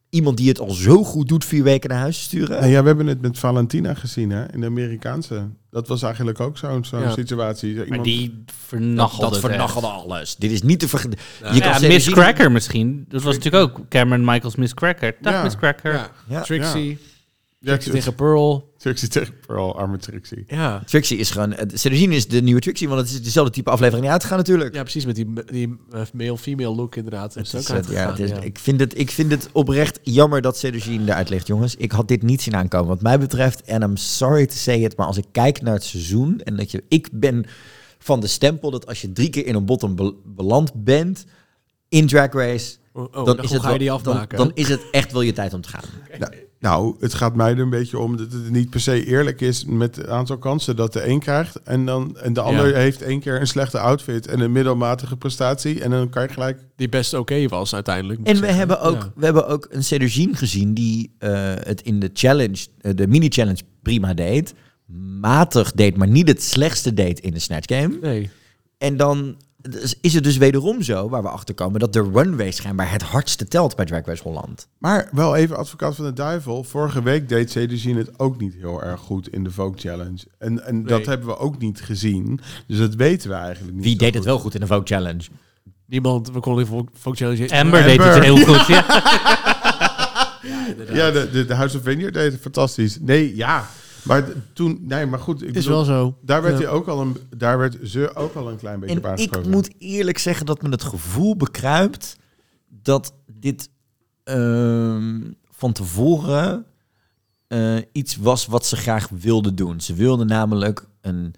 iemand die het al zo goed doet vier weken naar huis te sturen?
Nou ja, we hebben het met Valentina gezien, hè? In de Amerikaanse. Dat was eigenlijk ook zo'n zo'n
Ja.
situatie. Iemand-
Dat, dat vernachelde alles. Dit is niet te vergeten. Je kan
ja,
zeggen,
Miss
zien-
Cracker misschien. Dat was natuurlijk ook Cameron Michaels Miss Cracker. Dag
Ja.
Miss Cracker.
Ja. Ja.
Trixie.
Ja,
Trixie
Trixie.
tegen Pearl.
Trixie tegen Pearl, arme Trixie.
Ja.
Trixie is gewoon... eh, Cedricine is de nieuwe Trixie, want het is dezelfde type aflevering uitgegaan natuurlijk.
Ja, precies. Met die, die eh, male-female look inderdaad.
Het
is
is,
ook
eh, ja, het
uitgegaan,
is-
ja.
Ik, vind het, ik vind het oprecht jammer dat Cedricine eruit ligt, jongens. Ik had dit niet zien aankomen. Wat mij betreft, en I'm sorry to say it, maar als ik kijk naar het seizoen... en dat je, ik ben van de stempel dat als je drie keer in een bottom be- beland bent... in Drag Race,
Oh, oh, dan hoe ga je die
wel- dan,
afmaken?
dan is het echt wel je tijd om te gaan.
Nou, het gaat mij er een beetje om dat het niet per se eerlijk is met het aantal kansen dat de een krijgt. En, dan, en de ander
Ja.
heeft één keer een slechte outfit en een middelmatige prestatie. En dan kan je gelijk...
Die best oké was uiteindelijk. moet
En
ik
we
zeggen.
hebben, ook,
Ja.
we hebben ook een Cedricine gezien die eh, het in de challenge, eh, de mini-challenge prima deed. Matig deed, maar niet het slechtste deed in de Snatch Game.
Nee.
En dan dus is het dus wederom zo, waar we achter komen, dat de runway schijnbaar het hardste telt bij Drag Race Holland.
Maar wel even advocaat van de duivel. Vorige week deed Cedricine het ook niet heel erg goed in de Vogue Challenge. En, en dat
Nee.
hebben we ook niet gezien. Dus dat weten we eigenlijk niet.
Wie deed het wel goed in de Vogue Challenge?
Niemand, we konden Vogue Vogue Challenge...
Amber deed het heel goed, ja.
Ja, de, de, de House of Vineyard deed het fantastisch. Nee, ja. Maar d- toen, nee, maar goed. Ik
Is wel zo.
Daar werd,
Ja.
hij ook al een, daar werd ze ook al een klein beetje op
En ik
aangesproken.
moet eerlijk zeggen dat me het gevoel bekruipt dat dit ehm, van tevoren eh, iets was wat ze graag wilden doen. Ze wilden namelijk een,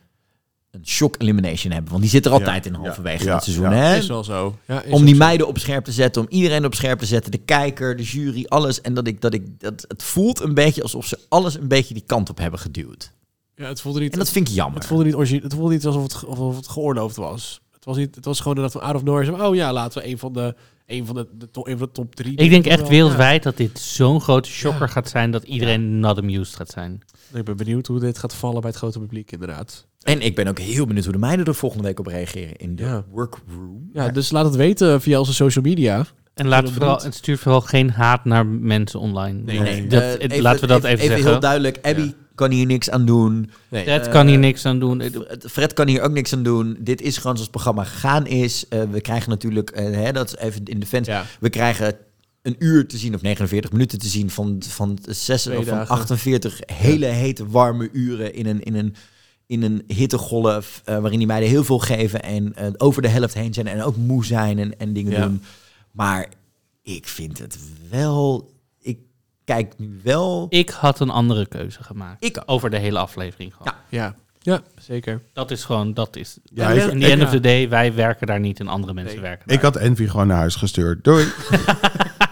een shock elimination hebben, want die zit er
Ja,
altijd in
ja,
halverwege
ja,
het seizoen.
ja.
Hè?
Is wel zo. Ja, is
om die
ook zo.
meiden op scherp te zetten, om iedereen op scherp te zetten, de kijker, de jury, alles. En dat ik dat ik dat het voelt een beetje alsof ze alles een beetje die kant op hebben geduwd.
Ja, het voelde niet,
En dat vind ik jammer.
Het voelde niet, origine, het voelde niet alsof het, ge- alsof het geoorloofd was. Het was, niet, het was gewoon dat we out of nowhere zeiden, oh ja, laten we een van de, een van de, de, to- een van de top drie.
Ik denk echt
wel.
wereldwijd dat dit zo'n grote shocker gaat zijn dat iedereen not amused gaat zijn.
Ja. Ik ben benieuwd hoe dit gaat vallen bij het grote publiek, inderdaad.
En ik ben ook heel benieuwd hoe de meiden er volgende week op reageren in de workroom.
Ja, dus laat het weten via onze social media.
En, laat
Zodat
vooral,
we
en stuur vooral geen haat naar mensen online.
Nee,
Want
nee.
dat-
Eh,
het-
even-
laten we dat even,
even, even
zeggen.
heel duidelijk. Abby kan hier niks aan doen.
Nee.
Eh,
Fred kan hier niks aan doen.
Fred- Fred kan hier ook niks aan doen. Dit is gewoon zoals het programma gegaan is. Eh, we krijgen natuurlijk, eh, hè, dat is even in de fans. We krijgen een uur te zien of 49 minuten te zien van, van, zes,
Twee
of van
dagen.
48 hele hete warme uren in een, in een, in een hittegolf eh, waarin die meiden heel veel geven en eh, over de helft heen zijn en ook moe zijn en, en dingen
Ja.
doen. Maar ik vind het wel, ik kijk nu wel.
Ik had een andere keuze gemaakt.
Ik ook.
Over de hele aflevering gewoon.
Ja. Ja, zeker.
Dat is gewoon, dat is.
Ja,
Ja,
ik-
in the
ik-
end
ja.
of the day, wij werken daar niet en andere mensen werken
Ik had Envy gewoon naar huis gestuurd. Doei.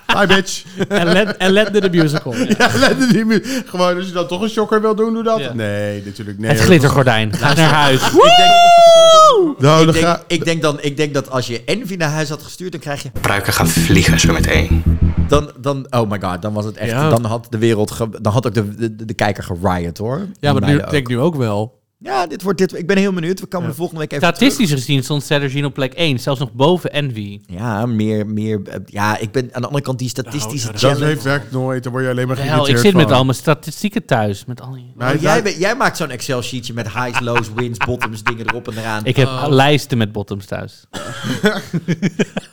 Bye, bitch.
En let, en let the musical. Ja.
Ja, let er niet meer. Gewoon, als je dan toch een shocker wil doen, doe dat. Nee, natuurlijk nee.
Het glittergordijn. Ga naar huis.
Ik denk,
Nou,
ik,
dan
denk,
ga-
ik, denk dan, ik denk dat als je Envy naar huis had gestuurd, dan krijg je...
Pruiken gaan vliegen zo meteen.
Dan, dan, oh my god, dan was het echt...
Ja.
Dan had de wereld... ge- dan had ook de, de, de kijker geriot, hoor. Die
Ja, maar nu,
meiden
ik
ook.
denk nu ook wel.
Ja, dit wordt... Dit, ik ben heel benieuwd. We komen de volgende week even terug.
Statistisch gezien stond Cedricine op plek 1, zelfs nog boven Envy.
Ja, meer, meer... eh, Ja, ik ben aan de andere kant die statistische
Dat
challenge-
heeft werkt nooit. Dan word je alleen maar
Hel,
geïrriteerd
ik zit met
van.
al mijn statistieken thuis. Met al die...
Maar hij
Oh, jij,
zei-
bent- jij maakt zo'n Excel-sheetje met highs, lows, wins, bottoms, dingen erop en eraan.
Ik heb
Oh.
lijsten met bottoms thuis.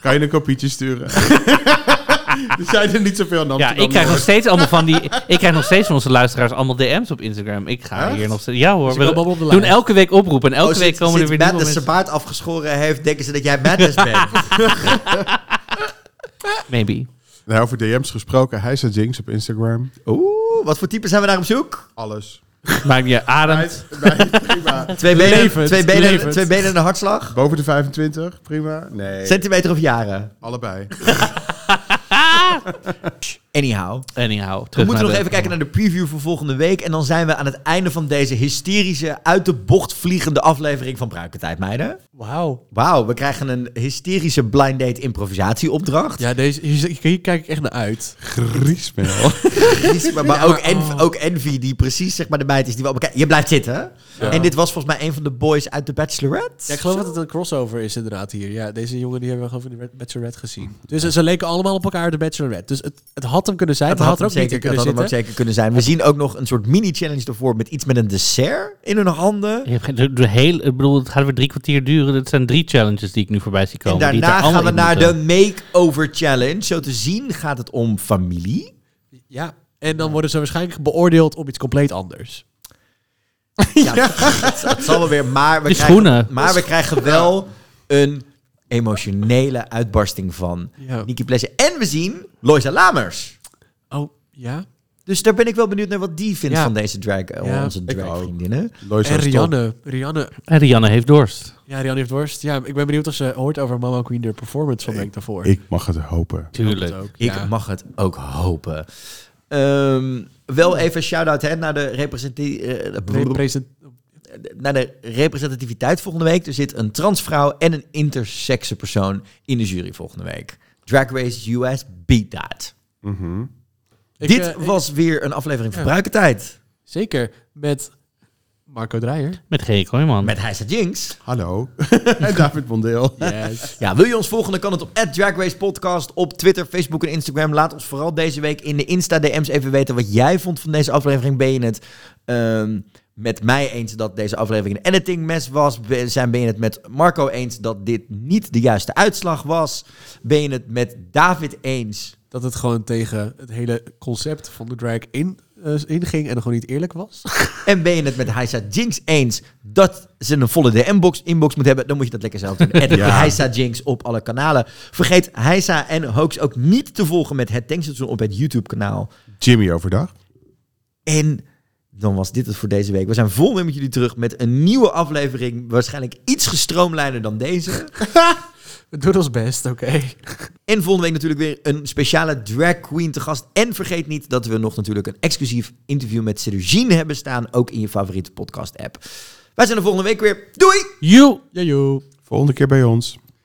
Kan je een kopietje sturen? er zijn er niet zoveel aan
Ja,
Amsterdam,
ik krijg nog
hoor.
steeds allemaal van die. Ik krijg nog steeds van onze luisteraars allemaal DM's op Instagram. Ik ga
Echt?
hier nog steeds. Ja hoor,
Ze komen
we
allemaal op de
doen
lijst.
elke week oproepen en elke
Oh,
week
sinds-
komen er
sinds
weer nieuwe
Madness
mensen.
zijn baard afgeschoren heeft, denken ze dat jij Madness bent.
Maybe.
Nou, over DM's gesproken. Hij is een Jinx op Instagram.
Oeh, Wat voor type zijn we naar op zoek?
Alles.
Maakt niet uit. Ademt.
Twee benen,
Levend,
twee benen,
levend.
Twee benen en een hartslag.
Boven de 25, prima. Nee.
Centimeter of jaren?
Allebei.
Anyhow.
eh, Anyhow.
We moeten nog even kijken naar de preview voor volgende week. En dan zijn we aan het einde van deze hysterische, uit de bocht vliegende aflevering van Bruikentijd, meiden.
Wauw.
Wauw, we krijgen een hysterische blind date improvisatieopdracht.
Ja, deze, hier, hier kijk ik echt naar uit.
Griesmel.
Precies, maar, maar
Ja,
ook,
maar-
Envy, ook Envy, die precies zeg maar de meid is die wel bekend. Je blijft zitten.
Ja.
En dit was volgens mij een van de boys uit The Bachelorette.
Ja, ik geloof dat het een crossover is inderdaad hier. Ja, deze jongen die hebben we gewoon in de Bachelorette gezien. Dus ze leken allemaal op elkaar de Bachelorette. Dus het, het had hem kunnen zijn,
Het
het had,
had,
er
hem
ook niet
zeker,
in
het
kunnen
had hem ook
zitten.
zeker kunnen zijn. We zien ook nog een soort mini-challenge ervoor met iets met een dessert in hun handen.
Je hebt geen- de, de hele, ik bedoel, het gaat weer drie kwartier duren. Dat zijn drie challenges die ik nu voorbij zie komen.
En
die het
daarna
daar
gaan we
allemaal
naar
in
de
moeten.
makeover challenge. Zo te zien gaat het om familie.
Ja, en dan worden ze waarschijnlijk beoordeeld op iets compleet anders.
Ja, dat, dat zal wel weer. Maar we,
Die
krijgen,
schoenen.
maar we krijgen wel een emotionele uitbarsting van
Ja.
Nicky Plessen. En we zien Loisa Lamers.
Oh, ja?
Dus daar ben ik wel benieuwd naar wat die vindt
Ja.
van deze drag, eh,
Ja,
onze
ik
dragvriendinnen.
Lois
en
was top.
Rianne. Rianne.
En Rianne heeft dorst.
Ja, Rianne heeft worst. Ja, ik ben benieuwd of ze hoort over Mama Queen de performance van de week daarvoor.
Ik mag het hopen.
Tuurlijk.
ook.
Ik
Ja.
mag het ook hopen. Ehm, wel even een shout-out hè, naar de representatie.
Represent-
naar de representativiteit volgende week. Er zit een transvrouw en een intersexe persoon in de jury volgende week. Drag Race US beat that.
Mhm.
Ik,
Dit
eh, ik-
was weer een aflevering van
Ja.
Bruikertijd.
Zeker, met Marco Dreyer.
Met G. Kooijman.
Met Heisa Jinx.
Hallo. en David Bondeel.
Yes.
Ja, wil je ons volgen? Dan kan het op Drag Race Podcast op Twitter, Facebook en Instagram. Laat ons vooral deze week in de Insta-DM's even weten wat jij vond van deze aflevering. Ben je het ehm, met mij eens dat deze aflevering een editingmes was? Ben- Zijn ben je het met Marco eens dat dit niet de juiste uitslag was? Ben je het met David eens?
dat het gewoon tegen het hele concept van de drag in, eh, inging en gewoon niet eerlijk was.
En ben je het met Heisa Jinx eens dat ze een volle DM-box inbox moet hebben? Dan moet je dat lekker zelf doen. Edit
Ja.
Heisa Jinx op alle kanalen. Vergeet Heisa en Hoax ook niet te volgen met het Tankstation op het YouTube-kanaal.
Jimmy overdag.
En dan was dit het voor deze week. We zijn vol weer met jullie terug met een nieuwe aflevering. Waarschijnlijk iets gestroomlijnder dan deze.
We doen ons best, oké.
En volgende week natuurlijk weer een speciale drag queen te gast. En vergeet niet dat we nog natuurlijk een exclusief interview met Sergine hebben staan. Ook in je favoriete podcast app. Wij zijn er volgende week weer. Doei!
You!
Jojo.
Volgende keer bij ons.